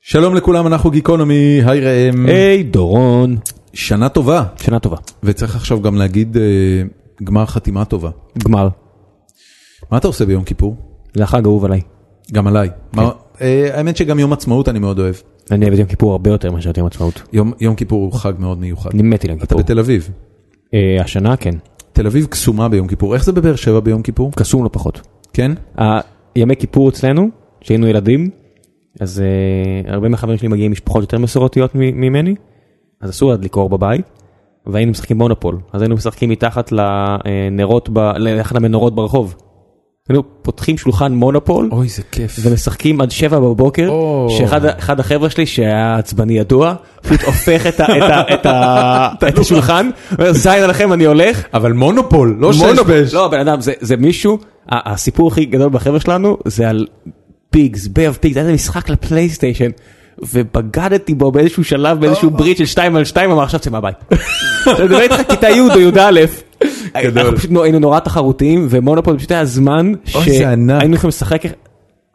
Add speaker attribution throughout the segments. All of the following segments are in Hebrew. Speaker 1: שלום לכולם, אנחנו גיקונומי, היי ראם,
Speaker 2: היי דורון,
Speaker 1: שנה טובה,
Speaker 2: שנה Mm. טובה,
Speaker 1: וצריך עכשיו גם להגיד אה, גמר חתימה טובה.
Speaker 2: גמר,
Speaker 1: מה אתה עושה ביום כיפור?
Speaker 2: זה החג האהוב עליי.
Speaker 1: גם
Speaker 2: כן.
Speaker 1: עליי. מה- אה, האמת שגם יום עצמאות אני מאוד אוהב.
Speaker 2: אני אוהב את יום כיפור הרבה יותר מאשר את יום עצמאות.
Speaker 1: יום- יום כיפור הוא חג מאוד מיוחד.
Speaker 2: אני מת על יום
Speaker 1: אתה
Speaker 2: כיפור.
Speaker 1: בתל אביב.
Speaker 2: אה, השנה כן,
Speaker 1: תל אביב קסומה ביום כיפור, איך זה בבאר שבע ביום כיפור?
Speaker 2: קסום לא פחות.
Speaker 1: כן?
Speaker 2: ה- ימי כיפור אצלנו, כשהיינו ילדים, אז אה, הרבה מהחברים שלי מגיעים משפחות יותר מסורתיות מ- ממני, אז אסור עד לקרור בבית, והיינו משחקים מונופול, אז היינו משחקים מתחת לנרות, ב- לאחת המנורות ברחוב. היינו פותחים שולחן מונופול.
Speaker 1: אוי, זה כיף.
Speaker 2: ומשחקים עד שבע בבוקר,
Speaker 1: או.
Speaker 2: שאחד ה- אחד החבר'ה שלי שהיה עצבני ידוע, פשוט הופך את ה- את ה- את ה- את השולחן, אומר, זין עליכם אני הולך.
Speaker 1: אבל מונופול, לא
Speaker 2: מונופול.
Speaker 1: ששבש.
Speaker 2: לא בן אדם זה- זה מישהו, ה- הסיפור הכי גדול בחבר'ה שלנו זה על פיגס, בי אב פיגס, היה איזה משחק לפלייסטיישן. ובגדתי בו באיזשהו שלב באיזשהו ברית של שתיים על שתיים אמר עכשיו צא מהבית. לא אני מדבר איתך כיתה י' או י"א. אנחנו פשוט נו- היינו נורא תחרותיים ומונופול פשוט היה זמן
Speaker 1: אוי, זה ענק.
Speaker 2: שהיינו יכולים לשחק.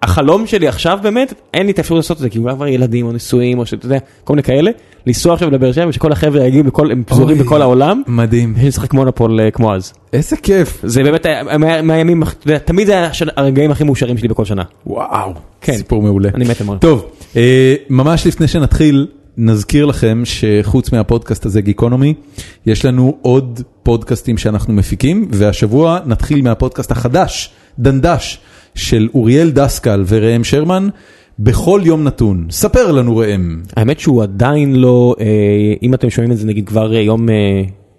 Speaker 2: החלום שלי עכשיו באמת אין לי את האפשרות לעשות את זה כי אולי כבר ילדים או נישואים או שאתה יודע כל מיני כאלה לנסוע עכשיו לבאר שבע ושכל החבר'ה יגיעו בכל הם פזורים
Speaker 1: אוי.
Speaker 2: בכל העולם
Speaker 1: מדהים.
Speaker 2: ונשחק מונופול אה, כמו אז.
Speaker 1: איזה כיף.
Speaker 2: זה באמת היה- מה- מהימים, הכ- אתה יודע, תמיד זה היה השל- הרגעים הכי מאושרים שלי בכל שנה.
Speaker 1: וואו.
Speaker 2: כן.
Speaker 1: סיפור מעולה.
Speaker 2: אני מת אמר.
Speaker 1: טוב, אה, ממש לפני שנתחיל, נזכיר לכם שחוץ מהפודקאסט הזה, גיקונומי, יש לנו עוד פודקאסטים שאנחנו מפיקים, והשבוע נתחיל מהפודקאסט החדש, דנדש, של אוריאל דסקל וראם שרמן, בכל יום נתון. ספר לנו ראם.
Speaker 2: האמת שהוא עדיין לא, אה, אם אתם שומעים את זה נגיד כבר אה, יום אה,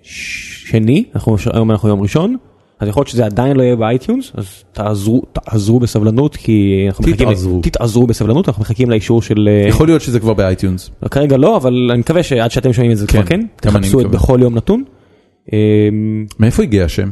Speaker 2: ש- שני, אנחנו ש- היום אנחנו יום ראשון, אז יכול להיות שזה עדיין לא יהיה באייטיונס, אז תעזרו, תעזרו בסבלנות כי אנחנו מחכים,
Speaker 1: תתעזרו.
Speaker 2: תתעזרו בסבלנות, אנחנו מחכים לאישור של, אה,
Speaker 1: יכול להיות שזה כבר באייטיונס.
Speaker 2: כרגע לא, אבל אני מקווה שעד שאתם שומעים את זה
Speaker 1: כן,
Speaker 2: כבר כן,
Speaker 1: גם אני
Speaker 2: תחפשו את
Speaker 1: מקווה.
Speaker 2: בכל יום נתון. אה,
Speaker 1: מאיפה הגיע השם?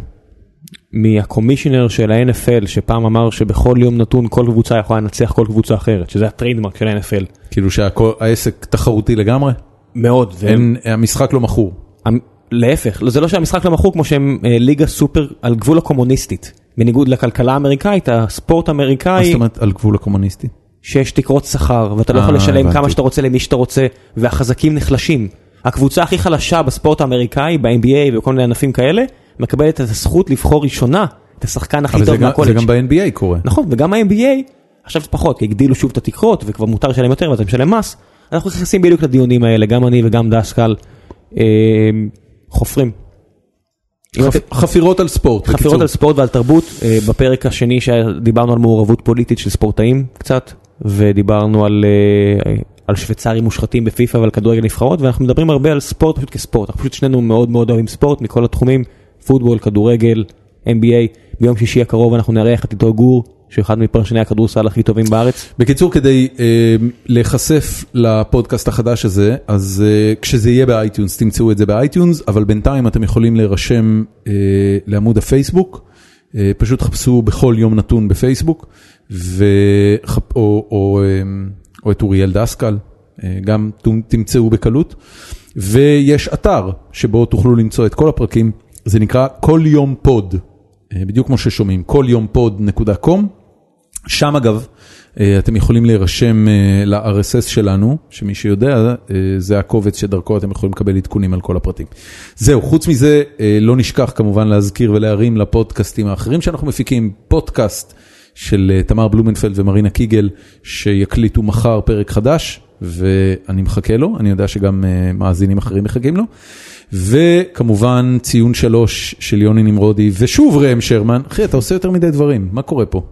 Speaker 2: מהקומישיונר של ה-NFL שפעם אמר שבכל יום נתון כל קבוצה יכולה לנצח כל קבוצה אחרת שזה הטריידמרק של ה-NFL.
Speaker 1: כאילו שהעסק תחרותי לגמרי?
Speaker 2: מאוד. והם,
Speaker 1: אין, המשחק לא מכור.
Speaker 2: המ- להפך לא- זה לא שהמשחק לא מכור כמו שהם אה, ליגה סופר על גבול הקומוניסטית. בניגוד לכלכלה האמריקאית הספורט
Speaker 1: מה זאת
Speaker 2: האמריקאי
Speaker 1: אומרת על גבול הקומוניסטי?
Speaker 2: שיש תקרות שכר ואתה לא יכול
Speaker 1: אה,
Speaker 2: לשלם
Speaker 1: הבנתי.
Speaker 2: כמה שאתה רוצה למי שאתה רוצה והחזקים נחלשים. הקבוצה הכי חלשה בספורט האמריקאי ב-NBA ובכל מיני ענפים כאלה מקבלת את הזכות לבחור ראשונה את השחקן הכי
Speaker 1: אבל זה
Speaker 2: טוב
Speaker 1: גם- זה
Speaker 2: מהקולג'.
Speaker 1: גם ב-NBA קורה.
Speaker 2: נכון, וגם ה-NBA, עכשיו זה פחות, כי הגדילו שוב את התקרות וכבר מותר לשלם יותר ואתה משלם מס. אנחנו נכנסים בדיוק לדיונים האלה, גם אני וגם דסקל אה, חופרים. אם אתם-
Speaker 1: חפ- חפירות על ספורט.
Speaker 2: נכון. חפירות
Speaker 1: בקיצור.
Speaker 2: על ספורט ועל תרבות, אה, בפרק השני שדיברנו על מעורבות פוליטית של ספורטאים קצת, ודיברנו על, אה, על שוויצרים מושחתים בפיפ"א ועל כדורגל נבחרות, ואנחנו מדברים הרבה על ספורט פשוט כספורט, אנחנו פשוט שנינו מאוד מאוד אוהבים ספורט מכל התחומים, פוטבול, כדורגל, NBA, ביום שישי הקרוב אנחנו נארח את עידו גור, שהוא אחד מפרשני הכדורסל הכי טובים בארץ.
Speaker 1: בקיצור, כדי אה, להיחשף לפודקאסט החדש הזה, אז אה, כשזה יהיה באייטיונס, תמצאו את זה באייטיונס, אבל בינתיים אתם יכולים להירשם אה, לעמוד הפייסבוק, אה, פשוט חפשו בכל יום נתון בפייסבוק, וחפ, או, או, אה, או את אוריאל דסקל, אה, גם ת- תמצאו בקלות, ויש אתר שבו תוכלו למצוא את כל הפרקים, זה נקרא כל יום פוד, אה, בדיוק כמו ששומעים, כל יום פוד נקודה קום. שם אגב, אה, אתם יכולים להירשם אה, ל-RSS שלנו, שמי שיודע, אה, זה הקובץ שדרכו אתם יכולים לקבל עדכונים על כל הפרטים. זהו, חוץ מזה, אה, לא נשכח כמובן להזכיר ולהרים לפודקאסטים האחרים שאנחנו מפיקים, פודקאסט של אה, תמר בלומנפלד ומרינה קיגל, שיקליטו מחר פרק חדש, ואני מחכה לו, אני יודע שגם אה, מאזינים אחרים מחכים לו. וכמובן ציון שלוש של יוני נמרודי, ושוב ראם שרמן, אחי, אתה עושה יותר מדי דברים, מה קורה פה?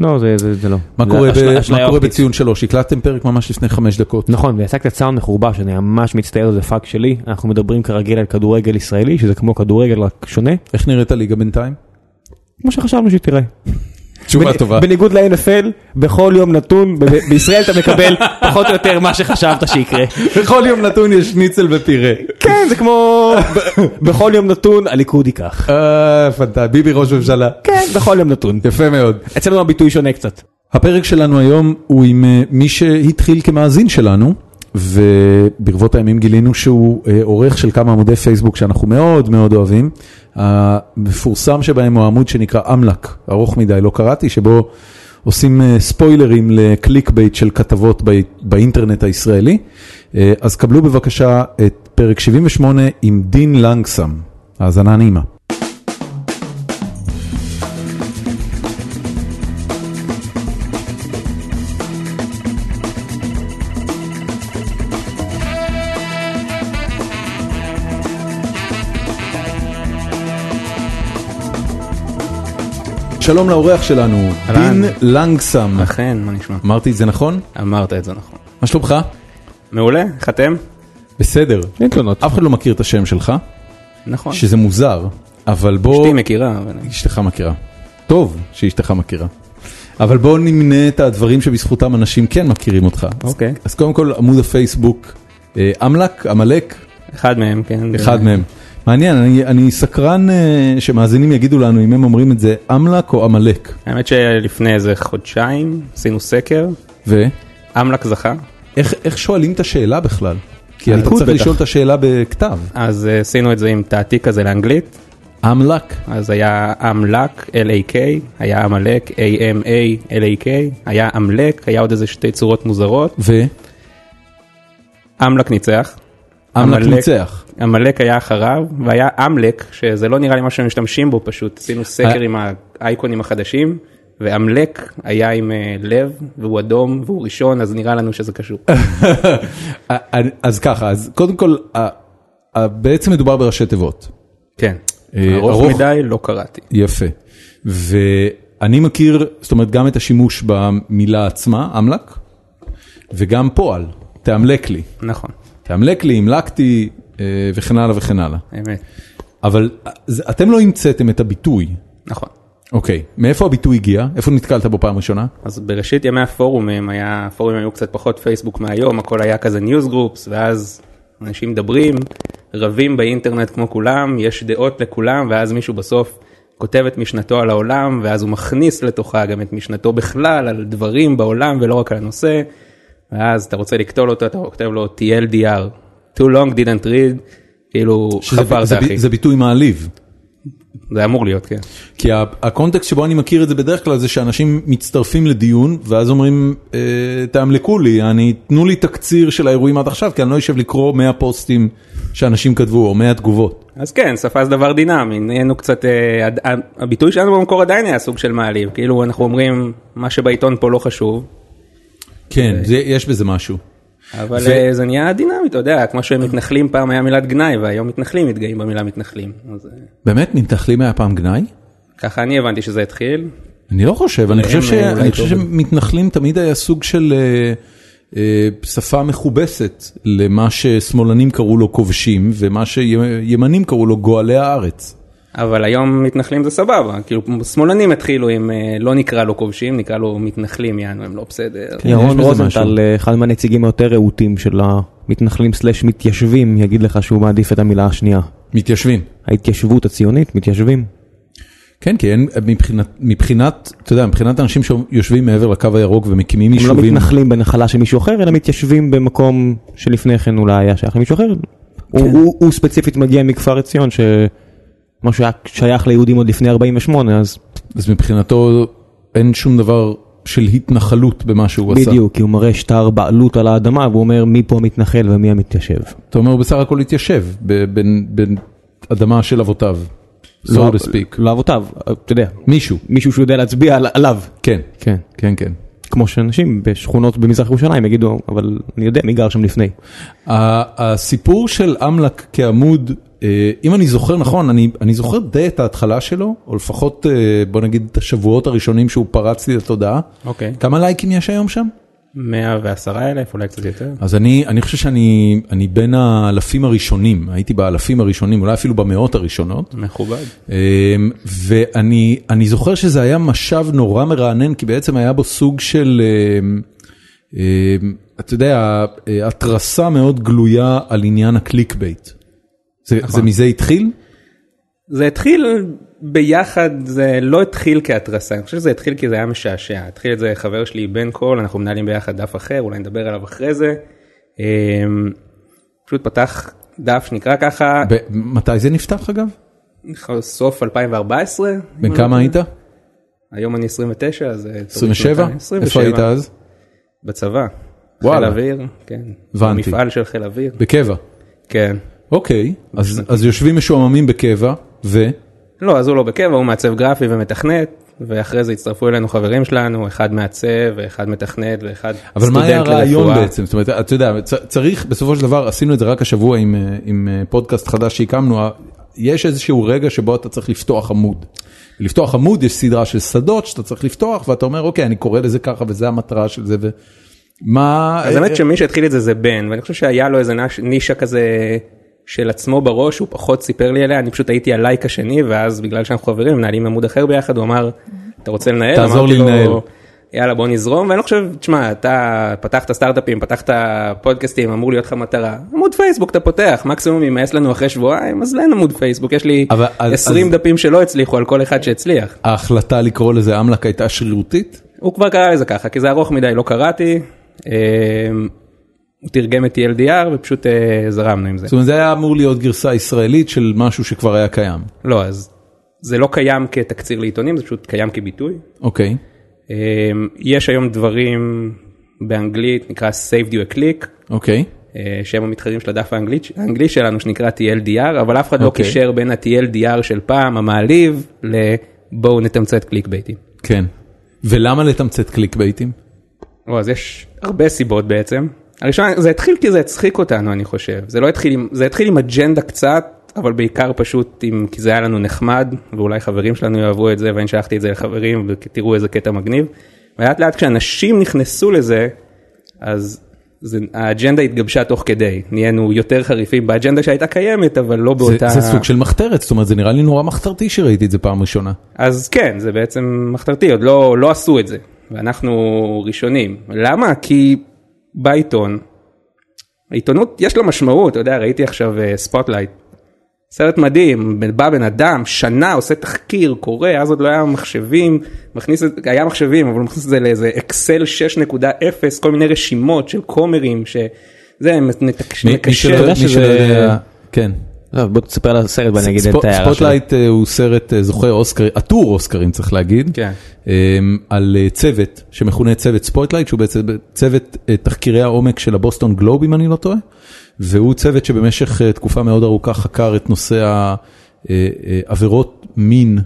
Speaker 2: לא, זה, זה, זה לא.
Speaker 1: מה קורה, ב- מה קורה בציון שלוש? הקלטתם פרק ממש לפני חמש דקות.
Speaker 2: נכון, ויצא קצת סאונד מחורבש, אני ממש מצטער, זה פאק שלי. אנחנו מדברים כרגיל על כדורגל ישראלי, שזה כמו כדורגל רק שונה.
Speaker 1: איך נראית הליגה בינתיים?
Speaker 2: כמו שחשבנו שהיא תראה.
Speaker 1: תשובה
Speaker 2: בנ-
Speaker 1: טובה.
Speaker 2: בניגוד ל-NFL, בכל יום נתון, ב- ב- בישראל אתה מקבל פחות או יותר מה שחשבת שיקרה.
Speaker 1: בכל יום נתון יש שניצל ופירה.
Speaker 2: כן, זה כמו... ב- בכל יום נתון הליכוד ייקח.
Speaker 1: אה, פנטה, ביבי ראש ממשלה.
Speaker 2: כן, בכל יום נתון.
Speaker 1: יפה מאוד.
Speaker 2: אצלנו הביטוי שונה קצת.
Speaker 1: הפרק שלנו היום הוא עם אה, מי שהתחיל כמאזין שלנו, וברבות הימים גילינו שהוא אה, עורך של כמה עמודי פייסבוק שאנחנו מאוד מאוד אוהבים. המפורסם שבהם הוא העמוד שנקרא אמל"ק, ארוך מדי, לא קראתי, שבו עושים אה, ספוילרים לקליק בייט של כתבות ב- באינטרנט הישראלי. אה, אז קבלו בבקשה את פרק 78 עם דין לנגסם. האזנה נעימה. שלום לאורח שלנו,
Speaker 3: אהלן.
Speaker 1: דין לנגסם.
Speaker 3: אכן, מה נשמע?
Speaker 1: אמרתי את זה נכון?
Speaker 3: אמרת את זה נכון.
Speaker 1: מה שלומך?
Speaker 3: מעולה, איך אתם?
Speaker 1: בסדר.
Speaker 2: אין תלונות.
Speaker 1: אף אחד לא מכיר את השם שלך,
Speaker 3: נכון.
Speaker 1: שזה מוזר, אבל בוא...
Speaker 3: אשתי מכירה, אבל...
Speaker 1: אשתך מכירה. טוב שאשתך מכירה. אבל בואו נמנה את הדברים שבזכותם אנשים כן מכירים אותך.
Speaker 3: אוקיי.
Speaker 1: אז קודם כל עמוד הפייסבוק, אה, אמלק, עמלק,
Speaker 3: אחד מהם, כן.
Speaker 1: אחד מהם. מעניין, אני, אני סקרן אה, שמאזינים יגידו לנו אם הם אומרים את זה אמלק או עמלק.
Speaker 3: האמת שלפני איזה חודשיים עשינו סקר,
Speaker 1: ואיך
Speaker 3: אמלק זכה,
Speaker 1: איך שואלים את השאלה בכלל? כי אתה
Speaker 2: הליכוד
Speaker 1: צריך
Speaker 2: בטח.
Speaker 1: לשאול את השאלה בכתב.
Speaker 3: אז אה, עשינו את זה עם תעתיק כזה לאנגלית,
Speaker 1: אמלק,
Speaker 3: אז היה אמלק, L-A-K, היה עמלק, A-M-A, L-A-K, היה אמלק, היה עוד איזה שתי צורות מוזרות,
Speaker 1: ואמלק
Speaker 3: אמלק ניצח. עמלק.
Speaker 1: ניצח.
Speaker 3: עמלק היה אחריו והיה אמלק שזה לא נראה לי מה שמשתמשים בו פשוט עשינו סקר
Speaker 1: אה.
Speaker 3: עם האייקונים החדשים ועמלק היה עם אה, לב והוא אדום והוא ראשון אז נראה לנו שזה קשור.
Speaker 1: אה. אז ככה, אז קודם כל, ה- ה- בעצם מדובר בראשי תיבות.
Speaker 3: כן.
Speaker 1: אה,
Speaker 3: ארוך
Speaker 1: ארוך.
Speaker 3: מדי לא קראתי.
Speaker 1: יפה. ואני מכיר, זאת אומרת, גם את השימוש במילה עצמה, אמל"ק, וגם פועל, תאמלק לי.
Speaker 3: נכון.
Speaker 1: תאמלק לי, המלקתי, אה, וכן הלאה וכן הלאה.
Speaker 3: אמת.
Speaker 1: אבל אה, זה- אתם לא המצאתם את הביטוי.
Speaker 3: נכון.
Speaker 1: אוקיי, מאיפה הביטוי הגיע? איפה נתקלת בו פעם ראשונה?
Speaker 3: אז בראשית ימי הפורומים היה הפורומים היו קצת פחות פייסבוק מהיום הכל היה כזה ניוז גרופס ואז אנשים מדברים רבים באינטרנט כמו כולם יש דעות לכולם ואז מישהו בסוף כותב את משנתו על העולם ואז הוא מכניס לתוכה גם את משנתו בכלל על דברים בעולם ולא רק על הנושא. ואז אתה רוצה לקטול אותו אתה כותב לו TLDR too long didn't read כאילו
Speaker 1: שזה-
Speaker 3: חפרת
Speaker 1: זה ב-
Speaker 3: אחי
Speaker 1: זה ביטוי מעליב.
Speaker 3: זה אמור להיות כן.
Speaker 1: כי ה- הקונטקסט שבו אני מכיר את זה בדרך כלל זה שאנשים מצטרפים לדיון ואז אומרים "אה, תאמלקו לי, אני, תנו לי תקציר של האירועים עד עכשיו כי אני לא אשב לקרוא 100 פוסטים שאנשים כתבו או 100 תגובות.
Speaker 3: אז כן, שפה זה דבר דינמי, נהיינו קצת, אה, הד- ה- הביטוי שלנו במקור עדיין היה סוג של מעליב, כאילו אנחנו אומרים מה שבעיתון פה לא חשוב,
Speaker 1: כן, זה, יש בזה משהו.
Speaker 3: אבל אה,
Speaker 1: זה-
Speaker 3: זה, זה נהיה דינמי, אתה יודע, כמו שמתנחלים פעם היה מילת גנאי והיום מתנחלים מתגאים במילה מתנחלים, אז אה,
Speaker 1: באמת, מתנחלים היה פעם גנאי?
Speaker 3: ככה אני הבנתי שזה התחיל,
Speaker 1: אני לא חושב, אני חושב, ש...
Speaker 3: אה, אולי
Speaker 1: אני חושב
Speaker 3: טוב.
Speaker 1: שמתנחלים תמיד היה סוג של אה, אה, שפה מכובסת למה ששמאלנים קראו לו כובשים ומה שימנים קראו לו גואלי הארץ.
Speaker 3: אבל היום מתנחלים זה סבבה, כאילו שמאלנים התחילו עם אה, לא נקרא לו כובשים, נקרא לו מתנחלים, יענו הם לא בסדר,
Speaker 1: כן, יש
Speaker 2: ירון
Speaker 1: בזה
Speaker 2: רוזנטל,
Speaker 1: משהו.
Speaker 2: אה, אחד מהנציגים היותר רהוטים של המתנחלים סלאש מתיישבים, יגיד לך שהוא מעדיף את המילה השנייה.
Speaker 1: מתיישבים.
Speaker 2: ההתיישבות הציונית, מתיישבים.
Speaker 1: כן, כי אין, מבחינת, מבחינת, אתה יודע, מבחינת אנשים שיושבים מעבר לקו הירוק ומקימים
Speaker 2: הם לא
Speaker 1: יישובים,
Speaker 2: מתנחלים בנחלה של מישהו אחר, אלא מתיישבים במקום שלפני כן אולי היה שייך למישהו אחר. הוא- הוא- הוא ספציפית מגיע מכפר עציון, שמה שהיה שייך ליהודים עוד לפני 48, אז
Speaker 1: אז מבחינתו אין שום דבר של התנחלות במה שהוא עשה.
Speaker 2: בדיוק, כי הוא מראה שטר בעלות על האדמה, והוא אומר מי פה המתנחל ומי המתיישב.
Speaker 1: אתה אומר, הוא בסך הכל התיישב ב- בין, בין אדמה של אבותיו, so
Speaker 2: לא-
Speaker 1: to speak.
Speaker 2: לא אבותיו, אתה יודע,
Speaker 1: מישהו,
Speaker 2: מישהו שיודע להצביע על- עליו.
Speaker 1: כן,
Speaker 2: כן.
Speaker 1: כן, כן.
Speaker 2: כמו שאנשים בשכונות במזרח ירושלים יגידו, אבל אני יודע מי גר שם לפני.
Speaker 1: ה- הסיפור של אמל"ק כעמוד, אה, אם אני זוכר נכון, אני, אני זוכר די את ההתחלה שלו, או לפחות אה, בוא נגיד את השבועות הראשונים שהוא פרץ לי לתודעה.
Speaker 3: אוקיי,
Speaker 1: כמה לייקים יש היום שם?
Speaker 3: 110 אלף אולי קצת יותר,
Speaker 1: אז אני, אני חושב שאני אני בין האלפים הראשונים, הייתי באלפים הראשונים, אולי אפילו במאות הראשונות.
Speaker 3: מכובד,
Speaker 1: אמ, ואני אני זוכר שזה היה משב נורא מרענן, כי בעצם היה בו סוג של, אמ, אמ, אתה יודע, אה, התרסה מאוד גלויה על עניין הקליק בייט. זה, זה מזה התחיל?
Speaker 3: זה התחיל ביחד, זה לא התחיל כהתרסה, אני חושב שזה התחיל כי זה היה משעשע. התחיל את זה חבר שלי בן קול, אנחנו מנהלים ביחד דף אחר, אולי נדבר עליו אחרי זה. אמ, פשוט פתח דף שנקרא ככה,
Speaker 1: ב- מתי זה נפתח אגב?
Speaker 3: סוף 2014. אם
Speaker 1: בן
Speaker 3: אני
Speaker 1: כמה
Speaker 3: לא
Speaker 1: היית?
Speaker 3: טועה. היום אני 29, אז... אה, תוריד
Speaker 1: 27?
Speaker 3: שנתיים.
Speaker 1: איפה היית
Speaker 3: 27,
Speaker 1: אז?
Speaker 3: בצבא. חיל
Speaker 1: וואלה.
Speaker 3: אוויר, כן.
Speaker 1: הבנתי.
Speaker 3: מפעל של חיל אוויר,
Speaker 1: בקבע.
Speaker 3: כן.
Speaker 1: אוקיי, אז, אז יושבים משועממים בקבע, ו...
Speaker 3: לא, אז הוא לא בקבע, הוא מעצב גרפי ומתכנת, ואחרי זה הצטרפו אלינו חברים שלנו, אחד מעצב, ואחד מתכנת, ואחד סטודנט
Speaker 1: אבל
Speaker 3: לרפואה.
Speaker 1: מה היה הרעיון בעצם? זאת אומרת, אתה יודע, צ- צריך, בסופו של דבר, עשינו את זה רק השבוע עם, אה, עם אה, פודקאסט חדש שהקמנו, ה- יש איזשהו רגע שבו אתה צריך לפתוח עמוד. לפתוח עמוד, יש סדרה של שדות שאתה צריך לפתוח, ואתה אומר, אוקיי, אני קורא לזה ככה, וזה המטרה של זה, אה, ומה...
Speaker 3: אז האמת שמי שהתחיל את זה זה בן, ואני חושב שהיה לו איזה נש- נישה כזה של עצמו בראש, הוא פחות סיפר לי עליה, אני פשוט הייתי הלייק השני, ואז בגלל שאנחנו חברים, מנהלים עמוד אחר ביחד, הוא אמר, אתה רוצה לנהל?
Speaker 1: תעזור
Speaker 3: אמרתי
Speaker 1: לי
Speaker 3: לו,
Speaker 1: לנהל."
Speaker 3: יאללה בוא נזרום, ואני לא חושב, תשמע, אתה פתחת סטארט-אפים, פתחת פודקאסטים, אמור להיות לך מטרה. עמוד פייסבוק אתה פותח, מקסימום יימאס לנו אחרי שבועיים, אז אין עמוד פייסבוק, יש לי
Speaker 1: אבל אז-
Speaker 3: 20
Speaker 1: אז-
Speaker 3: דפים שלא הצליחו על כל אחד שהצליח.
Speaker 1: ההחלטה לקרוא לזה אמל"ק הייתה שרירותית?
Speaker 3: הוא כבר קרא לזה ככה כי זה ארוך מדי לא קראתי. אמ, הוא תרגם את TLDR ופשוט אה, זרמנו עם זה.
Speaker 1: זאת אומרת, זה היה אמור להיות גרסה ישראלית של משהו שכבר היה קיים.
Speaker 3: לא אז זה לא קיים כתקציר לעיתונים זה פשוט קיים כביטוי.
Speaker 1: אוקיי.
Speaker 3: אמ, יש היום דברים באנגלית נקרא save you a click
Speaker 1: אוקיי.
Speaker 3: אה, שהם המתחרים של הדף האנגלית, האנגלי שלנו שנקרא TLDR אבל אף אחד לא
Speaker 1: אוקיי.
Speaker 3: קישר בין ה-TLDR של פעם המעליב לבואו נתמצת קליק בייטים.
Speaker 1: כן. ולמה לתמצת קליק בייטים?
Speaker 3: או, אז יש הרבה סיבות בעצם. הראשונה, זה התחיל כי זה הצחיק אותנו, אני חושב. זה לא התחיל עם, זה התחיל עם אג'נדה קצת, אבל בעיקר פשוט עם, כי זה היה לנו נחמד, ואולי חברים שלנו יאהבו את זה, ואני שלחתי את זה לחברים, ותראו איזה קטע מגניב. ולאט לאט כשאנשים נכנסו לזה, אז זה, האג'נדה התגבשה תוך כדי. נהיינו יותר חריפים באג'נדה שהייתה קיימת, אבל לא
Speaker 1: זה,
Speaker 3: באותה...
Speaker 1: זה סוג של מחתרת, זאת אומרת, זה נראה לי נורא מחתרתי שראיתי את זה פעם ראשונה.
Speaker 3: אז כן, זה בעצם מחתרתי, עוד לא, לא עשו את זה, ואנחנו ראשונים. למה? כי בעיתון, העיתונות יש לה משמעות, אתה יודע, ראיתי עכשיו ספוטלייט, סרט מדהים, בא בן אדם, שנה עושה תחקיר, קורא, אז עוד לא היה מחשבים, מכניס, את- היה מחשבים, אבל הוא מכניס את זה לאיזה אקסל 6.0, כל מיני רשימות של כומרים, שזה מתקשר.
Speaker 1: מי- מי שלא- מי
Speaker 2: שזה-
Speaker 1: שלא יודע, כן.
Speaker 2: לא, בוא תספר על הסרט ואני אגיד את
Speaker 1: ספו-
Speaker 2: ההערה שלי.
Speaker 1: ספוטלייט אה, הוא סרט אה, זוכה אוסקר, עטור אוסקרים צריך להגיד,
Speaker 3: כן.
Speaker 1: אה, על אה, צוות שמכונה צוות ספוטלייט, שהוא בעצם צוות אה, תחקירי העומק של הבוסטון גלוב אם אני לא טועה, והוא צוות שבמשך אה, תקופה מאוד ארוכה חקר את נושא ה- אה, אה, עבירות מין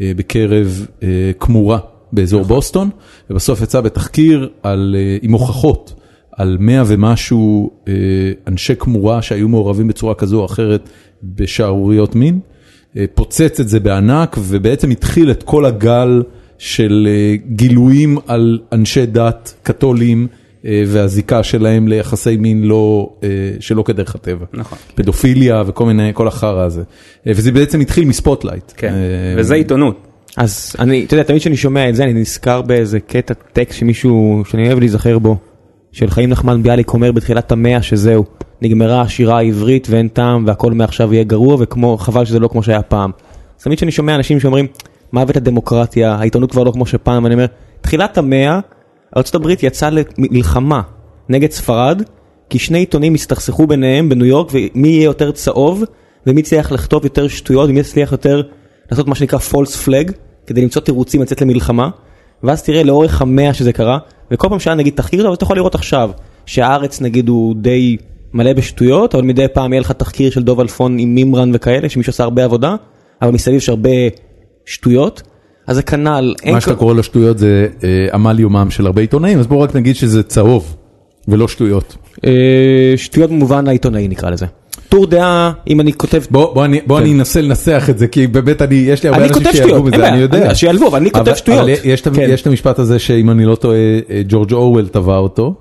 Speaker 1: אה, בקרב אה, כמורה באזור בוסטון, ובסוף יצא בתחקיר על, אה, עם הוכחות. על 100 ומשהו אה, אנשי כמורה שהיו מעורבים בצורה כזו או אחרת בשערוריות מין, אה, פוצץ את זה בענק ובעצם התחיל את כל הגל של אה, גילויים על אנשי דת קתולים אה, והזיקה שלהם ליחסי מין לא, אה, שלא כדרך הטבע.
Speaker 3: נכון.
Speaker 1: פדופיליה וכל מיני, כל החרא הזה. אה, וזה בעצם התחיל מספוטלייט.
Speaker 3: כן,
Speaker 1: אה,
Speaker 3: וזה עיתונות.
Speaker 2: אז אני, אתה יודע, תמיד כשאני שומע את זה, אני נזכר באיזה קטע טקסט שמישהו, שאני אוהב להיזכר בו, של חיים נחמן ביאליק אומר בתחילת המאה שזהו, נגמרה השירה העברית ואין טעם והכל מעכשיו יהיה גרוע, וכמו, חבל שזה לא כמו שהיה פעם. אז תמיד כשאני שומע אנשים שאומרים, מוות הדמוקרטיה, העיתונות כבר לא כמו שפעם, אני אומר, תחילת המאה, ארה"ב יצאה למלחמה נגד ספרד, כי שני עיתונים הסתכסכו ביניהם בניו יורק, ומי יהיה יותר צהוב, ומי יצליח לכתוב יותר שטויות, ומי יצליח יותר לעשות מה שנקרא false flag, כדי למצוא תירוצים לצאת למלחמה, ואז תראה לאורך המאה שזה קרה, וכל פעם שהיה נגיד תחקיר, אבל אתה יכול לראות עכשיו, שהארץ נגיד הוא די מלא בשטויות, אבל מדי פעם יהיה לך תחקיר של דוב אלפון עם מימרן וכאלה, שמישהו עשה הרבה עבודה, אבל מסביב יש הרבה שטויות, אז זה כנ"ל, אין
Speaker 1: מה שאתה קורא לו שטויות זה אה, עמל יומם של הרבה עיתונאים, אז בואו רק נגיד שזה צהוב ולא שטויות.
Speaker 2: אה, שטויות במובן העיתונאי נקרא לזה. טור דעה, אם אני כותב...
Speaker 1: בוא, בוא, אני, בוא
Speaker 2: כן.
Speaker 1: אני אנסה לנסח את זה, כי באמת אני, יש לי הרבה
Speaker 2: אני
Speaker 1: אנשים
Speaker 2: כותב
Speaker 1: שיעלבו
Speaker 2: שטויות, אין
Speaker 1: מזה,
Speaker 2: בעיה.
Speaker 1: אני יודע.
Speaker 2: אני- שיעלבו, אבל אני כותב שטויות.
Speaker 1: יש, כן.
Speaker 2: כן.
Speaker 1: יש את המשפט הזה שאם אני לא טועה, אה, ג'ורג' אורוול טבע אותו,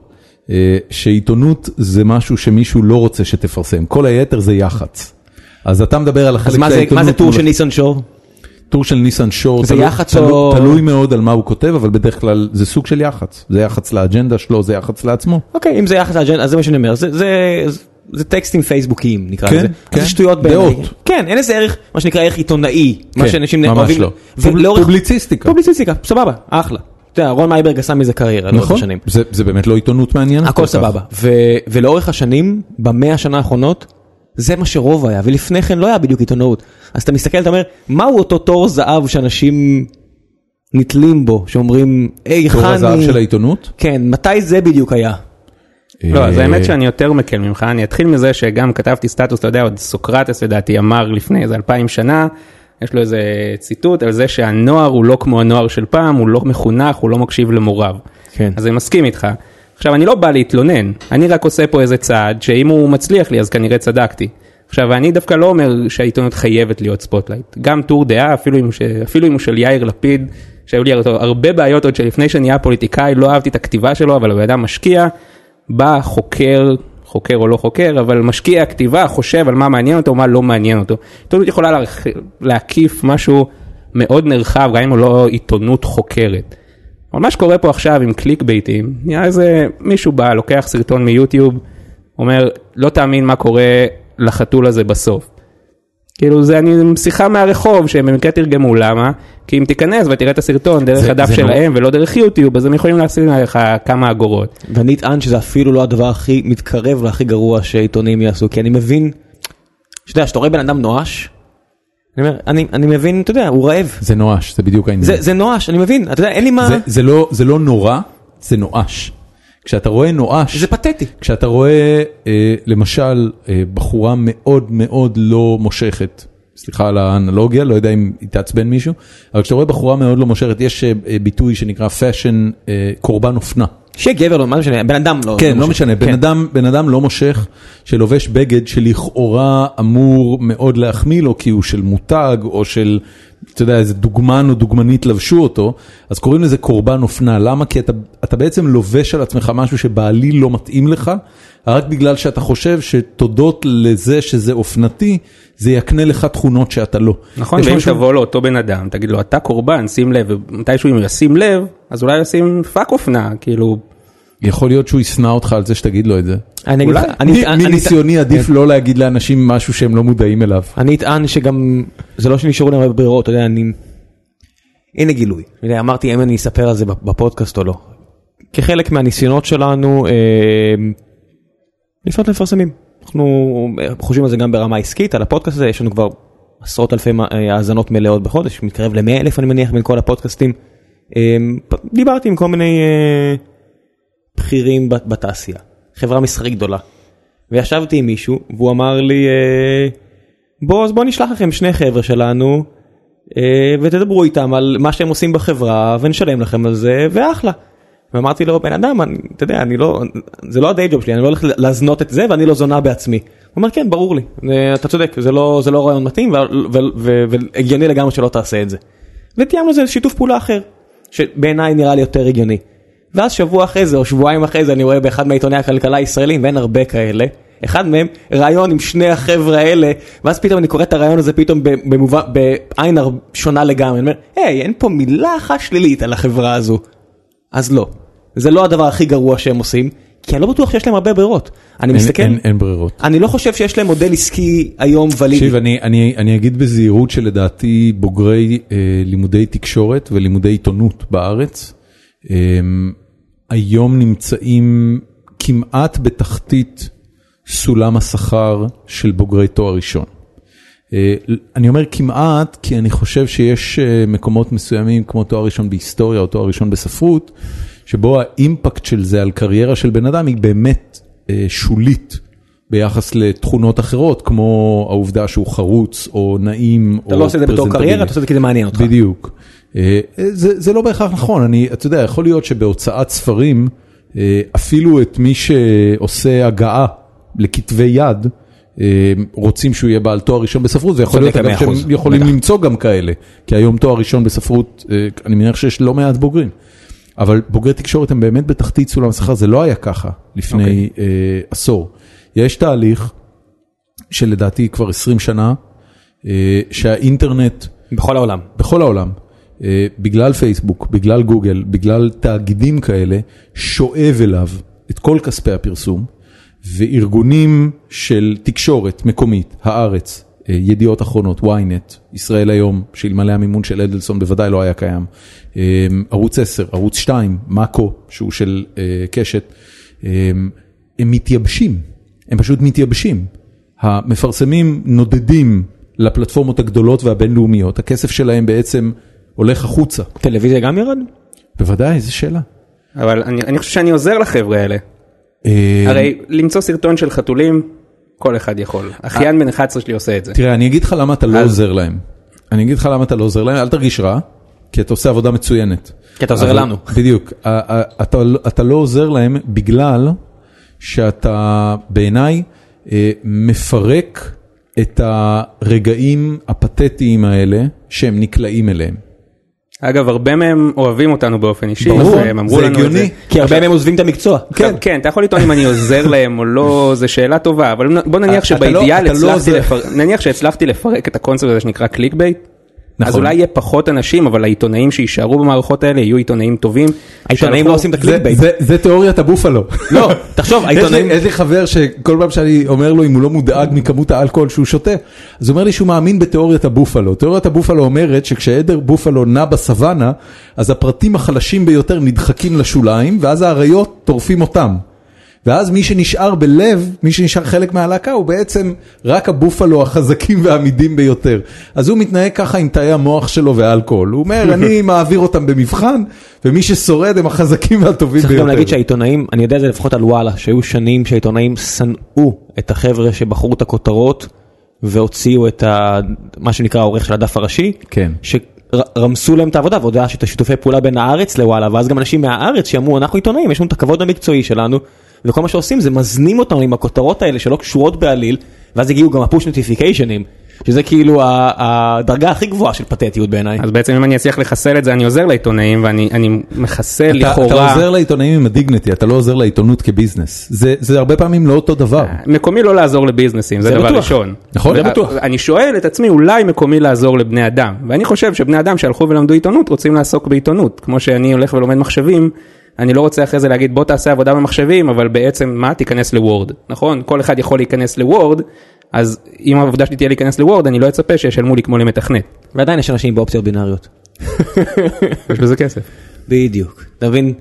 Speaker 1: אה, שעיתונות זה משהו שמישהו לא רוצה שתפרסם, כל היתר זה יח"צ. אז אתה מדבר על החלק
Speaker 2: אז מה
Speaker 1: של
Speaker 2: זה- מה
Speaker 1: העיתונות
Speaker 2: זה טור
Speaker 1: מול
Speaker 2: של ניסן שור?
Speaker 1: טור של ניסן שור,
Speaker 2: זה
Speaker 1: תלוי-
Speaker 2: יח"צ
Speaker 1: תלוי-
Speaker 2: או-
Speaker 1: תלוי מאוד על מה הוא כותב, אבל בדרך כלל זה סוג של יח"צ, זה יח"צ לאג'נדה שלו, זה יח"צ לעצמו.
Speaker 2: אוקיי, אם זה יחס לאג'נדה, אז זה מה שאני אומר, זה, זה, זה, זה טקסטים פייסבוקיים נקרא
Speaker 1: כן,
Speaker 2: לזה.
Speaker 1: כן.
Speaker 2: אז זה שטויות בעיניי.
Speaker 1: דעות.
Speaker 2: כן, אין לזה ערך, מה שנקרא ערך עיתונאי. מה
Speaker 1: כן,
Speaker 2: שאנשים
Speaker 1: ממש
Speaker 2: אוהבים.
Speaker 1: לא.
Speaker 2: ולאורך-
Speaker 1: פובליציסטיקה.
Speaker 2: פובליציסטיקה, סבבה, אחלה. אתה יודע, רון מייברג עשה מזה קריירה, לאורך
Speaker 1: נכון,
Speaker 2: השנים.
Speaker 1: זה, זה באמת לא עיתונות מעניינת. כל
Speaker 2: הכל
Speaker 1: כך.
Speaker 2: סבבה. ו, ולאורך השנים, במאה השנה האחרונות, זה מה שרוב היה, ולפני כן לא היה בדיוק עיתונאות. אז אתה מסתכל, אתה אומר, מהו אותו תור זהב שאנשים נתלים בו, שאומרים, היי
Speaker 1: תור הזהב
Speaker 2: חני,
Speaker 1: של העיתונות?
Speaker 2: כן, מתי זה בדיוק היה?
Speaker 3: לא, אז
Speaker 1: אה,
Speaker 3: האמת שאני יותר מקל ממך, אני אתחיל מזה שגם כתבתי סטטוס, אתה יודע, עוד סוקרטס לדעתי אמר לפני איזה אלפיים שנה, יש לו איזה ציטוט על זה שהנוער הוא לא כמו הנוער של פעם, הוא לא מחונך, הוא לא מקשיב למוריו.
Speaker 2: כן.
Speaker 3: אז אני מסכים איתך. עכשיו, אני לא בא להתלונן, אני רק עושה פה איזה צעד, שאם הוא מצליח לי אז כנראה צדקתי. עכשיו, אני דווקא לא אומר שהעיתונות חייבת להיות ספוטלייט. גם טור דעה, אפילו אם, ש... אפילו אם הוא של יאיר לפיד, שהיו לי אותו הרבה בעיות עוד שלפני שנהיה פוליטיקאי, לא אהבתי את הכתיבה שלו, אבל הבן אדם משקיע, בא, חוקר, חוקר או לא חוקר, אבל משקיע כתיבה, חושב על מה מעניין אותו, מה לא מעניין אותו. עיתונות יכולה להרח... להקיף משהו מאוד נרחב, גם אם הוא לא עיתונות חוקרת. אבל מה שקורה פה עכשיו עם קליק ביתים, נראה איזה מישהו בא, לוקח סרטון מיוטיוב, אומר, לא תאמין מה קורה לחתול הזה בסוף. כאילו זה אני עם שיחה מהרחוב שהם במקרה תרגמו למה כי אם תיכנס ותראה את הסרטון דרך
Speaker 1: זה-
Speaker 3: הדף
Speaker 1: זה
Speaker 3: שלהם
Speaker 1: נורא.
Speaker 3: ולא דרך יוטיוב אז הם יכולים להשים עליך כמה אגורות.
Speaker 2: ואני אטען שזה אפילו לא הדבר הכי מתקרב להכי גרוע שעיתונים יעשו, כי אני מבין, שאתה יודע, שאתה רואה בן אדם נואש, אני אומר, אני- אני מבין, אתה יודע, הוא רעב.
Speaker 1: זה נואש, זה בדיוק העניין.
Speaker 2: זה זה נואש, אני מבין, אתה יודע, אין לי מה,
Speaker 1: זה, זה, לא, זה לא נורא, זה נואש. כשאתה רואה נואש,
Speaker 2: זה פתטי.
Speaker 1: כשאתה רואה אה, למשל אה, בחורה מאוד מאוד לא מושכת, סליחה על האנלוגיה, לא יודע אם היא תעצבן מישהו, אבל כשאתה רואה בחורה מאוד לא מושכת, יש אה, אה, ביטוי שנקרא fashion אה, קורבן אופנה.
Speaker 2: שגבר לא, מה זה משנה, בן אדם לא.
Speaker 1: כן, לא
Speaker 2: מושך.
Speaker 1: משנה, בן
Speaker 2: כן.
Speaker 1: אדם, בן אדם לא מושך שלובש בגד שלכאורה אמור מאוד להחמיא לו כי הוא של מותג או של, אתה יודע, איזה דוגמן או דוגמנית לבשו אותו, אז קוראים לזה קורבן אופנה. למה? כי אתה, אתה בעצם לובש על עצמך משהו שבעליל לא מתאים לך, רק בגלל שאתה חושב שתודות לזה שזה אופנתי, זה יקנה לך תכונות שאתה לא.
Speaker 3: נכון
Speaker 1: יש
Speaker 3: ואם
Speaker 1: משהו-
Speaker 3: תבוא לאותו בן אדם תגיד לו אתה קורבן שים לב ומתישהו אם הוא ישים לב אז אולי ישים פאק אופנה כאילו
Speaker 1: יכול להיות שהוא ישנא אותך על זה שתגיד לו את זה.
Speaker 2: אני אגיד לך, אני-
Speaker 1: מ-
Speaker 2: אני-
Speaker 1: מניסיוני עדיף לא להגיד לאנשים משהו שהם לא מודעים אליו.
Speaker 2: אני אטען שגם, זה לא שנשארו לי הרבה ברירות, אתה יודע, אני... הנה גילוי. אתה יודע, אמרתי אם אני אספר על זה בפודקאסט או לא. כחלק מהניסיונות שלנו, אה, לפנות למפרסמים. אנחנו חושבים על זה גם ברמה עסקית, על הפודקאסט הזה, יש לנו כבר עשרות אלפי מה- אה, האזנות מלאות בחודש, מתקרב ל-100 אלף אני מניח בין כל הפודקאסטים. אה, פ- דיברתי עם כל מיני אה, בכירים בת- בתעשייה, חברה מסחרית גדולה. וישבתי עם מישהו, והוא אמר לי, אה, בוא אז בוא נשלח לכם שני חבר'ה שלנו אה, ותדברו איתם על מה שהם עושים בחברה ונשלם לכם על זה ואחלה. ואמרתי לו בן אדם אני, אתה יודע אני לא זה לא הדיי ג'וב שלי אני לא הולך להזנות את זה ואני לא זונה בעצמי. הוא אומר כן ברור לי אה, אתה צודק זה לא זה לא רעיון מתאים ו- ו- ו- והגיוני לגמרי שלא תעשה את זה. ותיאמנו איזה שיתוף פעולה אחר שבעיניי נראה לי יותר הגיוני. ואז שבוע אחרי זה או שבועיים אחרי זה אני רואה באחד מעיתוני הכלכלה הישראלים ואין הרבה כאלה. אחד מהם ראיון עם שני החבר'ה האלה ואז פתאום אני קורא את הראיון הזה פתאום במובן בעין הר- שונה לגמרי. אני אומר היי אין פה מילה אחת שלילית על החברה הזו. אז לא. זה לא הדבר הכי גרוע שהם עושים כי אני לא בטוח שיש להם הרבה ברירות. אני
Speaker 1: אין-
Speaker 2: מסתכל
Speaker 1: אין- אין ברירות.
Speaker 2: אני לא חושב שיש להם מודל עסקי היום ולידי.
Speaker 1: תקשיב, אני, אני, אני אגיד בזהירות שלדעתי בוגרי אה, לימודי תקשורת ולימודי עיתונות בארץ, אה, היום נמצאים כמעט בתחתית סולם השכר של בוגרי תואר ראשון. אה, אני אומר כמעט, כי אני חושב שיש אה, מקומות מסוימים כמו תואר ראשון בהיסטוריה או תואר ראשון בספרות, שבו האימפקט של זה על קריירה של בן אדם היא באמת אה, שולית ביחס לתכונות אחרות, כמו העובדה שהוא חרוץ או נעים.
Speaker 2: אתה
Speaker 1: או
Speaker 2: לא עושה את זה בתור
Speaker 1: פרזנטבילי.
Speaker 2: קריירה אתה עושה את זה כי זה מעניין אותך.
Speaker 1: בדיוק. אה, זה, זה לא בהכרח נכון, אני, אתה יודע, יכול להיות שבהוצאת ספרים, אה, אפילו את מי שעושה הגעה לכתבי יד, אה, רוצים שהוא יהיה בעל תואר ראשון בספרות, זה יכול להיות
Speaker 2: צודק
Speaker 1: אגב,
Speaker 2: במאה אחוז,
Speaker 1: שהם יכולים
Speaker 2: בטח.
Speaker 1: למצוא גם כאלה, כי היום תואר ראשון בספרות, אה, אני מניח שיש לא מעט בוגרים. אבל בוגרי תקשורת הם באמת בתחתית סולם השכר, זה לא היה ככה לפני
Speaker 2: אוקיי.
Speaker 1: okay. אה, עשור. יש תהליך שלדעתי כבר 20 שנה, אה, שהאינטרנט
Speaker 2: בכל העולם.
Speaker 1: בכל העולם, אה, בגלל פייסבוק, בגלל גוגל, בגלל תאגידים כאלה, שואב אליו את כל כספי הפרסום, וארגונים של תקשורת מקומית, הארץ, אה, ידיעות אחרונות, ynet, ישראל היום, שאלמלא המימון של אדלסון בוודאי לא היה קיים, אה, ערוץ 10, ערוץ 2, מאקו, שהוא של אה, קשת, אה, הם מתייבשים. הם פשוט מתייבשים. המפרסמים נודדים לפלטפורמות הגדולות והבינלאומיות, הכסף שלהם בעצם הולך החוצה.
Speaker 2: טלוויזיה גם ירד?
Speaker 1: בוודאי, איזה שאלה.
Speaker 3: אבל אני, אני חושב שאני עוזר לחבר'ה האלה.
Speaker 1: אה,
Speaker 3: הרי למצוא סרטון של חתולים, כל אחד יכול. אחיין בן 11 שלי עושה את זה.
Speaker 1: תראה, אני אגיד לך למה אתה לא עוזר להם. אני אגיד לך למה אתה לא עוזר להם, אל תרגיש רע, כי אתה עושה עבודה מצוינת.
Speaker 2: כי אתה עוזר
Speaker 1: אבל-
Speaker 2: לנו.
Speaker 1: בדיוק. ה- ה- אתה לא- אתה לא עוזר להם בגלל שאתה בעיניי אה, מפרק את הרגעים הפתטיים האלה שהם נקלעים אליהם.
Speaker 3: אגב, הרבה מהם אוהבים אותנו באופן אישי,
Speaker 1: ברור,
Speaker 3: והם אמרו
Speaker 1: זה
Speaker 3: לנו את זה.
Speaker 1: הגיוני.
Speaker 2: כי הרבה מהם עוזבים את המקצוע.
Speaker 3: כן. כן, אתה יכול לטעון אם אני עוזר להם או לא, זו שאלה טובה, אבל בוא נניח
Speaker 1: אתה- אתה לא-
Speaker 3: שבאידיאל
Speaker 1: אתה לא
Speaker 3: הצלחתי,
Speaker 1: עוזר.
Speaker 3: לפר... נניח שהצלחתי לפרק את הקונספט הזה שנקרא קליק בייט, אז
Speaker 1: נכון.
Speaker 3: אולי יהיה פחות אנשים, אבל העיתונאים שיישארו במערכות האלה יהיו עיתונאים טובים.
Speaker 2: העיתונאים לא
Speaker 3: שאנחנו-
Speaker 2: עושים את הקליק בייט.
Speaker 1: זה- זה תיאוריית הבופלו.
Speaker 2: לא, תחשוב,
Speaker 1: יש לי-
Speaker 2: העיתונאים-
Speaker 1: יש לי חבר שכל פעם שאני אומר לו אם הוא לא מודאג מכמות האלכוהול שהוא שותה, אז הוא אומר לי שהוא מאמין בתיאוריית הבופלו. תיאוריית הבופלו אומרת שכשעדר בופלו נע בסוואנה, אז הפרטים החלשים ביותר נדחקים לשוליים, ואז האריות טורפים אותם. ואז מי שנשאר בלב, מי שנשאר חלק מהלהקה, הוא בעצם רק הבופלו החזקים והעמידים ביותר. אז הוא מתנהג ככה עם תאי המוח שלו והאלכוהול. הוא אומר, אני מעביר אותם במבחן, ומי ששורד הם החזקים והטובים
Speaker 2: צריך
Speaker 1: ביותר.
Speaker 2: גם להגיד שהעיתונאים, אני יודע את זה לפחות על וואלה, שהיו שנים שהעיתונאים שנאו את החבר'ה שבחרו את הכותרות והוציאו את ה... מה שנקרא העורך של הדף הראשי,
Speaker 1: כן.
Speaker 2: שרמסו להם את העבודה, ועוד היה שאת השיתופי פעולה בין הארץ לוואלה, ואז גם אנשים מהארץ שאמרו אנחנו עיתונאים, יש לנו את הכבוד המקצועי שלנו, וכל מה שעושים זה מזנים אותנו עם הכותרות האלה שלא קשורות בעליל, ואז הגיעו גם הפוש נוטיפיקיישנים, שזה כאילו ה- הדרגה הכי גבוהה של פתטיות בעיניי.
Speaker 3: אז בעצם אם אני אצליח לחסל את זה, אני עוזר לעיתונאים, ואני אני מחסל
Speaker 1: אתה, אתה
Speaker 3: לכאורה...
Speaker 1: עוזר לעיתונאים עם הדיגניטי, אתה לא עוזר לעיתונות כביזנס. זה, זה הרבה פעמים לא אותו דבר.
Speaker 2: אה,
Speaker 3: מקומי לא לעזור לביזנסים, זה
Speaker 2: זה
Speaker 3: דבר
Speaker 2: בטוח.
Speaker 3: ראשון.
Speaker 1: נכון, זה
Speaker 3: ו-
Speaker 1: בטוח.
Speaker 3: אני שואל את עצמי, אולי מקומי לעזור לבני אדם, ואני חושב שבני אדם שהלכו ולמדו עיתונות רוצים לעסוק בעיתונות, כמו שאני הולך ולומד מחשבים, אני לא רוצה אחרי זה להגיד בוא תעשה עבודה במחשבים, אבל בעצם מה? תיכנס לוורד, נכון? כל אחד יכול להיכנס לוורד, אז אם העבודה שלי תהיה להיכנס לוורד, אני לא אצפה שישלמו לי כמו למתכנת.
Speaker 2: ועדיין יש אנשים באופציות בינאריות.
Speaker 3: יש בזה כסף.
Speaker 2: בדיוק. אתה מבין?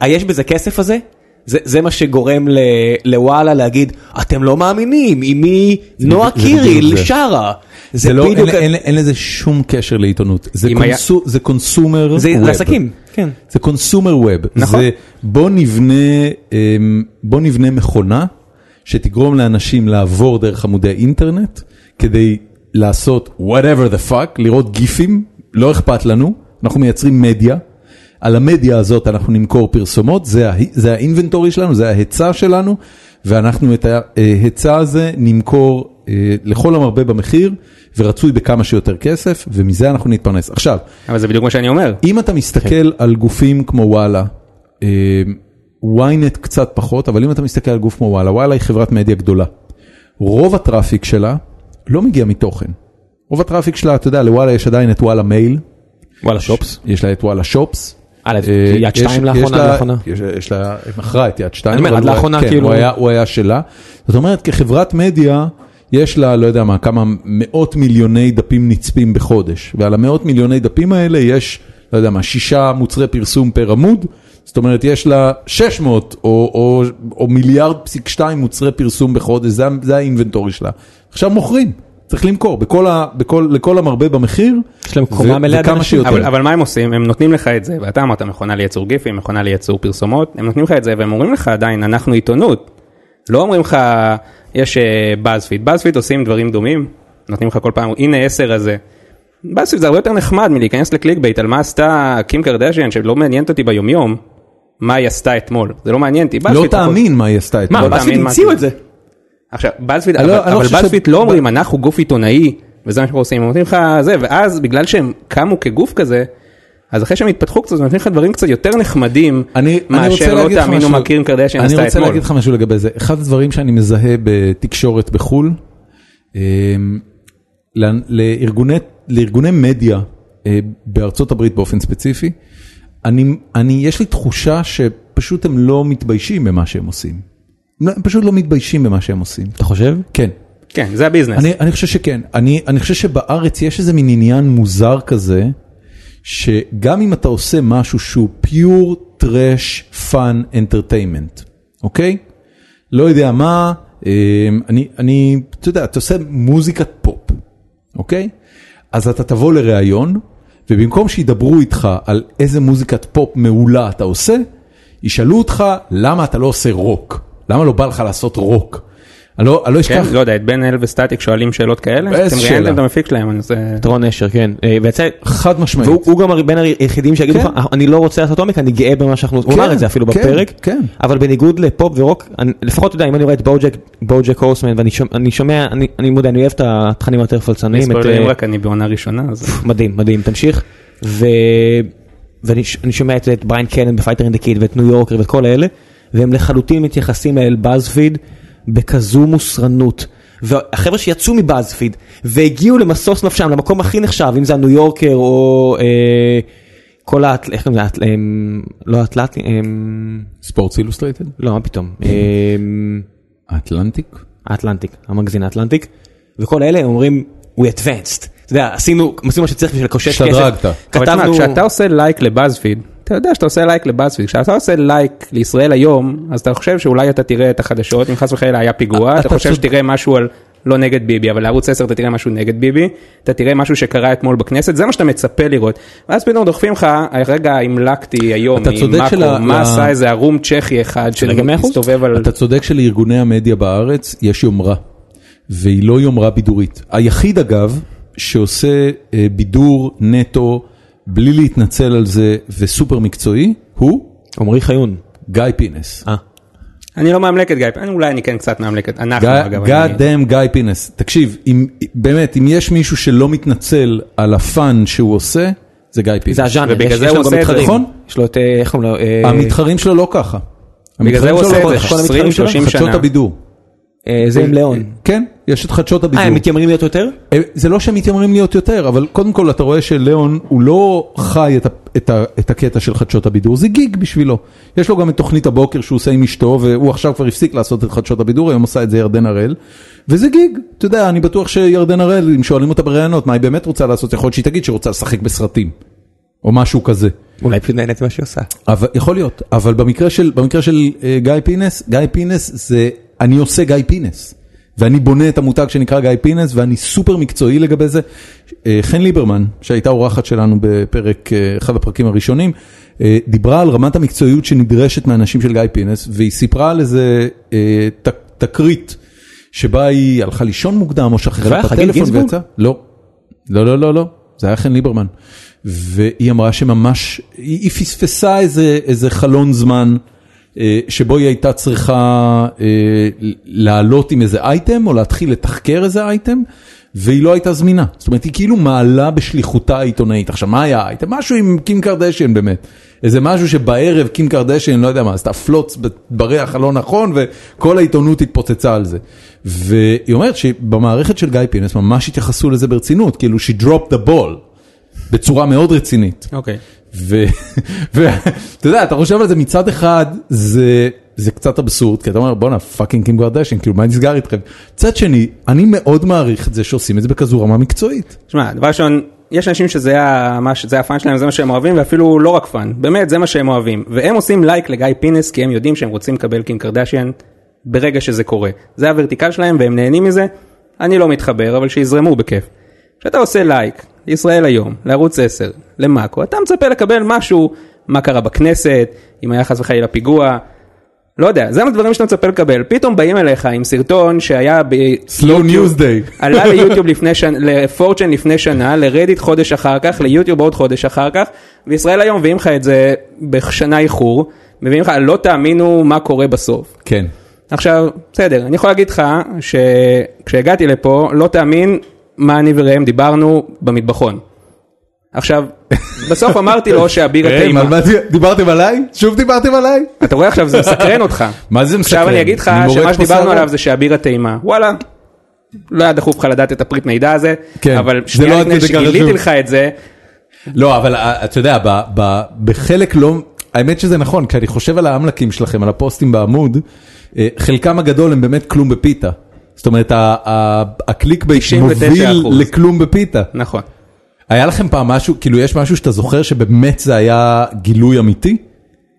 Speaker 2: היש בזה כסף הזה? זה, זה מה שגורם ל, לוואלה להגיד, אתם לא מאמינים, אמי נועה
Speaker 1: בדיוק- זה בדיוק
Speaker 2: קיריל
Speaker 1: זה.
Speaker 2: שרה. זה,
Speaker 1: זה לא, אין,
Speaker 2: בדיוק...
Speaker 1: אין, אין לזה שום קשר לעיתונות. זה,
Speaker 3: אם היה-
Speaker 1: קונסו, זה קונסומר
Speaker 2: זה
Speaker 1: ווב.
Speaker 2: לעסקים, כן.
Speaker 1: זה קונסומר ווב.
Speaker 3: נכון.
Speaker 1: זה בוא נבנה, אמ, בוא נבנה מכונה שתגרום לאנשים לעבור דרך עמודי אינטרנט כדי לעשות whatever the fuck, לראות גיפים, לא אכפת לנו, אנחנו מייצרים מדיה. על המדיה הזאת אנחנו נמכור פרסומות, זה, ה- זה האינבנטורי שלנו, זה ההיצע שלנו, ואנחנו את ההיצע הזה נמכור אה, לכל המרבה במחיר, ורצוי בכמה שיותר כסף, ומזה אנחנו נתפרנס. עכשיו,
Speaker 3: אבל זה בדיוק מה שאני אומר.
Speaker 1: אם אתה מסתכל על גופים כמו וואלה, אה, ynet קצת פחות, אבל אם אתה מסתכל על גוף כמו וואלה, וואלה היא חברת מדיה גדולה. רוב הטראפיק שלה לא מגיע מתוכן. רוב הטראפיק שלה, אתה יודע, לוואלה יש עדיין את וואלה מייל,
Speaker 2: וואלה שופס.
Speaker 1: יש לה את וואלה שופס.
Speaker 2: אה,
Speaker 1: אה,
Speaker 2: יד
Speaker 1: יש- יש
Speaker 2: שתיים לאחרונה,
Speaker 1: לה- אה,
Speaker 2: עד לאחרונה.
Speaker 1: יש- יש לה, היא מכרה את יד שתיים.
Speaker 2: אני אומר,
Speaker 1: אבל
Speaker 2: עד
Speaker 1: הוא היה-
Speaker 2: לאחרונה,
Speaker 1: כן,
Speaker 2: כאילו-
Speaker 1: הוא היה- הוא היה שלה. זאת אומרת, כחברת מדיה, יש לה, לא יודע מה, כמה מאות מיליוני דפים נצפים בחודש. ועל המאות מיליוני דפים האלה יש, לא יודע מה, שישה מוצרי פרסום פר עמוד. זאת אומרת, יש לה 600 או, או, או מיליארד פסיק שתיים מוצרי פרסום בחודש, זה, ה- זה האינבנטורי שלה. עכשיו מוכרים, צריך למכור, בכל ה, בכל, לכל המרבה במחיר.
Speaker 2: יש להם קומה
Speaker 1: ו-
Speaker 2: מלאה
Speaker 1: וכמה
Speaker 2: באנשים.
Speaker 1: שיותר.
Speaker 3: אבל, אבל מה הם עושים? הם נותנים לך את זה, ואתה אמרת מכונה לייצור גיפים, מכונה לייצור פרסומות, הם נותנים לך את זה והם אומרים לך עדיין, אנחנו עיתונות. לא אומרים לך, יש בזפיד, בזפיד עושים דברים דומים, נותנים לך כל פעם, הנה עשר הזה. בזפיד זה הרבה יותר נחמד מלהיכנס לקליק בייט על מה עשתה קים קרדשן, שלא מעניינת אותי ביומיום, מה היא עשתה אתמול, זה לא מעניין אותי.
Speaker 1: לא
Speaker 3: BuzzFeed פחות.
Speaker 1: תאמין מה היא עשתה אתמול.
Speaker 2: מה,
Speaker 3: לא
Speaker 2: בספיד
Speaker 3: תאמין מה
Speaker 2: המציאו
Speaker 3: זה.
Speaker 2: את זה.
Speaker 3: עכשיו, בזפיד,
Speaker 1: אני
Speaker 3: אבל,
Speaker 1: לא- אני לא
Speaker 3: אבל
Speaker 1: חושב ש-
Speaker 3: בזפיד לא אומרים, אנחנו גוף עיתונאי, וזה מה שאנחנו עושים, הם נותנים לך זה, ואז בגלל שהם קמו כגוף כזה, אז אחרי שהם התפתחו קצת, הם נותנים לך דברים קצת יותר נחמדים,
Speaker 1: אני, אני רוצה
Speaker 3: מאשר לא
Speaker 1: להגיד לך
Speaker 3: תאמינו
Speaker 1: משהו,
Speaker 3: מה קים קרדשן
Speaker 1: אני
Speaker 3: עשתה
Speaker 1: רוצה
Speaker 3: אתמול.
Speaker 1: להגיד לך משהו לגבי זה. אחד הדברים שאני מזהה בתקשורת בחו"ל, אמ, לאנ- לארגוני, לארגוני מדיה אה, בארצות הברית באופן ספציפי, אני, אני, יש לי תחושה שפשוט הם לא מתביישים במה שהם עושים. לא, הם פשוט לא מתביישים במה שהם עושים.
Speaker 2: אתה חושב?
Speaker 1: כן.
Speaker 3: כן, זה הביזנס.
Speaker 1: אני, אני חושב שכן, אני, אני חושב שבארץ יש איזה מין עניין מוזר כזה, שגם אם אתה עושה משהו שהוא פיור טרש פאן אנטרטיימנט, אוקיי? לא יודע מה, אה, אני, אני, אתה יודע, אתה עושה מוזיקת פופ, אוקיי? אז אתה תבוא לראיון, ובמקום שידברו איתך על איזה מוזיקת פופ מעולה אתה עושה, ישאלו אותך למה אתה לא עושה רוק, למה לא בא לך לעשות רוק. אני לא, אני לא
Speaker 3: כן,
Speaker 1: אשכח,
Speaker 3: לא יודע, את בן אל וסטטיק שואלים שאלות כאלה?
Speaker 1: איזה
Speaker 3: אתם
Speaker 1: שאלה?
Speaker 3: ראיינתם את המפיק שלהם, אני עושה...
Speaker 2: את רון אשר, כן. אה, ויצא,
Speaker 1: חד משמעית.
Speaker 2: והוא הוא גם בין היחידים שיגידו לך,
Speaker 1: כן.
Speaker 2: אני לא רוצה לעשות עומק, אני גאה במה שאנחנו, הוא
Speaker 1: כן,
Speaker 2: אמר את זה אפילו
Speaker 1: כן,
Speaker 2: בפרק,
Speaker 1: כן.
Speaker 2: אבל בניגוד לפופ ורוק, אני- לפחות אתה יודע, אם אני רואה את בוג'ק, בוג'ק הורסמן, ואני שומע, אני שומע, אני- אני מודה, אני אוהב את התכנים היותר פלצניים, את,
Speaker 3: ספוילרים
Speaker 2: אה,
Speaker 3: רק אני בעונה ראשונה, אז...
Speaker 2: מדהים, מדהים, תמשיך. ו... ואני ש- אני שומע את, את בריין קלן בפייטר אינדה קיד ואת ניו יורקר ואת כל אלה, והם לחלוטין מתייחסים אל באזפיד בכזו מוסרנות. והחבר'ה שיצאו מבאזפיד והגיעו למסוס נפשם, למקום הכי נחשב, אם זה הניו יורקר או אה, כל האט... איך קוראים לזה? האט- אמ, לא האטלטי... אמ,
Speaker 1: ספורטס אילוסטרייטד?
Speaker 2: לא, מה פתאום? אמ,
Speaker 1: אטלנטיק?
Speaker 2: האטלנטיק, המגזין האטלנטיק, וכל אלה אומרים, we advanced. אתה יודע, עשינו, עשינו מה שצריך בשביל לקושש כסף.
Speaker 1: השתדרגת.
Speaker 3: אבל תשמע,
Speaker 2: כתבנו,
Speaker 3: כשאתה עושה לייק לבאזפיד, אתה יודע שאתה עושה לייק לבאזפיד, כשאתה עושה לייק לישראל היום, אז אתה חושב שאולי אתה תראה את החדשות, אם חס וחלילה היה פיגוע, אתה
Speaker 1: אתה
Speaker 3: חושב
Speaker 1: צודק.
Speaker 3: שתראה משהו על לא נגד ביבי, אבל לערוץ 10 אתה תראה משהו נגד ביבי, אתה תראה משהו שקרה אתמול בכנסת, זה מה שאתה מצפה לראות. ואז פתאום דוחפים לך, רגע, המלקתי היום,
Speaker 1: אתה צודק שלה-
Speaker 3: ממאקו, מה
Speaker 1: לה-
Speaker 3: עשה איזה ערום צ'כי אחד
Speaker 2: צודק במאה אחוז.
Speaker 3: שמסתובב על...
Speaker 1: אתה צודק שלארגוני המדיה בארץ יש יומרה, והיא לא יומרה בידורית. היחיד אגב, שעושה אה, בידור נטו, בלי להתנצל על זה, וסופר מקצועי, הוא
Speaker 2: עמרי חיון.
Speaker 1: גיא פינס.
Speaker 2: אה,
Speaker 3: אני לא מאמלקת גיא, אני- אולי אני כן קצת מאמלקת, אנחנו אגב. אני-
Speaker 1: God damn גיא פינס. תקשיב, אם, באמת, אם יש מישהו שלא מתנצל על הפאן שהוא עושה, זה גיא פינס.
Speaker 2: זה הז'אנר,
Speaker 3: ובגלל
Speaker 2: יש-
Speaker 3: זה
Speaker 2: יש
Speaker 3: הוא
Speaker 2: לו גם
Speaker 3: עושה את זה,
Speaker 2: מתחרים.
Speaker 1: נכון?
Speaker 2: יש לו את, אה, איך קוראים לו? אה,
Speaker 1: המתחרים שלו לא ככה. לא
Speaker 3: בגלל זה הוא עושה את זה
Speaker 2: כל המתחרים
Speaker 3: 20-30 שנה.
Speaker 1: חדשות הבידור.
Speaker 2: אה, זה עם ליאון.
Speaker 1: כן, יש את חדשות הבידור.
Speaker 2: אה, הם מתיימרים להיות יותר?
Speaker 1: אה, זה לא שהם מתיימרים להיות יותר, אבל קודם כל אתה רואה שליאון הוא לא חי את, ה, את, ה, את הקטע של חדשות הבידור, זה גיג בשבילו. יש לו גם את תוכנית הבוקר שהוא עושה עם אשתו, והוא עכשיו כבר הפסיק לעשות את חדשות הבידור, היום עושה את זה ירדן הראל, וזה גיג. אתה יודע, אני בטוח שירדן הראל, אם שואלים אותה בראיונות מה היא באמת רוצה לעשות, יכול להיות שהיא תגיד שהיא רוצה לשחק בסרטים, או משהו כזה.
Speaker 2: אולי פשוט נהנית ממה שהיא עושה.
Speaker 1: אבל, יכול להיות, אבל במקרה של, במקרה של אה, גיא פינס, גיא פינס זה אני עושה גיא פינס. ואני בונה את המותג שנקרא גיא פינס ואני סופר מקצועי לגבי זה. אה, חן ליברמן, שהייתה אורחת שלנו בפרק, אה, אחד הפרקים הראשונים, אה, דיברה על רמת המקצועיות שנדרשת מאנשים של גיא פינס והיא סיפרה על איזה אה, ת- תקרית שבה היא הלכה לישון מוקדם או
Speaker 2: זה
Speaker 1: שכחה
Speaker 2: היה
Speaker 1: את
Speaker 2: חגית
Speaker 1: הטלפון
Speaker 2: גינזבורג?
Speaker 1: ויצאה. לא, לא, לא, לא, לא, זה היה חן ליברמן. והיא אמרה שממש, היא, היא פספסה איזה, איזה חלון זמן אה, שבו היא הייתה צריכה אה, לעלות עם איזה אייטם או להתחיל לתחקר איזה אייטם, והיא לא הייתה זמינה. זאת אומרת, היא כאילו מעלה בשליחותה העיתונאית. עכשיו, מה היה האייטם? משהו עם קים קרדשן באמת. איזה משהו שבערב קים קרדשן, לא יודע מה, עשתה פלוץ בריח הלא נכון, וכל העיתונות התפוצצה על זה. והיא אומרת שבמערכת של גיא פינס ממש התייחסו לזה ברצינות, כאילו she dropped the ball, בצורה מאוד רצינית.
Speaker 3: אוקיי.
Speaker 1: ואתה יודע, אתה חושב על זה מצד אחד, זה, זה קצת אבסורד, כי אתה אומר, בואנה, פאקינג קים קרדשן, כאילו, מה נסגר איתכם? מצד שני, אני מאוד מעריך את זה שעושים את זה בכזו רמה מקצועית.
Speaker 3: שמע, דבר ראשון, יש אנשים שזה ה- מה ש- זה הפאן שלהם, זה מה שהם אוהבים, ואפילו לא רק פאן, באמת, זה מה שהם אוהבים. והם עושים לייק לגיא פינס, כי הם יודעים שהם רוצים לקבל קים קרדשיאן ברגע שזה קורה. זה הוורטיקל שלהם והם נהנים מזה, אני לא מתחבר, אבל שיזרמו בכיף. כשאתה עושה לייק, לישראל היום, לערוץ 10, למאקו, אתה מצפה לקבל משהו, מה קרה בכנסת, אם היה חס וחלילה פיגוע. לא יודע, זה הדברים שאתה מצפה לקבל, פתאום באים אליך עם סרטון שהיה ב-
Speaker 1: Slow news day.
Speaker 3: עלה ליוטיוב לפני שנה, לפורצ'ן לפני שנה, לרדיט חודש אחר כך, ליוטיוב עוד חודש אחר כך, וישראל היום מביאים לך את זה בשנה איחור, מביאים לך, לא תאמינו מה קורה בסוף.
Speaker 1: כן.
Speaker 3: עכשיו, בסדר, אני יכול להגיד לך שכשהגעתי לפה, לא תאמין מה אני וראם דיברנו במטבחון. עכשיו, בסוף אמרתי לו שהבירה
Speaker 1: ראם, על
Speaker 3: תימה,
Speaker 1: אה, מה די- דיברתם עליי? שוב דיברתם עליי?
Speaker 3: אתה רואה עכשיו זה מסקרן אותך.
Speaker 1: מה זה
Speaker 3: עכשיו
Speaker 1: מסקרן?
Speaker 3: אני אגיד לך
Speaker 1: כן, אני מורד
Speaker 3: שמה
Speaker 1: פה
Speaker 3: שדיברנו
Speaker 1: שערה.
Speaker 3: עליו זה שהבירה טעימה, וואלה. לא היה דחוף לך לדעת את הפריט מידע הזה,
Speaker 1: כן,
Speaker 3: אבל
Speaker 1: זה לא
Speaker 3: שנייה
Speaker 1: עד
Speaker 3: לפני
Speaker 1: כדי כך
Speaker 3: שגיליתי
Speaker 1: חשוב.
Speaker 3: לך את זה,
Speaker 1: לא, אבל אה, אתה יודע, ב- ב- בחלק לא, האמת שזה נכון, כשאני חושב על האמלקים שלכם, על הפוסטים בעמוד, אה, חלקם הגדול הם באמת כלום בפיתה. זאת אומרת, ה- ה- הקליק בייט
Speaker 3: 99%.
Speaker 1: מוביל לכלום בפיתה.
Speaker 3: נכון.
Speaker 1: היה לכם פעם משהו, כאילו יש משהו שאתה זוכר שבאמת זה היה גילוי אמיתי?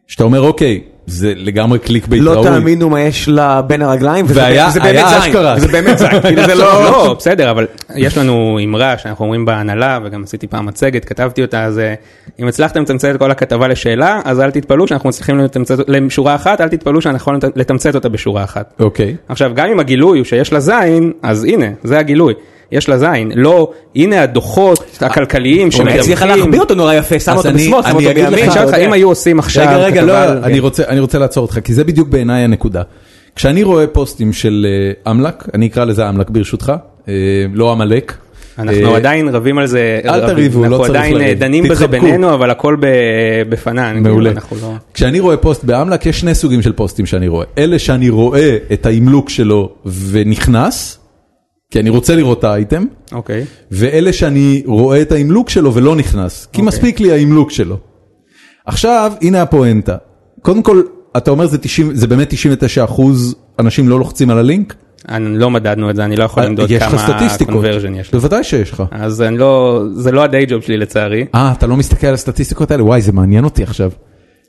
Speaker 1: שאתה אומר, אוקיי, זה לגמרי קליק בייט
Speaker 2: לא
Speaker 1: ראוי.
Speaker 2: תאמינו מה יש לה בין הרגליים, וזה
Speaker 1: והיה-
Speaker 2: זה באמת
Speaker 1: היה
Speaker 2: זין,
Speaker 1: אשכרה.
Speaker 2: זה באמת זין, כאילו זה לא...
Speaker 3: לא, בסדר, אבל יש לנו אמרה שאנחנו אומרים בהנהלה, וגם עשיתי פעם מצגת, כתבתי אותה, אז אה, אם הצלחתם לתמצת את כל הכתבה לשאלה, אז אל תתפלאו שאנחנו מצליחים לתמצת לשורה אחת, אל תתפלאו שאנחנו יכולים לת- לתמצת אותה בשורה אחת.
Speaker 1: אוקיי.
Speaker 3: עכשיו, גם אם הגילוי הוא שיש לה זין, אז הנה, זה הגילוי. יש לה זין, לא, הנה הדוחות
Speaker 1: אה, אוקיי.
Speaker 3: הכלכליים
Speaker 2: אולי הצליחה להחביא אותו נורא יפה, שם
Speaker 1: אז
Speaker 2: אותו
Speaker 1: אני-
Speaker 2: בשמאל, שם
Speaker 1: אני
Speaker 2: אותו
Speaker 1: אגיד
Speaker 2: בימין,
Speaker 1: לך,
Speaker 3: אני
Speaker 2: אתה
Speaker 3: אוקיי. אשאל אותך,
Speaker 2: יודע.
Speaker 3: אם היו עושים עכשיו...
Speaker 1: רגע, רגע, לא,
Speaker 3: כתבה על-
Speaker 1: אני רוצה, אני רוצה לעצור אותך, כי זה בדיוק בעיניי הנקודה. כשאני רואה פוסטים של אה, אמל"ק, אני אקרא לזה אמל"ק ברשותך, אה, לא עמלק.
Speaker 3: אנחנו
Speaker 1: אה,
Speaker 3: עדיין רבים על זה,
Speaker 1: אל
Speaker 3: רבים.
Speaker 1: תריבו, לא צריך
Speaker 3: אנחנו עדיין
Speaker 1: לריב.
Speaker 3: אה, דנים בזה
Speaker 1: תתחבקו.
Speaker 3: בינינו, אבל הכל ב- בפנן.
Speaker 1: מעולה.
Speaker 3: אנחנו לא-
Speaker 1: כשאני רואה פוסט באמל"ק, יש שני סוגים של פוסטים שאני רואה. אלה שאני רואה את האימלוק שלו ונכנס, כי אני רוצה לראות את האייטם,
Speaker 3: אוקיי.
Speaker 1: ואלה שאני רואה את האימלוק שלו ולא נכנס,
Speaker 3: אוקיי.
Speaker 1: כי okay. מספיק לי האימלוק שלו. עכשיו, הנה הפואנטה. קודם כל, אתה אומר זה, 90, זה באמת 99 אחוז אנשים לא לוחצים על הלינק?
Speaker 3: אני לא מדדנו את זה, אני לא יכול למדוד
Speaker 1: אה, יש לך
Speaker 3: כמה
Speaker 1: סטטיסטיקות.
Speaker 3: קונברז'ן יש לי.
Speaker 1: בוודאי שיש לך.
Speaker 3: אז אני לא, זה לא הדיי ג'וב שלי לצערי.
Speaker 1: אה, אתה לא מסתכל על הסטטיסטיקות האלה? וואי, זה מעניין אותי עכשיו.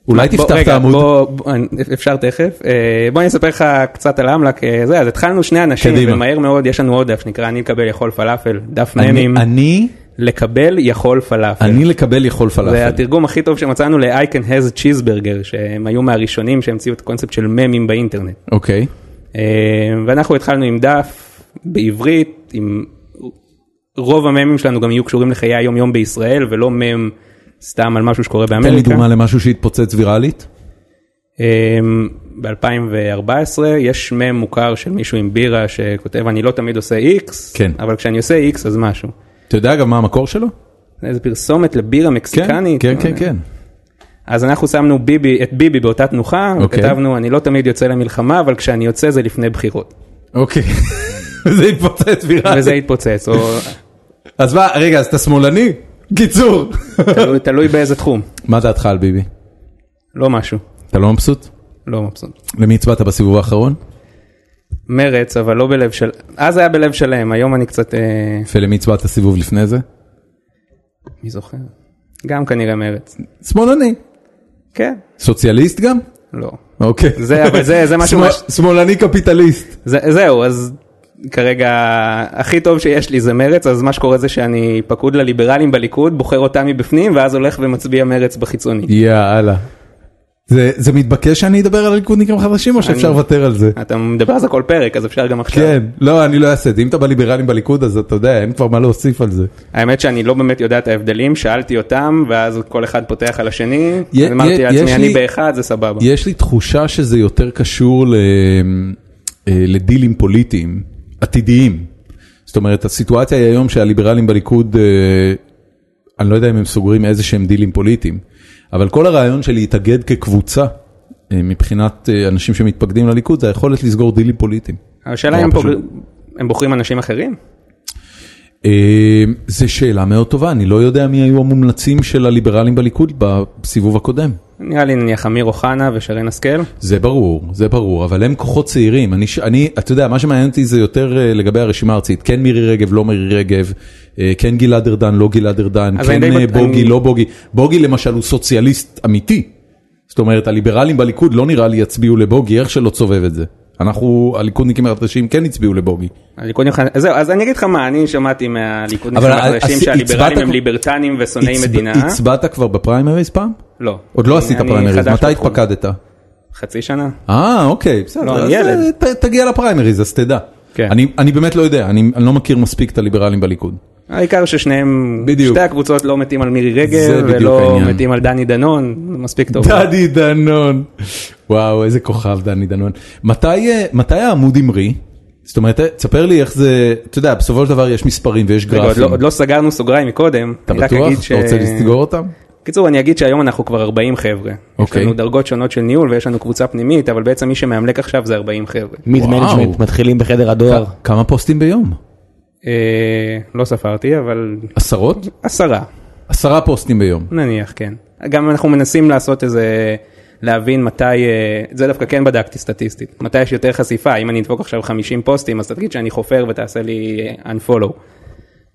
Speaker 1: אולי
Speaker 3: בוא-
Speaker 1: תפתח את
Speaker 3: רגע,
Speaker 1: העמוד?
Speaker 3: בוא- בוא- אפשר תכף. אה, בוא אני אספר לך קצת על אמל"ק. אה, זה, אז התחלנו שני אנשים,
Speaker 1: קדימה.
Speaker 3: ומהר מאוד יש לנו עוד דף, נקרא אני לקבל יכול פלאפל, דף
Speaker 1: אני,
Speaker 3: ממים,
Speaker 1: אני,
Speaker 3: לקבל יכול פלאפל.
Speaker 1: אני לקבל יכול
Speaker 3: כן. זה
Speaker 1: פלאפל.
Speaker 3: התרגום הכי טוב שמצאנו ל-I can has cheeseburger, שהם היו מהראשונים שהמציאו את הקונספט של ממים באינטרנט.
Speaker 1: אוקיי.
Speaker 3: אה, ואנחנו התחלנו עם דף בעברית, עם רוב הממים שלנו גם יהיו קשורים לחיי היום יום בישראל ולא מם סתם על משהו שקורה
Speaker 1: תן לי
Speaker 3: באמריקה. אה,
Speaker 1: דוגמה למשהו שהתפוצץ ויראלית.
Speaker 3: ב-2014 יש מם מוכר של מישהו עם בירה שכותב אני לא תמיד עושה איקס,
Speaker 1: כן.
Speaker 3: אבל כשאני עושה איקס אז משהו.
Speaker 1: אתה יודע גם מה המקור שלו?
Speaker 3: זה איזה פרסומת לבירה
Speaker 1: כן,
Speaker 3: מקסיקנית.
Speaker 1: כן,
Speaker 3: לא
Speaker 1: כן,
Speaker 3: יודע.
Speaker 1: כן.
Speaker 3: אז אנחנו שמנו ביבי, את ביבי באותה תנוחה,
Speaker 1: אוקיי.
Speaker 3: וכתבנו אני לא תמיד יוצא למלחמה אבל כשאני יוצא זה לפני בחירות.
Speaker 1: אוקיי. זה התפוצץ
Speaker 3: וזה
Speaker 1: ויראלית.
Speaker 3: התפוצץ, או
Speaker 1: אז מה, רגע, אז אתה שמאלני? קיצור.
Speaker 3: תלוי- תלוי באיזה תחום.
Speaker 1: מה דעתך על ביבי?
Speaker 3: לא משהו,
Speaker 1: אתה לא מבסוט?
Speaker 3: לא מבסוט.
Speaker 1: למי הצבעת בסיבוב האחרון?
Speaker 3: מרץ, אבל לא בלב של... אז היה בלב שלם, היום אני קצת... אה,
Speaker 1: ולמי הצבעת סיבוב לפני זה?
Speaker 3: מי זוכר? גם כנראה מרץ.
Speaker 1: שמאלני.
Speaker 3: כן,
Speaker 1: סוציאליסט גם?
Speaker 3: לא.
Speaker 1: אוקיי.
Speaker 3: זה- אבל זה- זה משהו-
Speaker 1: שמאל- שמאלני קפיטליסט.
Speaker 3: זה, זהו, אז כרגע הכי טוב שיש לי זה מרץ, אז מה שקורה זה שאני פקוד לליברלים בליכוד, בוחר אותם מבפנים, ואז הולך ומצביע מרץ בחיצוני.
Speaker 1: יאללה. זה זה מתבקש שאני אדבר על ליכודניקים חדשים או שאפשר
Speaker 3: אני-
Speaker 1: לוותר על זה?
Speaker 3: אתה מדבר על זה כל פרק, אז אפשר גם עכשיו.
Speaker 1: כן, לא, אני לא אעשה את זה. אם אתה בליברלים בליכוד אז אתה יודע, אין כבר מה להוסיף על זה.
Speaker 3: האמת שאני לא באמת יודע את ההבדלים, שאלתי אותם, ואז כל אחד פותח על השני,
Speaker 1: יה-
Speaker 3: אז אמרתי
Speaker 1: יה- יש
Speaker 3: לעצמי, אני
Speaker 1: לי-
Speaker 3: באחד, זה סבבה.
Speaker 1: יש לי תחושה שזה יותר קשור ל... אה, לדילים פוליטיים עתידיים. זאת אומרת, הסיטואציה היא היום שהליברלים בליכוד, אה, אני לא יודע אם הם סוגרים איזה שהם דילים פוליטיים, אבל כל הרעיון של להתאגד כקבוצה, אה, מבחינת אה, אנשים שמתפקדים לליכוד, זה היכולת לסגור דילים פוליטיים.
Speaker 3: השאלה
Speaker 1: נורא
Speaker 3: אם הם
Speaker 1: פשוט.
Speaker 3: בוחר- הם בוחרים אנשים אחרים?
Speaker 1: אה, זו שאלה מאוד טובה, אני לא יודע מי היו המומלצים של הליברלים בליכוד בסיבוב הקודם.
Speaker 3: נראה לי נניח אמיר אוחנה ושרן השכל.
Speaker 1: זה ברור, זה ברור, אבל הם כוחות צעירים. אני, ש- אני, אתה יודע, מה שמעניין אותי זה יותר אה, לגבי הרשימה הארצית. כן מירי רגב, לא מירי רגב, אה, כן גלעד ארדן, לא גלעד ארדן,
Speaker 3: אז
Speaker 1: כן
Speaker 3: אני די
Speaker 1: אה,
Speaker 3: בט-
Speaker 1: בוגי,
Speaker 3: אני-
Speaker 1: לא בוגי. בוגי למשל הוא סוציאליסט אמיתי. זאת אומרת, הליברלים בליכוד לא נראה לי יצביעו לבוגי, איך שלא תסובב את זה. אנחנו, הליכודניקים החדשים כן הצביעו לבוגי.
Speaker 3: הליכודניקים החדשים, זהו, אז אני אגיד לך מה, אני שמעתי מהליכודניקים
Speaker 1: אבל אה,
Speaker 3: החדשים
Speaker 1: עשי-
Speaker 3: שהליברלים
Speaker 1: הצבעת-
Speaker 3: הם ליברטנים ושונאי
Speaker 1: הצב-
Speaker 3: מדינה.
Speaker 1: הצבעת כבר בפריימריז פעם?
Speaker 3: לא.
Speaker 1: עוד לא
Speaker 3: אני-
Speaker 1: עשית
Speaker 3: אני
Speaker 1: פריימריז,
Speaker 3: חדש
Speaker 1: מתי
Speaker 3: בתחום.
Speaker 1: התפקדת?
Speaker 3: חצי שנה.
Speaker 1: אה, אוקיי, בסדר.
Speaker 3: לא,
Speaker 1: אז,
Speaker 3: אני ילד.
Speaker 1: אה, ת- תגיע לפריימריז, אז תדע.
Speaker 3: כן.
Speaker 1: אני, אני באמת לא יודע, אני, אני לא מכיר מספיק את הליברלים בליכוד.
Speaker 3: העיקר ששניהם,
Speaker 1: בדיוק.
Speaker 3: שתי הקבוצות לא מתים על מירי
Speaker 1: זה
Speaker 3: רגב
Speaker 1: בדיוק
Speaker 3: ולא
Speaker 1: העניין.
Speaker 3: מתים על דני דנון, מספיק טוב.
Speaker 1: דני דנון. וואו, איזה כוכב דני דנון. מתי, אה, מתי העמוד המריא? זאת אומרת, אה, תספר לי איך זה, אתה יודע, בסופו של דבר יש מספרים ויש
Speaker 3: רגע, עוד
Speaker 1: גרפים.
Speaker 3: לא- עוד לא סגרנו סוגריים מקודם.
Speaker 1: אתה
Speaker 3: אני רק
Speaker 1: בטוח?
Speaker 3: אגיד
Speaker 1: אתה רוצה לסגור אותם?
Speaker 3: קיצור, אני אגיד שהיום אנחנו כבר 40 חבר'ה. יש
Speaker 1: אוקיי.
Speaker 3: לנו דרגות שונות של ניהול ויש לנו קבוצה פנימית, אבל בעצם מי שמאמלק עכשיו זה 40 חבר'ה.
Speaker 2: מיד
Speaker 1: וואו.
Speaker 2: מנג'מנט, מתחילים בחדר
Speaker 3: לא.
Speaker 2: הדואר.
Speaker 1: כ- כמה פוסטים ביום?
Speaker 3: אה, לא ספרתי, אבל
Speaker 1: עשרות?
Speaker 3: עשרה.
Speaker 1: עשרה פוסטים ביום.
Speaker 3: נניח כן. גם אנחנו מנסים לעשות איזה, להבין מתי, אה, זה דווקא כן בדקתי סטטיסטית, מתי יש יותר חשיפה, אם אני אדפוק עכשיו 50 פוסטים אז תגיד שאני חופר ותעשה לי אה, unfollow.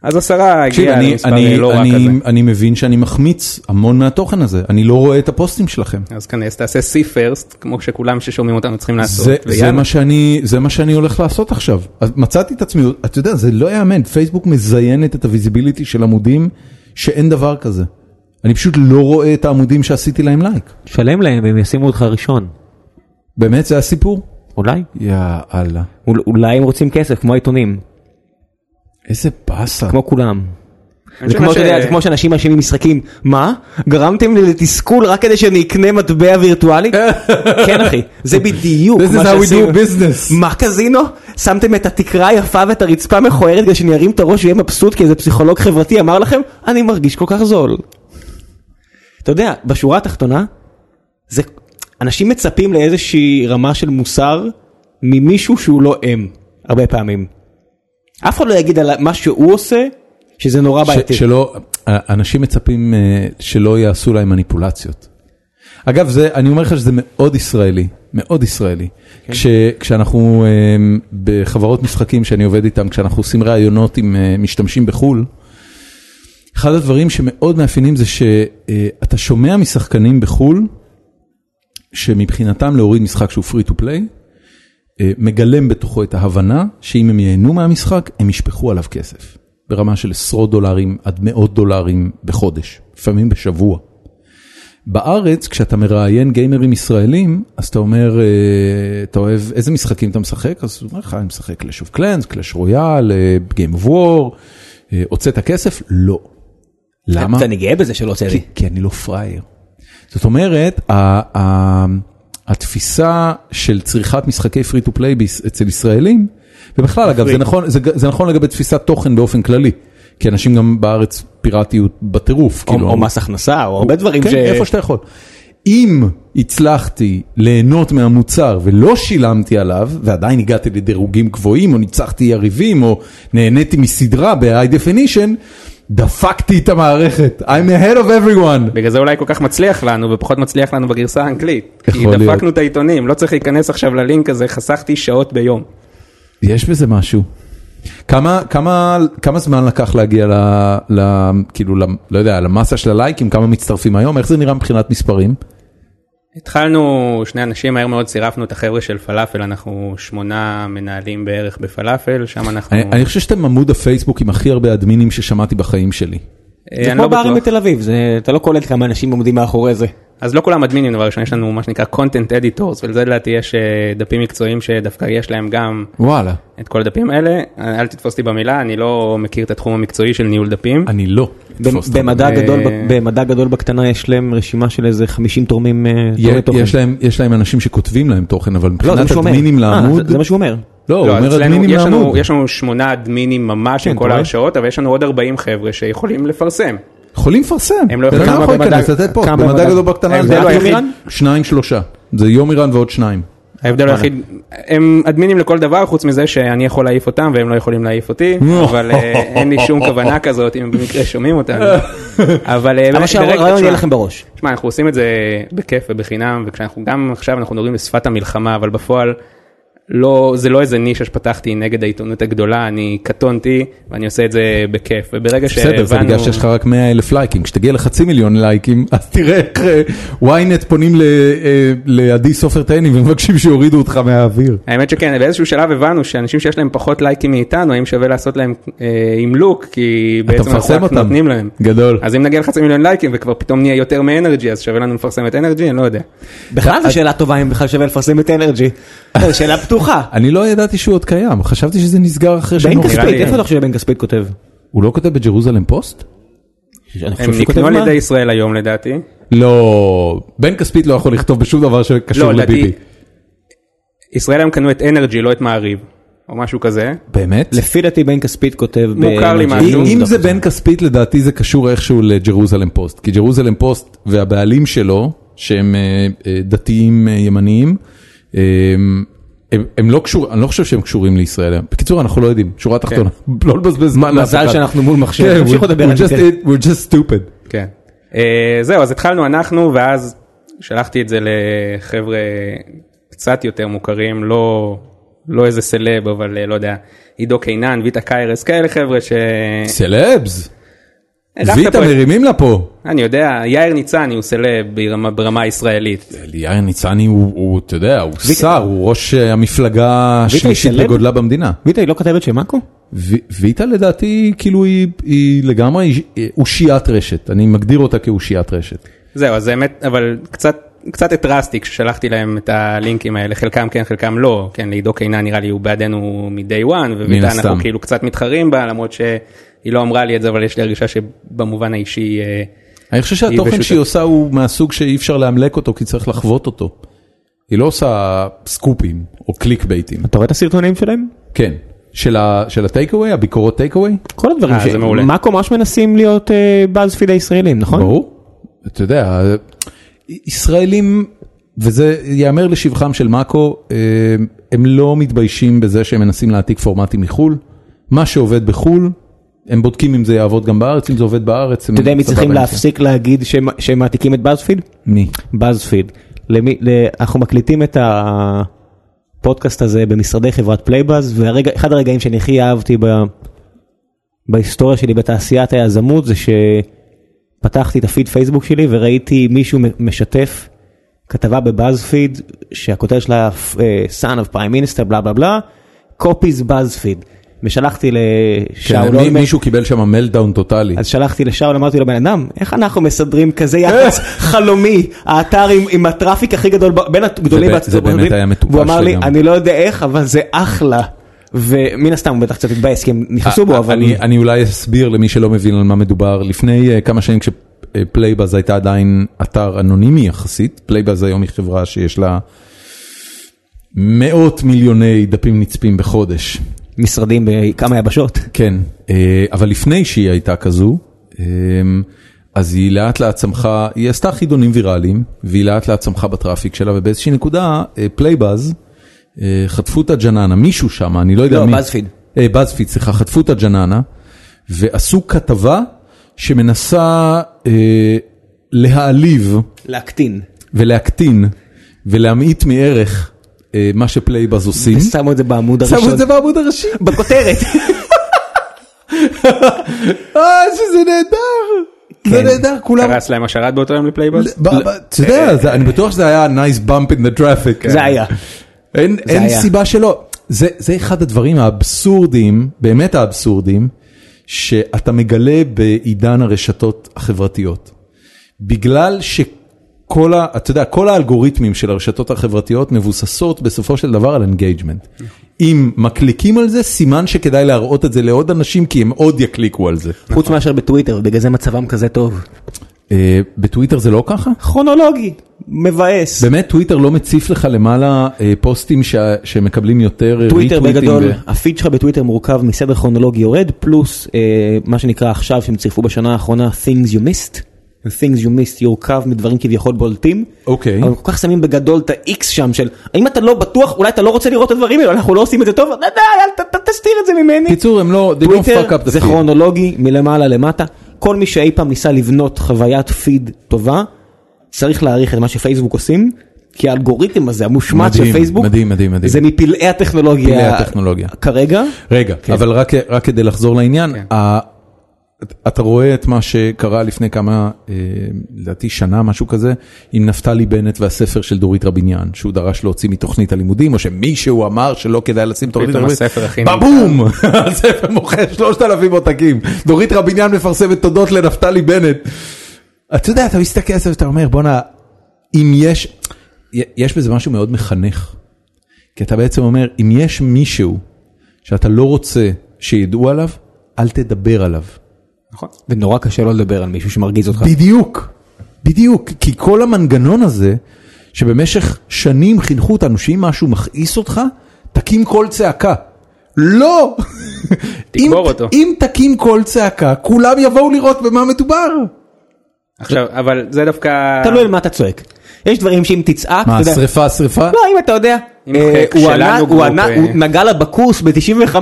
Speaker 3: אז השרה
Speaker 1: תקשיב,
Speaker 3: הגיעה
Speaker 1: אני,
Speaker 3: למספר
Speaker 1: אני,
Speaker 3: אה, לא רע כזה.
Speaker 1: אני, אני מבין שאני מחמיץ המון מהתוכן הזה, אני לא רואה את הפוסטים שלכם.
Speaker 3: אז כנס תעשה סי פרסט, כמו שכולם ששומעים אותנו צריכים לעשות.
Speaker 1: זה, זה,
Speaker 3: ויאללה.
Speaker 1: מה שאני, זה מה שאני הולך לעשות עכשיו. אז מצאתי את עצמי, אתה יודע, זה לא יאמן, פייסבוק מזיינת את הוויזיביליטי של עמודים שאין דבר כזה. אני פשוט לא רואה את העמודים שעשיתי להם לייק.
Speaker 2: שלם להם והם ישימו אותך ראשון.
Speaker 1: באמת זה הסיפור?
Speaker 2: אולי?
Speaker 1: יאללה.
Speaker 2: אול- אולי הם רוצים כסף כמו העיתונים,
Speaker 1: איזה באסה.
Speaker 2: כמו כולם.
Speaker 3: אני
Speaker 2: זה
Speaker 3: חושב
Speaker 2: כמו,
Speaker 3: מה
Speaker 2: אתה יודע, זה כמו שאנשים מאשימים משחקים, מה? גרמתם לי לתסכול רק כדי שאני אקנה מטבע וירטואלי? כן אחי, זה בדיוק
Speaker 1: This
Speaker 2: מה
Speaker 1: is how we
Speaker 2: שעשינו.
Speaker 1: do business.
Speaker 2: מה קזינו? שמתם את התקרה היפה ואת הרצפה מכוערת כדי שאני ארים את הראש ואהיה מבסוט כי איזה פסיכולוג חברתי אמר לכם, אני מרגיש כל כך זול. אתה יודע, בשורה התחתונה, זה... אנשים מצפים לאיזושהי רמה של מוסר ממישהו שהוא לא הם, הרבה פעמים. אף אחד לא יגיד על מה שהוא עושה, שזה נורא בעייתי.
Speaker 1: ש- שלא, אנשים מצפים אה, שלא יעשו להם מניפולציות. אגב, זה, אני אומר לך שזה מאוד ישראלי, מאוד ישראלי.
Speaker 2: כן.
Speaker 1: כש, כשאנחנו אה, בחברות משחקים שאני עובד איתם, כשאנחנו עושים ראיונות עם אה, משתמשים בחו"ל, אחד הדברים שמאוד מאפיינים זה שאתה שומע משחקנים בחו"ל, שמבחינתם להוריד משחק שהוא free to play, אה, מגלם בתוכו את ההבנה שאם הם ייהנו מהמשחק, הם ישפכו עליו כסף. ברמה של עשרות דולרים עד מאות דולרים בחודש, לפעמים בשבוע. בארץ, כשאתה מראיין גיימרים ישראלים, אז אתה אומר, אה, אתה אוהב, איזה משחקים אתה משחק? אז הוא אומר לך, אני משחק Clash of Clans, Clash Royale, אה, Game of War, אה, הוצאת כסף? לא. למה?
Speaker 2: ואני גאה בזה שלא הוצא לי.
Speaker 1: כי, כי אני לא פראייר. זאת אומרת, ה, ה, התפיסה של צריכת משחקי פרי טו פליי אצל ישראלים, ובכלל אגב, זה נכון, זה, ג- זה נכון לגבי תפיסת תוכן באופן כללי, כי אנשים גם בארץ פיראטיות בטירוף, כאילו.
Speaker 2: או או מס הכנסה, או הרבה דברים
Speaker 1: כן,
Speaker 2: ש...
Speaker 1: איפה שאתה יכול. אם הצלחתי ליהנות מהמוצר ולא שילמתי עליו, ועדיין הגעתי לדירוגים גבוהים, או ניצחתי יריבים, או נהניתי מסדרה ב-high definition, דפקתי את המערכת. I'm ahead of everyone.
Speaker 3: בגלל זה אולי כל כך מצליח לנו ופחות מצליח לנו בגרסה האנגלית. כי
Speaker 1: יכול להיות.
Speaker 3: דפקנו את העיתונים, לא צריך להיכנס עכשיו ללינק הזה, חסכתי שעות ביום.
Speaker 1: יש בזה משהו. כמה, כמה, כמה זמן לקח להגיע ל, ל... כאילו, ל, לא יודע, למסה של הלייקים, כמה מצטרפים היום, איך זה נראה מבחינת מספרים?
Speaker 3: התחלנו שני אנשים, מהר מאוד צירפנו את החבר'ה של פלאפל, אנחנו שמונה מנהלים בערך בפלאפל, שם אנחנו...
Speaker 1: אני, אני חושב שאתם עמוד הפייסבוק עם הכי הרבה אדמינים ששמעתי בחיים שלי.
Speaker 3: אה,
Speaker 2: זה
Speaker 3: אני
Speaker 2: כמו
Speaker 3: לא
Speaker 2: בערים
Speaker 3: בטוח.
Speaker 2: בתל אביב, זה- אתה לא קולט כמה אנשים עומדים מאחורי זה.
Speaker 3: אז לא כולם אדמינים דבר ראשון, יש לנו מה שנקרא content editors, ולזה לדעתי יש אה, דפים מקצועיים שדווקא יש להם גם
Speaker 1: וואלה.
Speaker 3: את כל הדפים האלה. אה, אל תתפוס אותי במילה, אני לא מכיר את התחום המקצועי של ניהול דפים.
Speaker 1: אני לא. אתפוס אותם.
Speaker 2: במדע
Speaker 3: אה,
Speaker 2: גדול ב- במדע גדול בקטנה יש להם רשימה של איזה 50 תורמים אה, תורמי
Speaker 1: יה-
Speaker 2: תוכן.
Speaker 1: יש להם, יש להם אנשים שכותבים להם תוכן, אבל
Speaker 2: לא, זה מה
Speaker 1: מבחינת
Speaker 2: שהוא אומר.
Speaker 1: אדמינים
Speaker 2: אה,
Speaker 1: לעמוד,
Speaker 2: זה- זה מה שהוא אומר.
Speaker 1: לא, הוא
Speaker 3: לא,
Speaker 1: אומר
Speaker 3: אצלנו
Speaker 1: אדמינים
Speaker 3: יש
Speaker 1: לעמוד.
Speaker 3: לנו, יש לנו שמונה אדמינים ממש עם
Speaker 2: כן,
Speaker 3: כל
Speaker 2: אתה רואה?
Speaker 3: ההרשאות, אבל יש לנו עוד 40 חבר'ה שיכולים לפרסם.
Speaker 1: יכולים לפרסם,
Speaker 3: הם לא
Speaker 1: בן אדם
Speaker 3: יכולים.
Speaker 1: יכול
Speaker 3: כמה
Speaker 1: להיכנס,
Speaker 3: במדע-
Speaker 1: לתת פה,
Speaker 2: כמה
Speaker 1: במדע
Speaker 2: במדע-
Speaker 1: גדול בקטנה,
Speaker 3: ההבדל
Speaker 1: זה
Speaker 3: הוא
Speaker 1: הכי-
Speaker 3: היחיד-
Speaker 1: שניים שלושה, זה יומירן ועוד שניים.
Speaker 3: ההבדל היחיד, הם אדמינים לכל דבר חוץ מזה שאני יכול להעיף אותם והם לא יכולים להעיף אותי, אבל אה, אין לי שום כוונה כזאת אם במקרה שומעים אותנו. אבל אה,
Speaker 2: אבל
Speaker 3: באמת, ברגע-
Speaker 2: שהרעיון יהיה
Speaker 3: תשמע,
Speaker 2: לכם בראש.
Speaker 3: תשמע, אנחנו עושים את זה בכיף ובחינם, וכשאנחנו גם עכשיו אנחנו מדברים בשפת המלחמה, אבל בפועל לא, זה לא איזה נישה שפתחתי נגד העיתונות הגדולה, אני קטונתי ואני עושה את זה בכיף, וברגע
Speaker 1: בסדר, זה בגלל שיש לך רק 100 אלף לייקים, כשתגיע לחצי מיליון לייקים, אז תראה איך אה, ynet פונים ל- אה, לעדי סופר טיינים ומבקשים שיורידו אותך מהאוויר.
Speaker 3: האמת שכן, באיזשהו שלב הבנו שאנשים שיש להם פחות לייקים מאיתנו, האם שווה לעשות להם אה, אמלוק, כי בעצם אנחנו
Speaker 1: מפרסם
Speaker 3: רק
Speaker 1: אותם.
Speaker 3: נותנים להם.
Speaker 1: גדול.
Speaker 3: אז אם נגיע לחצי מיליון לייקים וכבר פתאום נהיה יותר מאנרג'י, אז שווה לנו לפרסם את אנרג'י? אני לא יודע.
Speaker 2: בכלל זו שאלה טובה אם בכלל שווה לפרסם את אנרג'י. זו שאלה פתוחה.
Speaker 1: אני לא ידעתי שהוא עוד קיים, חשבתי שזה נסגר אחרי
Speaker 2: בן
Speaker 1: שהם...
Speaker 2: כספית,
Speaker 3: לי-
Speaker 2: איפה אתה חושב שבן כספית כותב?
Speaker 1: הוא לא כותב בג'רוזלם פוסט?
Speaker 2: אני חושב
Speaker 3: הם
Speaker 2: שהוא כותב
Speaker 3: נקנו על
Speaker 2: מה?
Speaker 3: ידי ישראל היום לדעתי.
Speaker 1: לא, בן כספית לא יכול לכתוב בשום דבר שקשור
Speaker 3: לא,
Speaker 1: לביבי.
Speaker 3: לדעתי, ישראל היום קנו את אנרג'י, לא את מעריב, או משהו כזה.
Speaker 1: באמת?
Speaker 2: לפי דעתי בן כספית כותב...
Speaker 3: מוכר לי
Speaker 2: ב-
Speaker 3: משהו.
Speaker 1: אם זה בן כספית לדעתי זה קשור איכשהו לג'רוזלם פוסט, כי ג'רוזלם פוסט והבעלים שלו, שהם אה, אה, דתיים אה, ימניים, אה, הם, הם לא קשורים, אני לא חושב שהם קשורים לישראל היום. בקיצור, אנחנו לא יודעים, שורה תחתונה, לא לבזבז זמן לאף
Speaker 2: כן. מזל
Speaker 1: אחד.
Speaker 2: שאנחנו מול מחשב,
Speaker 1: כן,
Speaker 2: תמשיכו
Speaker 1: we're-
Speaker 2: לדבר
Speaker 1: we're
Speaker 2: על זה,
Speaker 1: just
Speaker 2: תראה.
Speaker 1: it- We're just stupid.
Speaker 3: כן. אה, זהו, אז התחלנו אנחנו, ואז שלחתי את זה לחבר'ה קצת יותר מוכרים, לא לא איזה סלב, אבל אה, לא יודע, עידו קינן, ויטה קיירס, כאלה חבר'ה ש...
Speaker 1: סלבס,
Speaker 3: הרחת
Speaker 1: ויטה
Speaker 3: פה את-
Speaker 1: מרימים לה פה.
Speaker 3: אני יודע, יאיר ניצני הוא סלב ברמה, ברמה הישראלית.
Speaker 1: יאיר ניצני הוא, הוא, אתה יודע, הוא שר, הוא ראש אה, המפלגה
Speaker 2: היא
Speaker 1: השלישית
Speaker 2: סלב?
Speaker 1: בגודלה במדינה.
Speaker 2: ויטה היא לא כתבת של מאקו?
Speaker 1: ו- ויטה לדעתי, כאילו היא, היא לגמרי היא אושיית רשת, אני מגדיר אותה כאושיית רשת.
Speaker 3: זהו, אז האמת, אבל קצת... קצת התרסתי כששלחתי להם את הלינקים האלה, חלקם כן, חלקם לא, כן, לעידו קינן נראה לי הוא בעדנו מ-day one, וויטה אנחנו
Speaker 1: הסתם.
Speaker 3: כאילו קצת מתחרים בה, למרות שהיא לא אמרה לי את זה, אבל יש לי הרגשה שבמובן האישי, אה,
Speaker 1: אני חושב
Speaker 3: היא
Speaker 1: שהתוכן
Speaker 3: פשוט-
Speaker 1: שהיא עושה הוא מהסוג שאי אפשר לאמלק אותו, כי צריך לחוות אותו. היא לא עושה סקופים או קליק בייטים.
Speaker 2: אתה רואה את הסרטונים שלהם?
Speaker 1: כן. של ה- של הטייק אווי, הביקורות טייק אווי?
Speaker 2: כל הדברים
Speaker 3: אה,
Speaker 2: ש...
Speaker 3: זה מעולה.
Speaker 2: מאקו ממש מנסים להיות באזפיד הישראלים, נכון?
Speaker 1: ברור. אתה יודע, ישראלים, וזה ייאמר לשבחם של מאקו, אה, הם לא מתביישים בזה שהם מנסים להעתיק פורמטים מחו"ל. מה שעובד בחו"ל, הם בודקים אם זה יעבוד גם בארץ, אם זה עובד בארץ.
Speaker 2: אתה יודע מי צריכים להפסיק להגיד שהם- שהם מעתיקים את באזפיד?
Speaker 1: מי?
Speaker 2: באזפיד. למי- ל- אנחנו מקליטים את הפודקאסט הזה במשרדי חברת פלייבאז, ואחד הרגעים שאני הכי אהבתי ב- בהיסטוריה שלי בתעשיית היזמות זה שפתחתי את הפיד פייסבוק שלי וראיתי מישהו מ- משתף כתבה בבאזפיד שהכותרת שלה אה, son of prime minister בלה בלה בלה, copies buzzfeed. ושלחתי לשאול
Speaker 1: כן, מי-
Speaker 2: אולמרט.
Speaker 1: מישהו קיבל שם מלדאון טוטאלי.
Speaker 2: אז שלחתי לשאול, אמרתי לו, בן אדם, איך אנחנו מסדרים כזה יחס חלומי, האתר עם, עם הטראפיק הכי גדול, ב- בין הגדולים
Speaker 1: זה
Speaker 2: בארצות
Speaker 1: באמת
Speaker 2: הברית?"
Speaker 1: היה מטופש
Speaker 2: והוא אמר לי,
Speaker 1: לגמרי.
Speaker 2: אני לא יודע איך, אבל זה אחלה. ומן הסתם הוא בטח קצת התבאס כי הם נכנסו בו, אבל...
Speaker 1: אה, אני, אני אולי אסביר למי שלא מבין על מה מדובר. לפני אה, כמה שנים כשפלייבאז הייתה עדיין אתר אנונימי יחסית, פלייבאז היום היא חברה שיש לה מאות מיליוני דפים נצפים בחודש.
Speaker 2: משרדים בכמה יבשות.
Speaker 1: כן, אה, אבל לפני שהיא הייתה כזו, אה, אז היא לאט לאט צמחה, היא עשתה חידונים ויראליים, והיא לאט לאט צמחה בטראפיק שלה, ובאיזושהי נקודה אה, פלייבאז אה, חטפו את הג'ננה, מישהו שם, אני לא יודע
Speaker 2: לא,
Speaker 1: מי.
Speaker 2: באזפיד.
Speaker 1: אה, בזפיד, סליחה, חטפו את הג'ננה, ועשו כתבה שמנסה אה, להעליב
Speaker 2: להקטין.
Speaker 1: ולהקטין ולהמעיט מערך אה, מה שפלייבאז עושים.
Speaker 2: שמו את זה בעמוד הראשון.
Speaker 1: שמו את זה בעמוד הראשי.
Speaker 2: בכותרת.
Speaker 1: אה, שזה נהדר.
Speaker 2: כן.
Speaker 1: זה נהדר, כולם...
Speaker 3: קרס להם השרת באותו יום לפלייבאז?
Speaker 1: ב- ב- אתה יודע, זה- אני בטוח שזה היה nice bump in the traffic.
Speaker 2: אה,
Speaker 1: כן.
Speaker 2: זה היה.
Speaker 1: אין אין
Speaker 2: היה.
Speaker 1: סיבה שלא. זה זה אחד הדברים האבסורדים, באמת האבסורדים, שאתה מגלה בעידן הרשתות החברתיות. בגלל שכל ה... אתה יודע, כל האלגוריתמים של הרשתות החברתיות מבוססות בסופו של דבר על אינגייג'מנט. אם מקליקים על זה, סימן שכדאי להראות את זה לעוד אנשים, כי הם עוד יקליקו על זה.
Speaker 2: חוץ מאשר בטוויטר, בגלל זה מצבם כזה טוב.
Speaker 1: אה, בטוויטר זה לא ככה?
Speaker 2: כרונולוגי, מבאס.
Speaker 1: באמת טוויטר לא מציף לך למעלה אה, פוסטים ש... שמקבלים יותר אה,
Speaker 2: טוויטר
Speaker 1: ריטוויטים
Speaker 2: בגדול,
Speaker 1: ו-
Speaker 2: הפיד שלך בטוויטר מורכב מסדר כרונולוגי יורד, פלוס אה, מה שנקרא עכשיו שהם צירפו בשנה האחרונה things you missed. ו-things you missed יורכב מדברים כביכול בולטים.
Speaker 1: אוקיי.
Speaker 2: אבל כל כך שמים בגדול את ה-X שם של אם אתה לא בטוח אולי אתה לא רוצה לראות את הדברים האלה אנחנו לא עושים את זה טוב, די, די, אל ת- ת- תסתיר את זה ממני.
Speaker 1: קיצור הם לא, they don't fuck
Speaker 2: טוויטר
Speaker 1: up the
Speaker 2: זה
Speaker 1: feed.
Speaker 2: כרונולוגי מלמעלה למטה. כל מי שאי פעם ניסה לבנות חוויית פיד טובה, צריך להעריך את מה שפייסבוק עושים, כי האלגוריתם הזה המושמץ של
Speaker 1: מדהים,
Speaker 2: פייסבוק,
Speaker 1: מדהים, מדהים, מדהים.
Speaker 2: זה מפלאי הטכנולוגיה,
Speaker 1: פלאי הטכנולוגיה.
Speaker 2: כרגע,
Speaker 1: רגע, כן. אבל רק, רק כדי לחזור לעניין, כן. ה... אתה רואה את מה שקרה לפני כמה, אה, לדעתי שנה, משהו כזה, עם נפתלי בנט והספר של דורית רביניאן, שהוא דרש להוציא מתוכנית הלימודים, או שמישהו אמר שלא כדאי לשים תוכנית
Speaker 3: פתאום
Speaker 1: הלימודים.
Speaker 3: הספר הכי נמכר.
Speaker 1: בבום! הספר מוכר 3,000 עותקים. דורית רביניאן מפרסמת תודות לנפתלי בנט. אתה יודע, אתה מסתכל על זה ואתה אומר, בואנה, אם יש, יש בזה משהו מאוד מחנך. כי אתה בעצם אומר, אם יש מישהו שאתה לא רוצה שידעו עליו, אל תדבר עליו.
Speaker 3: נכון.
Speaker 2: ונורא קשה לא לדבר על מישהו שמרגיז אותך.
Speaker 1: בדיוק, בדיוק. כי כל המנגנון הזה, שבמשך שנים חינכו אותנו שאם משהו מכעיס אותך, תקים קול צעקה. לא!
Speaker 3: תקבור
Speaker 1: אם-
Speaker 3: אותו.
Speaker 1: אם תקים קול צעקה, כולם יבואו לראות במה מדובר.
Speaker 3: עכשיו, אבל זה דווקא...
Speaker 2: תלוי על מה אתה צועק. יש דברים שאם תצעק,
Speaker 1: מה,
Speaker 2: אתה יודע-
Speaker 1: שריפה, שריפה?
Speaker 2: לא, אם אתה יודע,
Speaker 3: אם
Speaker 2: אה,
Speaker 3: חלק
Speaker 2: הוא
Speaker 3: שלנו
Speaker 2: ענה- הוא
Speaker 3: גרופ,
Speaker 2: ענה-
Speaker 3: אה,
Speaker 2: הוא נגע לה בקורס ב-95,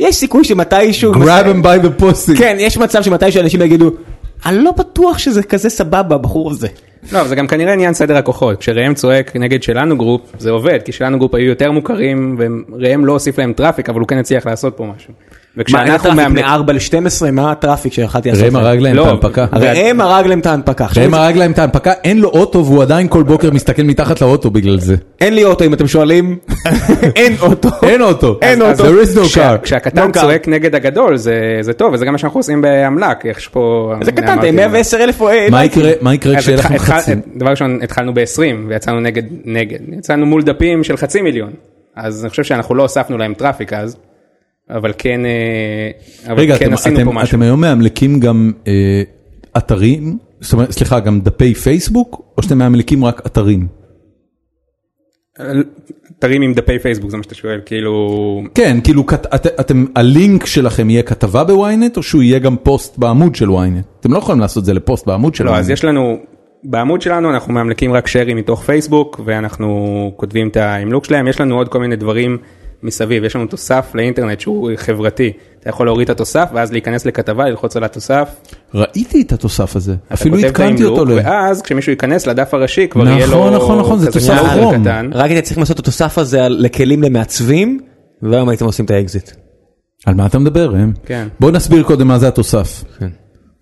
Speaker 2: יש סיכוי שמתישהו...
Speaker 1: grab him by the pussy.
Speaker 2: כן, יש מצב שמתישהו אנשים יגידו, אני לא בטוח שזה כזה סבבה הבחור הזה.
Speaker 3: לא, אבל זה גם כנראה עניין סדר הכוחות. כשראם צועק נגד שלנו גרופ, זה עובד, כי שלנו גרופ היו יותר מוכרים, וראם לא הוסיף להם טראפיק, אבל הוא כן הצליח לעשות פה משהו.
Speaker 2: מה, אין
Speaker 3: וכשאנחנו
Speaker 2: הטראפיק
Speaker 3: מאמנים...
Speaker 2: מ-4 ל-12, מה הטראפיק שיכלתי לעשות?
Speaker 1: ראם
Speaker 2: להם?
Speaker 1: הרג להם את
Speaker 3: לא,
Speaker 1: ההנפקה.
Speaker 2: הרי הם הרג להם את ההנפקה. עכשיו
Speaker 1: ראם הרג להם את ההנפקה, אין לו אוטו והוא עדיין כל בוקר מסתכל מתחת לאוטו בגלל זה.
Speaker 2: אין לי אוטו אם אתם שואלים, אין אוטו.
Speaker 1: אין אוטו.
Speaker 2: אין
Speaker 1: אז-
Speaker 2: אוטו.
Speaker 1: There is no
Speaker 3: כשה-
Speaker 1: car.
Speaker 3: כשהקטן
Speaker 2: No car.
Speaker 3: צועק נגד הגדול זה זה טוב, וזה גם מה שאנחנו עושים באמל"ק, איך שפה...
Speaker 2: איזה
Speaker 3: הנה,
Speaker 2: קטן,
Speaker 3: אמרתי,
Speaker 2: אתם 110 אלף או... אה,
Speaker 1: מה יקרה- מה יקרה
Speaker 3: אז
Speaker 1: כשיהיה
Speaker 3: התח-
Speaker 1: לכם
Speaker 3: התח-
Speaker 1: חצי?
Speaker 3: דבר ראשון התחלנו ב-20 ויצאנו נגד נגד יצאנו מול דפים של חצי מיליון אז אני חושב שאנחנו לא הוספנו להם טראפיק אז אבל כן אה, אבל
Speaker 1: רגע,
Speaker 3: כן
Speaker 1: אתם-
Speaker 3: עשינו
Speaker 1: אתם-
Speaker 3: פה משהו
Speaker 1: אתם היום מאמלקים גם אה, אתרים? זאת אומרת, סליחה, גם דפי פייסבוק? או שאתם מאמלקים רק אתרים?
Speaker 3: אתרים עם דפי פייסבוק זה מה שאתה שואל כאילו
Speaker 1: כן, כאילו כת- את- אתם, הלינק שלכם יהיה כתבה בוויינט, או שהוא יהיה גם פוסט בעמוד של וויינט? אתם לא יכולים לעשות את זה לפוסט בעמוד של
Speaker 3: לא
Speaker 1: וויינט.
Speaker 3: אז יש לנו בעמוד שלנו אנחנו מאמלקים רק שרים מתוך פייסבוק ואנחנו כותבים את האמלוק שלהם יש לנו עוד כל מיני דברים. מסביב יש לנו תוסף לאינטרנט שהוא חברתי אתה יכול להוריד את התוסף ואז להיכנס לכתבה ללחוץ על התוסף
Speaker 1: ראיתי את התוסף הזה, אפילו
Speaker 3: כותב אה.
Speaker 1: עדכנתי
Speaker 3: באמלוק,
Speaker 1: אותו. ל-
Speaker 3: ואז כשמישהו ייכנס לדף הראשי כבר יהיה לו
Speaker 1: נכון, נכון, נכון, זה
Speaker 3: כזה
Speaker 1: תוסף
Speaker 3: מעל
Speaker 1: כרום.
Speaker 3: קטן.
Speaker 2: רק הייתם צריכים לעשות את התוסף הזה על- לכלים למעצבים, והיום הייתם עושים את האקזיט.
Speaker 1: על מה אתה מדבר, ראם?
Speaker 3: כן.
Speaker 1: בוא נסביר קודם מה זה התוסף.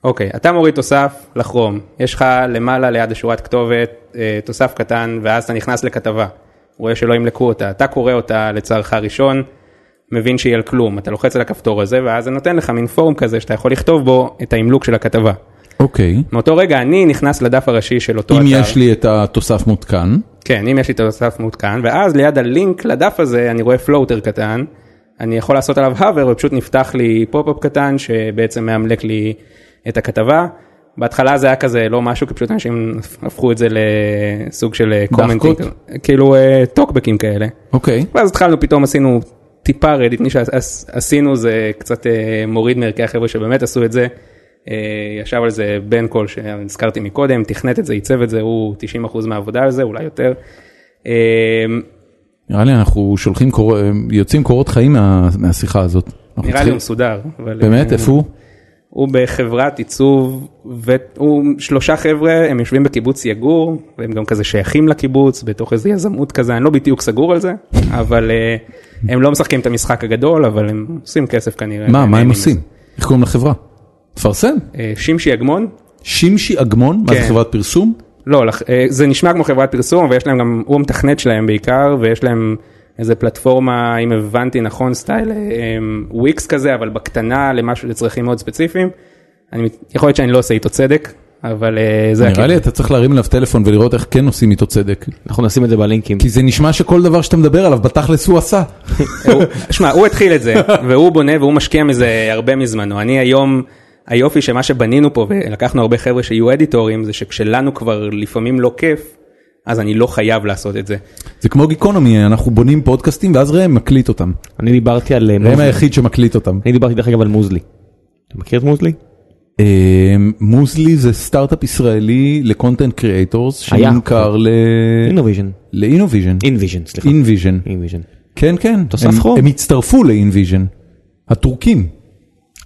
Speaker 3: אוקיי אתה מוריד תוסף לכרום יש לך למעלה ליד השורת כתובת אה, תוסף קטן ואז אתה נכנס לכתבה. רואה שלא ימלקו אותה אתה קורא אותה לצערך הראשון. מבין שהיא על כלום אתה לוחץ על הכפתור הזה ואז זה נותן לך מין פורום כזה שאתה יכול לכתוב בו את האמלוק של הכתבה.
Speaker 1: אוקיי.
Speaker 3: מאותו רגע אני נכנס לדף הראשי של אותו
Speaker 1: אם
Speaker 3: אתר.
Speaker 1: יש לי את התוסף מותקן,
Speaker 3: כן, אם יש לי את התוסף מעודכן, ואז ליד הלינק לדף הזה אני רואה פלוטר קטן, אני יכול לעשות עליו hover ופשוט נפתח לי פופ-אפ קטן שבעצם מאמלק לי את הכתבה. בהתחלה זה היה כזה לא משהו, כי פשוט אנשים הפכו את זה לסוג של אה, קומנטים,
Speaker 1: דחקות?
Speaker 3: כאילו אה, טוקבקים כאלה.
Speaker 1: אוקיי.
Speaker 3: ואז התחלנו, פתאום עשינו טיפה רדיט, מי שעשינו זה קצת אה, מוריד מערכי החבר'ה שבאמת עשו את זה. אה, ישב על זה בן קול שהזכרתי מקודם, תכנת את זה, עיצב את זה, הוא 90% מהעבודה על זה, אולי יותר. אה,
Speaker 1: נראה לי אנחנו שולחים, קור... יוצאים קורות חיים מה... מהשיחה הזאת. אנחנו
Speaker 3: נראה לי
Speaker 1: צריכים-
Speaker 3: הוא מסודר. אבל-
Speaker 1: אוקיי.
Speaker 3: אה,
Speaker 1: באמת, איפה הוא?
Speaker 3: הוא בחברת עיצוב, והוא שלושה חבר'ה, הם יושבים בקיבוץ יגור, והם גם כזה שייכים לקיבוץ, בתוך איזה יזמות כזה, אני לא בדיוק סגור על זה, אבל אה, הם לא משחקים את המשחק הגדול, אבל הם עושים כסף כנראה.
Speaker 1: מה, מה
Speaker 3: נהנים
Speaker 1: הם
Speaker 3: מזה.
Speaker 1: עושים? איך קוראים לחברה? תפרסם.
Speaker 3: אה, שמשי אגמון?
Speaker 1: שמשי אגמון, מה זה
Speaker 3: כן.
Speaker 1: חברת פרסום?
Speaker 3: לא, לח- אה, זה נשמע כמו חברת פרסום, ויש להם גם, הוא המתכנת שלהם בעיקר, ויש להם איזה פלטפורמה, אם הבנתי נכון, סטייל אה, אה, וויקס כזה, אבל בקטנה למשהו לצרכים מאוד ספציפיים. אני, מת- יכול להיות שאני לא עושה איתו צדק, אבל אה, זה
Speaker 1: נראה לי אתה צריך להרים אליו טלפון ולראות איך כן עושים איתו צדק.
Speaker 2: אנחנו נשים את זה בלינקים.
Speaker 1: כי זה נשמע שכל דבר שאתה מדבר עליו בתכלס הוא עשה.
Speaker 3: הוא- שמע, הוא התחיל את זה, והוא בונה והוא משקיע מזה הרבה מזמנו. אני היום, היופי שמה שבנינו פה, ולקחנו הרבה חבר'ה שיהיו אדיטורים, זה שכשלנו כבר לפעמים לא כיף, אז אני לא חייב לעשות את זה.
Speaker 1: זה כמו גיקונומי, אנחנו בונים פודקאסטים ואז ראם מקליט אותם.
Speaker 2: אני דיברתי על אה,
Speaker 1: ראם
Speaker 2: מוזלי.
Speaker 1: היחיד שמקליט אותם.
Speaker 2: אני דיברתי דרך אגב על מוזלי. אתה מכיר את מוזלי?
Speaker 1: אה, מוזלי זה סטארט-אפ ישראלי לקונטנט קריאייטורס
Speaker 2: היה.
Speaker 1: שנמכר ל...
Speaker 2: אינוויז'ן.
Speaker 1: לאינוויז'ן.
Speaker 2: אינוויז'ן, סליחה.
Speaker 1: אינוויז'ן.
Speaker 2: אינוויז'ן.
Speaker 1: כן כן.
Speaker 2: תוסף
Speaker 1: הם-
Speaker 2: חום.
Speaker 1: הם הצטרפו לאינוויז'ן. הטורקים.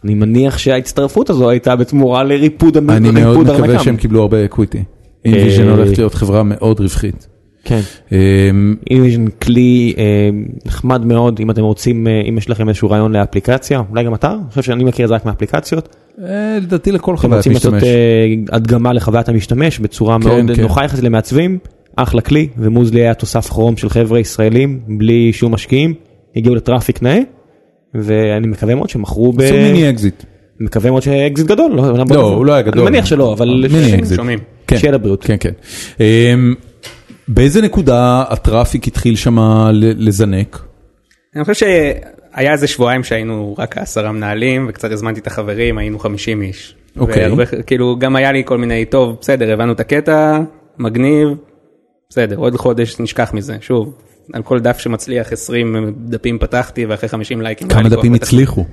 Speaker 2: אני מניח שההצטרפות הזו הייתה בתמורה לריפוד המ-
Speaker 1: אני מאוד
Speaker 2: ריפוד
Speaker 1: מקווה
Speaker 2: הרמקם.
Speaker 1: שהם קיבלו הרבה אקוויטי. אינוויז'ן
Speaker 2: אה.
Speaker 1: הולכת להיות חברה מאוד רווחית.
Speaker 2: כן.
Speaker 1: אה,
Speaker 2: אינוויז'ן כלי אה, נחמד מאוד אם אתם רוצים אה, אם יש לכם איזשהו רעיון לאפליקציה אולי גם אתה אני חושב שאני מכיר את זה רק מאפליקציות.
Speaker 1: אה, לדעתי לכל
Speaker 2: אתם
Speaker 1: חוויית
Speaker 2: רוצים לעשות
Speaker 1: משתמש.
Speaker 2: אה, הדגמה לחוויית המשתמש בצורה
Speaker 1: כן,
Speaker 2: מאוד
Speaker 1: כן.
Speaker 2: נוחה יחסית למעצבים אחלה כלי ומוזלי היה תוסף כרום של חבר'ה ישראלים בלי שום משקיעים הגיעו לטראפיק נאה. ואני מקווה מאוד שמכרו ב...
Speaker 1: עשו מיני אקזיט.
Speaker 2: מקווה מאוד שאקזיט גדול.
Speaker 1: לא, הוא לא היה גדול.
Speaker 2: אני מניח שלא אבל
Speaker 1: מיני אקזיט.
Speaker 3: שומעים.
Speaker 1: כן.
Speaker 2: שיהיה לבריאות.
Speaker 1: כן, כן. אמ, באיזה נקודה הטראפיק התחיל שם לזנק?
Speaker 3: אני חושב שהיה איזה שבועיים שהיינו רק עשרה מנהלים וקצת הזמנתי את החברים היינו 50 איש.
Speaker 1: אוקיי.
Speaker 3: והרבה, כאילו גם היה לי כל מיני טוב בסדר הבנו את הקטע מגניב בסדר עוד חודש נשכח מזה שוב על כל דף שמצליח 20 דפים פתחתי ואחרי 50 לייקים. לא היה
Speaker 1: כמה
Speaker 3: לי כוח
Speaker 1: דפים
Speaker 3: פתח-
Speaker 1: הצליחו?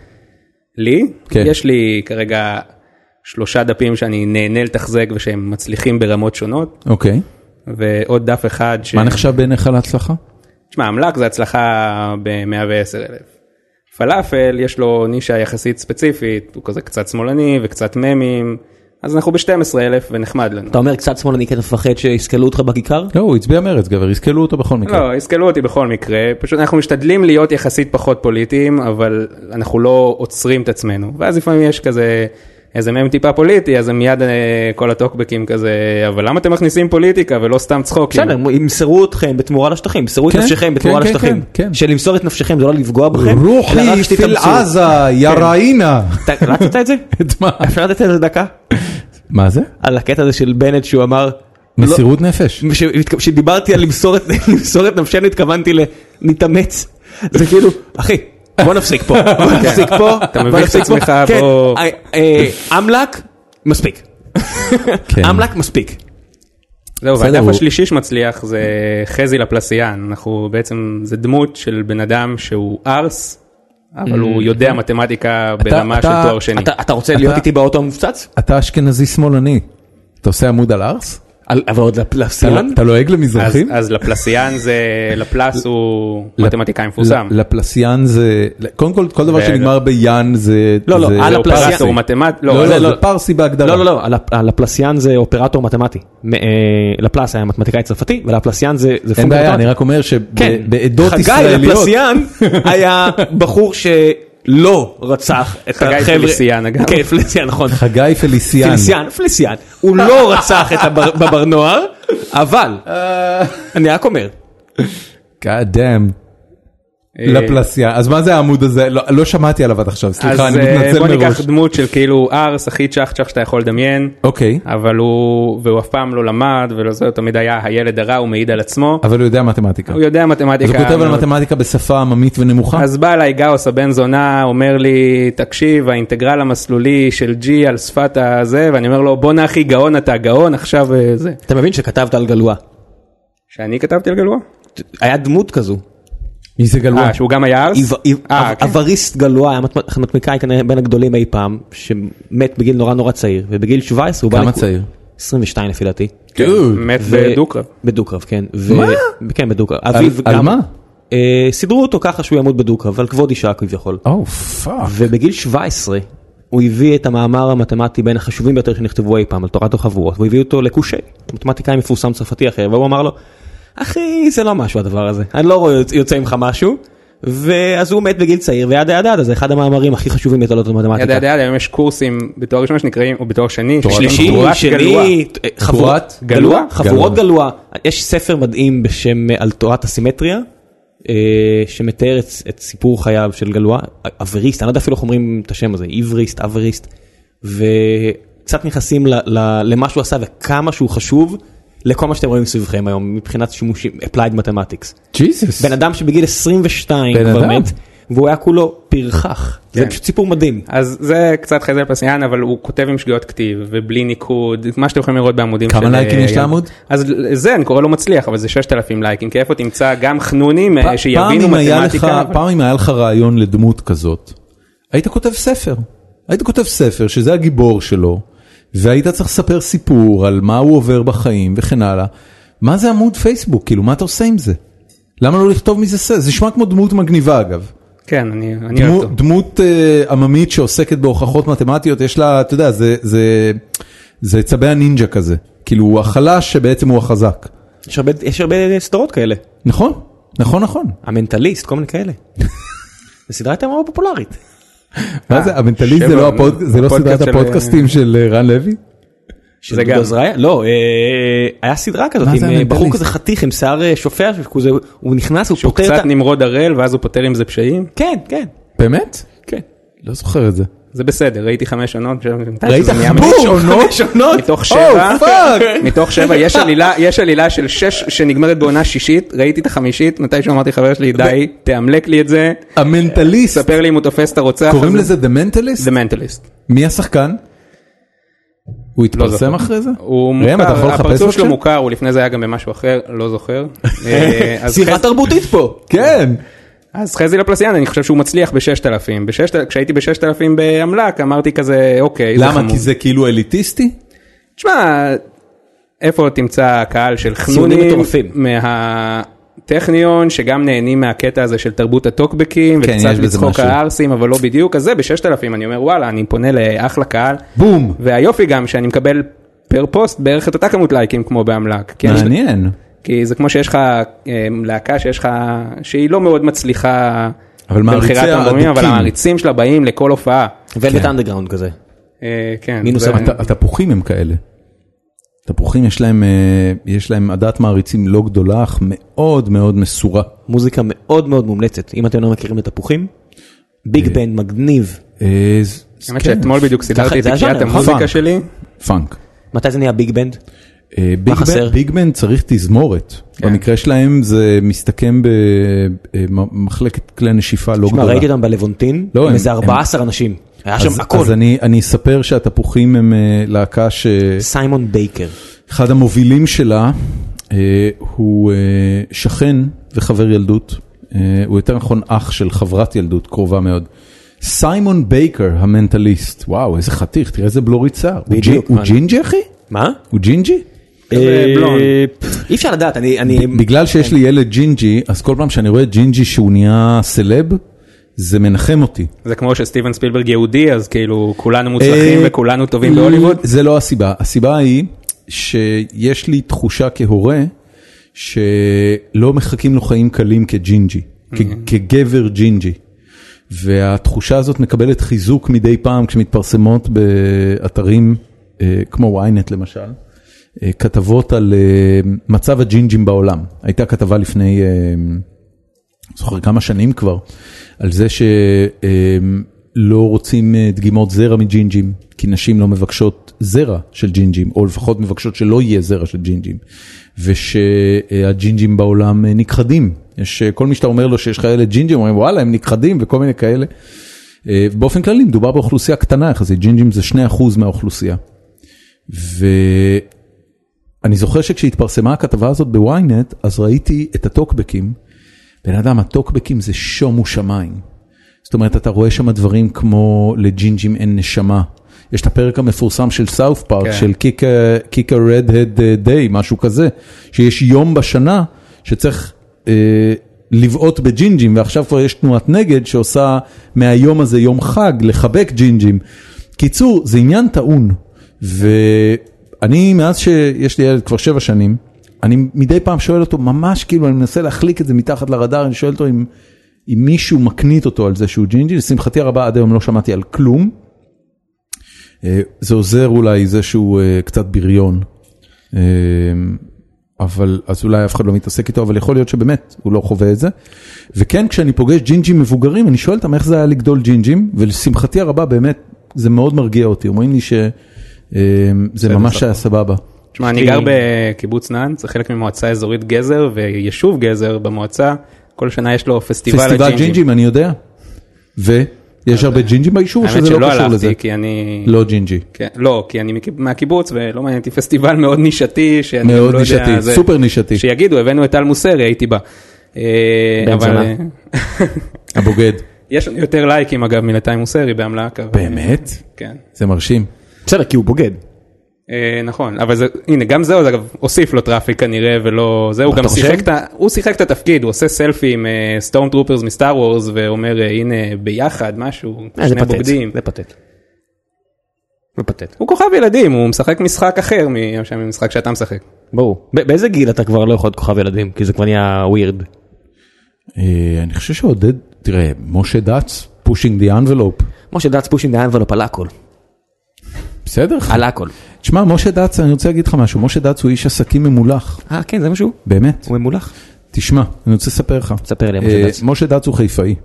Speaker 3: לי?
Speaker 1: כן.
Speaker 3: יש לי כרגע שלושה דפים שאני נהנה לתחזק ושהם מצליחים ברמות שונות
Speaker 1: אוקיי.
Speaker 3: ועוד דף אחד. ש-
Speaker 2: כן.
Speaker 1: מה נחשב בעיניך להצלחה?
Speaker 3: תשמע, אמל"ק זה הצלחה ב-110 אלף. פלאפל יש לו נישה יחסית ספציפית, הוא כזה קצת שמאלני וקצת ממים, אז אנחנו ב-12,000 ונחמד לנו.
Speaker 2: אתה אומר קצת שמאלני כי אתה מפחד שיסקלו אותך בכיכר?
Speaker 1: לא, הוא הצביע מרץ, גבר, יסקלו אותו בכל
Speaker 2: אוקיי.
Speaker 1: מקרה.
Speaker 3: לא, יסקלו אותי בכל מקרה, פשוט אנחנו משתדלים להיות יחסית פחות פוליטיים, אבל אנחנו לא עוצרים את עצמנו. ואז לפעמים יש כזה איזה מם טיפה פוליטי, אז הם מיד אה, כל הטוקבקים כזה, אבל למה אתם מכניסים פוליטיקה ולא סתם צחוקים? כן.
Speaker 2: בסדר, ימסרו אתכם בתמורה לשטחים, ימסרו את
Speaker 1: כן,
Speaker 2: נפשכם בתמורה
Speaker 1: כן, כן,
Speaker 2: לשטחים.
Speaker 1: כן, כן.
Speaker 2: שלמסור את נפשכם זה לא לפגוע בכם, אלא רק
Speaker 1: רוחי
Speaker 2: שתתאמצו.
Speaker 1: פיל עזה, יא ראינה.
Speaker 2: אתה קלטת את זה?
Speaker 1: את מה?
Speaker 2: אפשר לתת לזה דקה?
Speaker 1: מה זה?
Speaker 3: לא.
Speaker 2: על הקטע הזה של בנט שהוא אמר,
Speaker 1: מסירות נפש.
Speaker 2: לא, ש- שדיברתי על למסור את למסור את נפשנו התכוונתי לנתאמץ. זה כאילו, אחי. בוא נפסיק פה, בוא נפסיק פה,
Speaker 3: אתה
Speaker 2: בוא
Speaker 3: מביך את
Speaker 2: נפסיק פה,
Speaker 3: עצמך,
Speaker 2: כן,
Speaker 3: בוא.
Speaker 2: אה, אה, אמל"ק, מספיק,
Speaker 1: כן.
Speaker 2: אמל"ק מספיק,
Speaker 3: זהו,
Speaker 1: בסדר,
Speaker 3: והדף
Speaker 1: הוא-
Speaker 3: השלישי שמצליח זה חזי לפלסיאן, אנחנו בעצם, זה דמות של בן אדם שהוא ארס, אבל הוא יודע מתמטיקה ברמה של
Speaker 1: Mm-hmm. אתה-
Speaker 3: תואר שני.
Speaker 2: אתה אתה רוצה להיות
Speaker 1: אתה-
Speaker 2: איתי באוטו המופצץ?
Speaker 1: אתה אשכנזי שמאלני. אתה עושה עמוד על ארס?
Speaker 2: על- אבל עוד לפ-
Speaker 1: אתה-
Speaker 2: לפסיון?
Speaker 1: אתה לועג
Speaker 3: אז-
Speaker 1: למזרחים?
Speaker 3: אז לפלסיאן זה, לפלס הוא
Speaker 1: לפ-
Speaker 3: מתמטיקאי מפורסם.
Speaker 1: ל- לפלסיאן זה, קודם כל, כל דבר
Speaker 3: ו-
Speaker 1: שנגמר ביאן זה...
Speaker 2: לא, לא,
Speaker 1: זה-
Speaker 2: על
Speaker 3: זהו,
Speaker 2: לפלסיאן.
Speaker 3: פרס הוא מתמט... לא,
Speaker 1: לא,
Speaker 3: זה
Speaker 1: לא,
Speaker 3: לא,
Speaker 1: זה פרסי בהגדרה.
Speaker 2: לא לא לא, הלפ- הלפלסיאן זה אופרטור מתמטי, מ- אה, לפלס היה מתמטיקאי צרפתי ולפלסיאן זה זה
Speaker 1: אין
Speaker 2: פונקציה
Speaker 1: בעיה, אני
Speaker 2: מתמטית.
Speaker 1: רק אומר
Speaker 2: כן,
Speaker 1: שבעדות
Speaker 2: חגי
Speaker 1: ישראליות...
Speaker 2: לפלסיאן היה בחור שלא רצח את
Speaker 3: חגי
Speaker 2: החבר'ה.
Speaker 3: פליסיאן, אגב.
Speaker 2: כן, פליסיאן, נכון.
Speaker 1: חגי פליסיאן.
Speaker 2: פליסיאן, פליסיאן. הוא לא רצח את הבר- בבר נוער, אבל, אני רק אומר,
Speaker 1: God damn.
Speaker 3: אה,
Speaker 1: לא, לפלסיאן. אז מה זה העמוד הזה? לא לא שמעתי עליו עד עכשיו,
Speaker 3: אז
Speaker 1: סליחה, אני
Speaker 3: אה,
Speaker 1: מתנצל
Speaker 3: בוא ניקח
Speaker 1: מראש.
Speaker 3: דמות של כאילו ארס, הכי צ'חצ'ח שאתה יכול לדמיין,
Speaker 1: אוקיי,
Speaker 3: אבל הוא, והוא אף פעם לא למד, ולא זה, הוא תמיד היה הילד הרע, הוא מעיד על עצמו,
Speaker 1: אבל הוא יודע מתמטיקה.
Speaker 3: הוא יודע מתמטיקה.
Speaker 1: אז הוא כותב על
Speaker 3: מאוד.
Speaker 1: מתמטיקה בשפה עממית ונמוכה?
Speaker 3: אז בא אליי גאוס הבן זונה, אומר לי, תקשיב, האינטגרל המסלולי של G על שפת הזה, ואני אומר לו, בואנה אחי, גאון אתה, גאון עכשיו אה, זה.
Speaker 2: אתה מבין שכתבת על גלואה.
Speaker 3: שאני כתבתי על גלואה?
Speaker 2: היה דמות כזו,
Speaker 1: מי זה גלוע?
Speaker 3: אה, שהוא גם היה ארס?
Speaker 2: איב- איב-
Speaker 3: אה,
Speaker 2: אב-
Speaker 3: כן.
Speaker 2: אבריסט גלואה, היה מתמ- מתמטיקאי כנראה בין הגדולים אי פעם, שמת בגיל נורא נורא צעיר, ובגיל 17 הוא בא...
Speaker 1: כמה
Speaker 2: לכו-
Speaker 1: צעיר?
Speaker 2: 22 לפי דעתי.
Speaker 1: דוד.
Speaker 3: מת
Speaker 2: ו-
Speaker 3: בדו-קרב.
Speaker 2: בדו-קרב, כן. מה? כן, בדו-קרב. אביו
Speaker 1: על
Speaker 2: גם-
Speaker 1: מה?
Speaker 2: אה, סידרו אותו ככה שהוא ימות בדו-קרב, על כבוד אישה כביכול.
Speaker 1: או פאק.
Speaker 2: ובגיל 17 הוא הביא את המאמר המתמטי בין החשובים ביותר שנכתבו אי פעם על תורת החבורות, והוא הביא אותו לקושי, מתמטיקאי מפורסם צרפתי אחר, והוא אמר לו, אחי זה לא משהו הדבר הזה, אני לא רואה יוצא ממך משהו, ואז הוא מת בגיל צעיר, וידה ידה ידה זה אחד המאמרים הכי חשובים בתולדות
Speaker 3: ידה
Speaker 2: המתמטיקה.
Speaker 3: ידה ידה, היום יש קורסים בתואר ראשון שנקראים, או בתואר שני,
Speaker 1: תואר
Speaker 2: שלישי,
Speaker 3: תורת גלואה.
Speaker 2: שני, אה, חבורות
Speaker 1: תורת
Speaker 2: גלוע,
Speaker 1: גלוע?
Speaker 2: חבורות
Speaker 1: גלוע.
Speaker 2: גלוע. יש ספר מדהים בשם אה, על תורת הסימטריה, אה, שמתאר את, את סיפור חייו של גלוע, אבריסט, אני לא יודע אפילו איך אומרים את השם הזה, עבריסט, אבריסט, וקצת נכנסים ל, ל, למה שהוא עשה וכמה שהוא חשוב. לכל מה שאתם רואים סביבכם היום מבחינת שימושים applied mathematics.
Speaker 1: ג'יזוס.
Speaker 2: בן אדם שבגיל 22
Speaker 1: בן
Speaker 2: כבר
Speaker 1: אדם.
Speaker 2: מת והוא היה כולו פרחח. זה
Speaker 3: כן.
Speaker 2: פשוט סיפור מדהים.
Speaker 3: אז זה קצת חזר פסיאן, אבל הוא כותב עם שגיאות כתיב ובלי ניקוד, מה שאתם יכולים לראות בעמודים
Speaker 1: כמה
Speaker 3: של,
Speaker 1: לייקים
Speaker 3: אה,
Speaker 1: יש
Speaker 3: ים.
Speaker 1: לעמוד?
Speaker 3: אז זה, אני קורא לו מצליח, אבל זה 6,000 לייקים, כי איפה תמצא גם חנונים אה,
Speaker 1: פ- פעם
Speaker 3: שיבינו
Speaker 1: אם היה
Speaker 3: מתמטיקה.
Speaker 1: לך-
Speaker 3: אבל-
Speaker 1: פעם אם היה לך רעיון לדמות כזאת, היית כותב ספר. היית כותב ספר שזה הגיבור שלו, והיית צריך לספר סיפור על מה הוא עובר בחיים וכן הלאה. מה זה עמוד פייסבוק? כאילו, מה אתה עושה עם זה? למה לא לכתוב מזה ספר? זה נשמע כמו דמות מגניבה אגב.
Speaker 3: כן, אני אני אוהב
Speaker 1: דמו,
Speaker 3: אותו.
Speaker 1: דמות אה, עממית שעוסקת בהוכחות מתמטיות, יש לה, אתה יודע, זה, זה, זה צבי הנינג'ה כזה. כאילו, הוא החלש שבעצם הוא החזק.
Speaker 2: יש הרבה, יש הרבה סדרות כאלה.
Speaker 1: נכון, נכון, נכון.
Speaker 2: אה, המנטליסט, כל מיני כאלה. זו סדרת נורא פופולרית.
Speaker 1: מה זה, המנטליסט זה
Speaker 3: שבע,
Speaker 1: לא הפוד- זה לא
Speaker 3: הפודקאסט
Speaker 1: סדרת
Speaker 3: של-
Speaker 1: הפודקאסטים של אה, רן לוי?
Speaker 2: של
Speaker 3: זה
Speaker 2: דודו
Speaker 3: גם.
Speaker 2: אזריה? לא, אה, היה סדרה כזאת
Speaker 1: מה
Speaker 2: עם
Speaker 1: זה
Speaker 2: אה, בחור
Speaker 1: המנטליסט?
Speaker 2: כזה חתיך עם שיער אה, שופע, שכזה- הוא נכנס, הוא
Speaker 3: שהוא
Speaker 2: פותר
Speaker 3: קצת
Speaker 2: את ה...
Speaker 3: נמרוד הראל ואז הוא פותר עם זה פשעים,
Speaker 2: כן, כן,
Speaker 1: באמת?
Speaker 2: כן.
Speaker 1: לא זוכר את זה.
Speaker 3: זה בסדר, ראיתי חמש עונות, ש-
Speaker 1: ראית
Speaker 3: שזה נהיה מ-
Speaker 1: חמש עונות? Oh,
Speaker 2: שונות?
Speaker 3: מתוך
Speaker 1: או
Speaker 3: שבע,
Speaker 1: פאק!
Speaker 3: מתוך שבע, יש עלילה, יש עלילה של שש שנגמרת בעונה שישית, ראיתי את החמישית, מתי שאמרתי חבר שלי, די, תאמלק לי את זה,
Speaker 1: המנטליסט,
Speaker 3: אה, ספר לי אם הוא תופס את הרוצח,
Speaker 1: קוראים
Speaker 3: הזה."
Speaker 1: לזה The Mentalist?
Speaker 3: The Mentalist. לא
Speaker 1: מי השחקן? הוא התפרסם
Speaker 3: זוכר.
Speaker 1: אחרי זה?
Speaker 3: הוא
Speaker 1: ראם, אתה יכול
Speaker 3: מוכר,
Speaker 1: לחפש
Speaker 3: הפרצוף
Speaker 1: בבקשה?
Speaker 3: שלו מוכר, הוא לפני זה היה גם במשהו אחר, לא זוכר. אה, אז
Speaker 2: זירה
Speaker 3: חז-
Speaker 2: תרבותית פה.
Speaker 1: כן.
Speaker 3: אז חזי לפלסיאן, אני חושב שהוא מצליח ב-6,000. ב-6,000 כשהייתי ב-6,000 באמל"ק, אמרתי כזה, אוקיי, זה
Speaker 1: למה?
Speaker 3: חמור.
Speaker 1: כי זה כאילו אליטיסטי?
Speaker 3: תשמע, איפה תמצא קהל של
Speaker 2: ציונים
Speaker 3: חנונים
Speaker 2: מטורפים.
Speaker 3: מה... טכניון שגם נהנים מהקטע הזה של תרבות הטוקבקים
Speaker 1: כן,
Speaker 3: וקצת
Speaker 1: יש בזה
Speaker 3: מצחוק
Speaker 1: משהו.
Speaker 3: הערסים אבל לא בדיוק אז זה בששת אלפים אני אומר וואלה אני פונה לאחלה קהל
Speaker 1: בום.
Speaker 3: והיופי גם שאני מקבל פר פוסט בערך את אותה כמות לייקים כמו באמל"ק כי, אני-
Speaker 1: מעניין.
Speaker 3: כי זה כמו שיש לך אה, להקה שיש לך שהיא לא מאוד מצליחה
Speaker 1: אבל מעריציה
Speaker 3: במכירת אלבומים, אבל
Speaker 1: אדוקים.
Speaker 3: המעריצים שלה באים לכל הופעה.
Speaker 2: ולבית אנדרגראונד כזה.
Speaker 3: אה, כן,
Speaker 2: מינוס
Speaker 3: זה-
Speaker 1: הת- התפוחים הם כאלה. תפוחים יש להם, אה, יש להם עדת מעריצים לא גדולה אך מאוד מאוד מסורה.
Speaker 2: מוזיקה מאוד מאוד מומלצת. אם אתם לא מכירים את תפוחים, ביג בנד מגניב.
Speaker 1: אה, ז-
Speaker 3: האמת
Speaker 1: כן,
Speaker 3: שאתמול בדיוק סידרתי את
Speaker 2: זה הז'אנר,
Speaker 3: תקיעת
Speaker 2: נכון?
Speaker 1: פאנק.
Speaker 3: המוזיקה שלי.
Speaker 1: פאנק.
Speaker 2: מתי זה נהיה ביג בנד?
Speaker 1: אה, ביג בן-
Speaker 2: חסר? כן.
Speaker 1: ביג בן צריך תזמורת. במקרה שלהם זה מסתכם במחלקת כלי נשיפה לא
Speaker 2: תשמע,
Speaker 1: גדולה.
Speaker 2: ראיתי אותם בלוונטין,
Speaker 1: לא,
Speaker 2: עם
Speaker 1: הם-
Speaker 2: איזה
Speaker 1: הם-
Speaker 2: 14 אנשים. היה
Speaker 1: אז-
Speaker 2: שם הכל.
Speaker 1: אז אני, אני אספר שהתפוחים הם אה, להקה שאחד
Speaker 2: סיימון בייקר.
Speaker 1: המובילים שלה אה, הוא אה, שכן וחבר ילדות, אה, הוא יותר נכון אח של חברת ילדות קרובה מאוד. סיימון בייקר המנטליסט, וואו איזה חתיך, תראה איזה בלורית שיער. הוא ג'י-
Speaker 2: בדיוק,
Speaker 1: הוא
Speaker 2: מה?
Speaker 1: ג'ינג'י אחי?
Speaker 2: מה?
Speaker 1: הוא ג'ינג'י?
Speaker 3: כזה בלונד.
Speaker 2: אה, פפ, אי אפשר לדעת, אני... אני-
Speaker 1: בגלל שיש לי ילד ג'ינג'י, אז כל פעם שאני רואה ג'ינג'י שהוא נהיה סלב, זה מנחם אותי.
Speaker 3: זה כמו שסטיבן ספילברג יהודי אז כאילו כולנו מוצלחים
Speaker 1: אה,
Speaker 3: וכולנו טובים בהוליווד.
Speaker 1: זה לא הסיבה, הסיבה היא שיש לי תחושה כהורה שלא מחכים לו חיים קלים כג'ינג'י, כ- כגבר ג'ינג'י. והתחושה הזאת מקבלת חיזוק מדי פעם כשמתפרסמות באתרים אה, כמו ynet למשל, אה, כתבות על אה, מצב הג'ינג'ים בעולם. הייתה כתבה לפני אה, זוכר כמה שנים כבר, על זה שלא רוצים אה, דגימות זרע מג'ינג'ים, כי נשים לא מבקשות זרע של ג'ינג'ים, או לפחות מבקשות שלא יהיה זרע של ג'ינג'ים, ושהג'ינג'ים בעולם אה, נכחדים. יש, אה, כל מי שאתה אומר לו שיש לך ילד ג'ינג'ים, אומרים וואלה הם נכחדים וכל מיני כאלה. אה, באופן כללי מדובר באוכלוסייה קטנה יחסית, ג'ינג'ים זה 2% מהאוכלוסייה. ואני זוכר שכשהתפרסמה הכתבה הזאת בוויינט, אז ראיתי את הטוקבקים. בן אדם, הטוקבקים זה שומו שמיים. זאת אומרת, אתה רואה שם דברים כמו לג'ינג'ים אין נשמה. יש את הפרק המפורסם של סאוף פארק,
Speaker 3: כן.
Speaker 1: של קיקה רד-הד דיי, uh, משהו כזה, שיש יום בשנה שצריך אה, לבעוט בג'ינג'ים, ועכשיו כבר יש תנועת נגד שעושה מהיום הזה יום חג, לחבק ג'ינג'ים. קיצור, זה עניין טעון, ואני, מאז שיש לי ילד כבר שבע שנים, אני מדי פעם שואל אותו, ממש כאילו, אני מנסה להחליק את זה מתחת לרדאר, אני שואל אותו אם, אם מישהו מקנית אותו על זה שהוא ג'ינג'י, לשמחתי הרבה עד היום לא שמעתי על כלום. אה, זה עוזר אולי זה שהוא אה, קצת בריון, אה, אבל אז אולי אף אחד לא מתעסק איתו, אבל יכול להיות שבאמת הוא לא חווה את זה. וכן, כשאני פוגש ג'ינג'ים מבוגרים, אני שואל אותם איך זה היה לגדול ג'ינג'ים, ולשמחתי הרבה באמת, זה מאוד מרגיע אותי, אומרים לי שזה ממש היה סבבה.
Speaker 3: תשמע, אני
Speaker 2: לי-
Speaker 3: גר בקיבוץ נאן, זה חלק ממועצה אזורית גזר ויישוב גזר במועצה. כל שנה יש לו פסטיבל
Speaker 1: פסטיבל ג'ינג'ים, אני יודע. ויש הרבה ג'ינג'ים ביישוב, או
Speaker 3: אה, האמת
Speaker 1: שזה לא
Speaker 3: שלא
Speaker 1: קשור לזה?
Speaker 3: הלכתי כי אני...
Speaker 1: לא ג'ינג'י.
Speaker 3: כן, לא, כי אני מק- מהקיבוץ ולא מעניין אותי פסטיבל מאוד נישתי, שאני
Speaker 1: מאוד
Speaker 3: לא יודע,
Speaker 1: נישתי,
Speaker 3: זה-
Speaker 1: סופר נישתי.
Speaker 3: שיגידו, הבאנו את טל מוסרי, הייתי בה. אה,
Speaker 2: בן
Speaker 3: אבל
Speaker 2: זונה.
Speaker 3: אה,
Speaker 1: הבוגד.
Speaker 3: יש לנו יותר לייקים אגב מלטל מוסרי באמל"ק. אבל-
Speaker 1: באמת?
Speaker 3: כן.
Speaker 1: זה מרשים.
Speaker 2: בסדר, כי הוא בוגד.
Speaker 3: אה, נכון, אבל זה, הנה, גם זה עוד, אגב, הוסיף לו טראפיק כנראה, ולא זה, הוא
Speaker 2: אתה
Speaker 3: גם
Speaker 2: חושב?
Speaker 3: שיחק את ה... הוא שיחק את התפקיד, הוא עושה סלפי עם סטום טרופרס מסטאר וורס, ואומר, אה, הנה, ביחד, משהו,
Speaker 2: אה, זה
Speaker 3: שני
Speaker 2: פתט.
Speaker 3: בוגדים.
Speaker 2: זה פתט. זה פתט.
Speaker 3: הוא כוכב ילדים, הוא משחק משחק אחר משם ממשחק שאתה משחק.
Speaker 2: ברור. ב- באיזה גיל אתה כבר לא יכול להיות כוכב ילדים? כי זה כבר נהיה ווירד.
Speaker 1: אה, אני חושב שעודד, תראה, משה דץ, pushing the envelope.
Speaker 2: משה דץ פושין דה אנבלופ על הכל.
Speaker 1: בסדר?
Speaker 2: על הכל.
Speaker 1: תשמע, משה דץ, אני רוצה להגיד לך משהו, משה דץ הוא איש עסקים ממולח,
Speaker 2: אה, כן, זה משהו.
Speaker 1: באמת.
Speaker 2: הוא ממולח.
Speaker 1: תשמע, אני רוצה לספר לך.
Speaker 2: ספר לי, משה
Speaker 1: אה,
Speaker 2: דץ.
Speaker 1: משה דץ הוא חיפאי.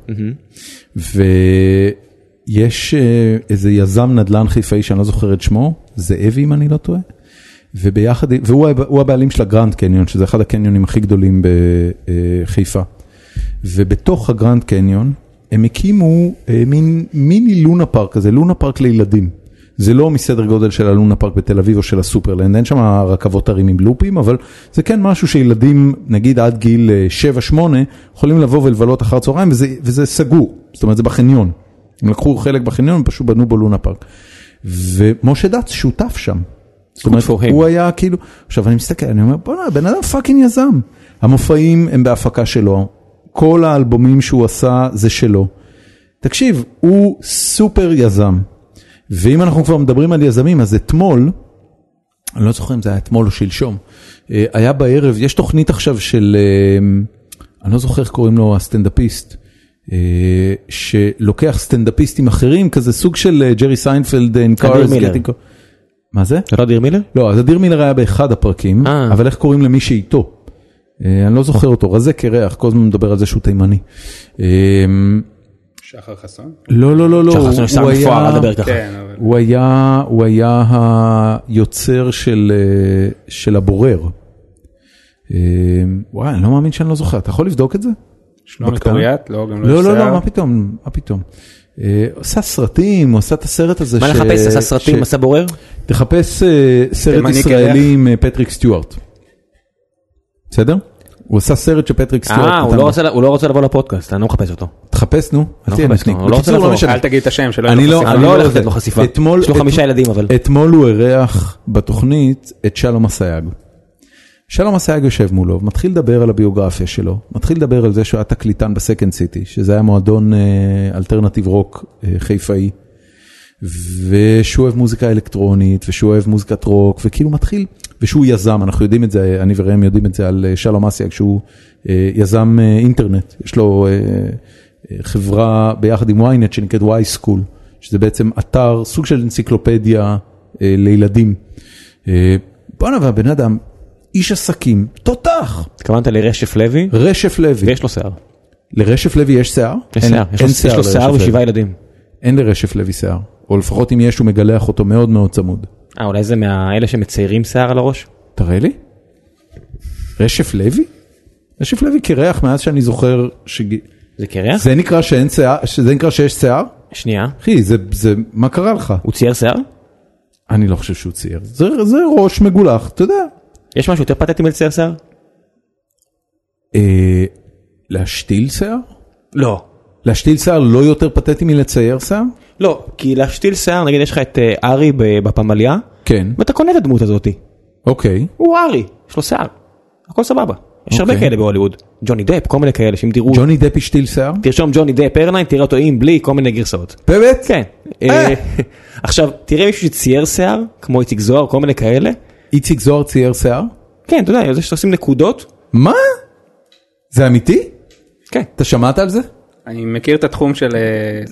Speaker 1: ויש אה, איזה יזם נדל"ן חיפאי שאני לא זוכר את שמו, זאבי אם אני לא טועה, וביחד, והוא הב- הוא הבעלים של הגרנד קניון, שזה אחד הקניונים הכי גדולים בחיפה. ובתוך הגרנד קניון הם הקימו אה, מין מיני לונה פארק כזה, לונה פארק לילדים. זה לא מסדר גודל של הלונה פארק בתל אביב או של הסופרלנד, אין שם רכבות הרים עם לופים, אבל זה כן משהו שילדים, נגיד עד גיל אה, 7-8, יכולים לבוא ולבלות אחר הצהריים, וזה, וזה סגור, זאת אומרת זה בחניון. הם לקחו חלק בחניון ופשוט בנו בו לונה פארק. ומשה דץ שותף שם. זאת אומרת,
Speaker 2: for him.
Speaker 1: הוא היה כאילו, עכשיו אני מסתכל, אני אומר, בוא'נה, הבן אדם פאקינג יזם. המופעים הם בהפקה שלו, כל האלבומים שהוא עשה זה שלו. תקשיב, הוא סופר יזם. ואם אנחנו כבר מדברים על יזמים, אז אתמול, אני לא זוכר אם זה היה אתמול או שלשום, אה, היה בערב, יש תוכנית עכשיו של, אה, אני לא זוכר איך קוראים לו הסטנדאפיסט, אה, שלוקח סטנדאפיסטים אחרים, כזה סוג של אה, ג'רי סיינפלד and cars.
Speaker 2: מילר.
Speaker 1: getting co- מה זה?
Speaker 2: זה לא אדיר מילר?
Speaker 1: לא, אז אדיר מילר היה באחד הפרקים,
Speaker 2: אה.
Speaker 1: אבל איך קוראים למי שאיתו? אה, אני לא זוכר אותו, רזה קרח, כל הזמן מדבר על זה שהוא תימני. אה,
Speaker 3: שחר חסון?
Speaker 1: לא, לא, לא, לא,
Speaker 2: שחר חסון סתם
Speaker 1: הוא
Speaker 2: מפואר
Speaker 1: היה-
Speaker 2: לדבר ככה.
Speaker 3: כן, אבל...
Speaker 1: הוא היה, הוא היה היוצר של, אה, של הבורר. אה, וואי, אני לא מאמין שאני לא זוכר, אתה יכול לבדוק את זה?
Speaker 3: שלומי
Speaker 1: בקטנה?
Speaker 3: קוריאט? לא, גם לא
Speaker 1: לא,
Speaker 3: יש
Speaker 1: לא,
Speaker 3: שיער.
Speaker 1: לא, מה פתאום, מה פתאום. אה, עושה סרטים, הוא עשה את הסרט הזה.
Speaker 2: מה
Speaker 1: ש-
Speaker 2: לחפש? עשה
Speaker 1: ש-
Speaker 2: סרטים, עשה בורר?
Speaker 1: תחפש אה, סרט
Speaker 3: תימני
Speaker 1: ישראלי עם אה, פטריק סטיוארט. בסדר? הוא עשה סרט שפטריק סטיוארט.
Speaker 2: אה, הוא
Speaker 1: נתן
Speaker 2: לא
Speaker 1: לו.
Speaker 2: רוצה- הוא לא רוצה לבוא לפודקאסט, אני לא מחפש אותו.
Speaker 1: תחפש נו. אל תהיה
Speaker 2: מחפש,
Speaker 1: נפניק.
Speaker 2: הוא לא רוצה
Speaker 1: בקיצור,
Speaker 2: לבוא.
Speaker 1: משנה.
Speaker 3: אל תגיד את השם שלא
Speaker 1: אני
Speaker 3: יהיה
Speaker 1: לא-
Speaker 3: לו
Speaker 1: לא
Speaker 2: אני לא הולך
Speaker 1: זה.
Speaker 2: לתת לו חשיפה.
Speaker 1: אתמול-
Speaker 2: יש לו
Speaker 1: את-
Speaker 2: חמישה ילדים אבל.
Speaker 1: אתמול הוא אירח בתוכנית את שלום אסייג. שלום אסייג יושב מולו, מתחיל לדבר על הביוגרפיה שלו, מתחיל לדבר על זה שהוא היה תקליטן בסקנד סיטי, שזה היה מועדון אה, אלטרנטיב רוק אה, חיפאי, ושהוא אוהב מוזיקה אלקטרונית, ושהוא אוהב מוזיקת רוק, וכאילו מתחיל, ושהוא יזם, אנחנו יודעים את זה, אני וראם יודעים את זה על אה, שלום אסייג, שהוא אה, יזם אה, אינטרנט, יש לו אה, אה, חברה ביחד עם ynet שנקראת y school, שזה בעצם אתר, סוג של אנציקלופדיה אה, לילדים. אה, בואנה והבן אדם, איש עסקים, תותח,
Speaker 2: התכוונת לרשף לוי,
Speaker 1: רשף לוי.
Speaker 2: ויש לו שיער.
Speaker 1: לרשף לוי יש שיער?
Speaker 2: יש
Speaker 1: אין-
Speaker 2: שיער, יש לו-
Speaker 1: אין
Speaker 2: יש לו
Speaker 1: לרשף
Speaker 2: שיער
Speaker 1: לוי.
Speaker 2: ושבעה ילדים.
Speaker 1: אין לרשף לוי שיער, או לפחות אם יש הוא מגלח אותו מאוד מאוד צמוד.
Speaker 2: אה, אולי זה מאלה שמציירים שיער על הראש?
Speaker 1: תראה לי. רשף לוי? רשף לוי קירח מאז שאני זוכר ש...
Speaker 2: זה קרח?
Speaker 1: זה נקרא שאין שיער? שזה נקרא שיש שיער?
Speaker 2: שנייה.
Speaker 1: אחי, זה, זה, מה קרה לך?
Speaker 2: הוא צייר שיער?
Speaker 1: אני לא חושב שהוא צייר. זה, זה ראש מגולח, אתה יודע.
Speaker 2: יש משהו יותר פתטי מלצייר שיער?
Speaker 1: אה, להשתיל שיער?
Speaker 2: לא.
Speaker 1: להשתיל שיער לא יותר פתטי מלצייר שיער?
Speaker 2: לא, כי להשתיל שיער, נגיד יש לך את אה, ארי ב- בפמליה,
Speaker 1: כן.
Speaker 2: ואתה קונה את הדמות הזאתי.
Speaker 1: אוקיי.
Speaker 2: הוא ארי, יש לו שיער. הכל סבבה. יש הרבה
Speaker 1: אוקיי.
Speaker 2: כאלה בהוליווד. ג'וני דפ, כל מיני כאלה, שאם תראו,
Speaker 1: ג'וני דפ השתיל שיער?
Speaker 2: תרשום ג'וני דפ איירליין, תראה אותו עם, בלי, כל מיני גרסאות.
Speaker 1: באמת?
Speaker 2: כן.
Speaker 1: אה.
Speaker 2: אה, עכשיו, תראה מישהו שצייר שיער, כמו איציק זוהר, כל מיני כאלה.
Speaker 1: איציק זוהר צייר שיער?
Speaker 2: כן, אתה יודע, זה שעושים נקודות.
Speaker 1: מה? זה אמיתי?
Speaker 2: כן.
Speaker 1: אתה שמעת על זה?
Speaker 3: לא, אני מכיר את התחום של אה,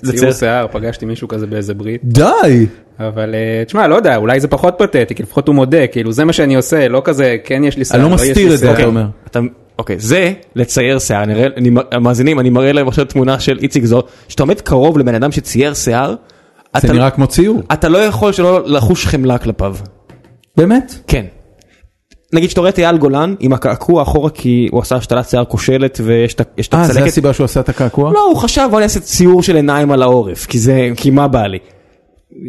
Speaker 2: צייר.
Speaker 3: ציור שיער, פגשתי מישהו כזה באיזה ברית,
Speaker 1: די!
Speaker 3: אבל אה, תשמע, לא יודע, אולי זה פחות פתטי, כי לפחות הוא מודה, כאילו זה מה שאני עושה, לא כזה, כן יש לי שיער,
Speaker 1: אני לא
Speaker 3: יש לי
Speaker 1: מסתיר את זה,
Speaker 3: שיער.
Speaker 1: אתה אומר.
Speaker 2: אתה, אוקיי, זה לצייר שיער, אני אראה- אני, מ- המאזינים, אני מראה להם עכשיו תמונה של איציק זוהר, שאתה עומד קרוב לבן אדם שצייר שיער,
Speaker 1: זה
Speaker 2: אתה,
Speaker 1: נראה כמו ציור.
Speaker 2: אתה לא יכול שלא לחוש חמלה כלפיו.
Speaker 1: באמת?
Speaker 2: כן. נגיד שאתה רואה את אייל גולן עם הקעקוע אחורה כי הוא עשה השתלת שיער כושלת ויש את ה- יש את
Speaker 1: אה, זה
Speaker 2: הצלקת.
Speaker 1: הסיבה שהוא עשה את הקעקוע?
Speaker 2: לא, הוא חשב, "בוא, אני אעשה ציור של עיניים על העורף, כי זה, כי מה בא לי?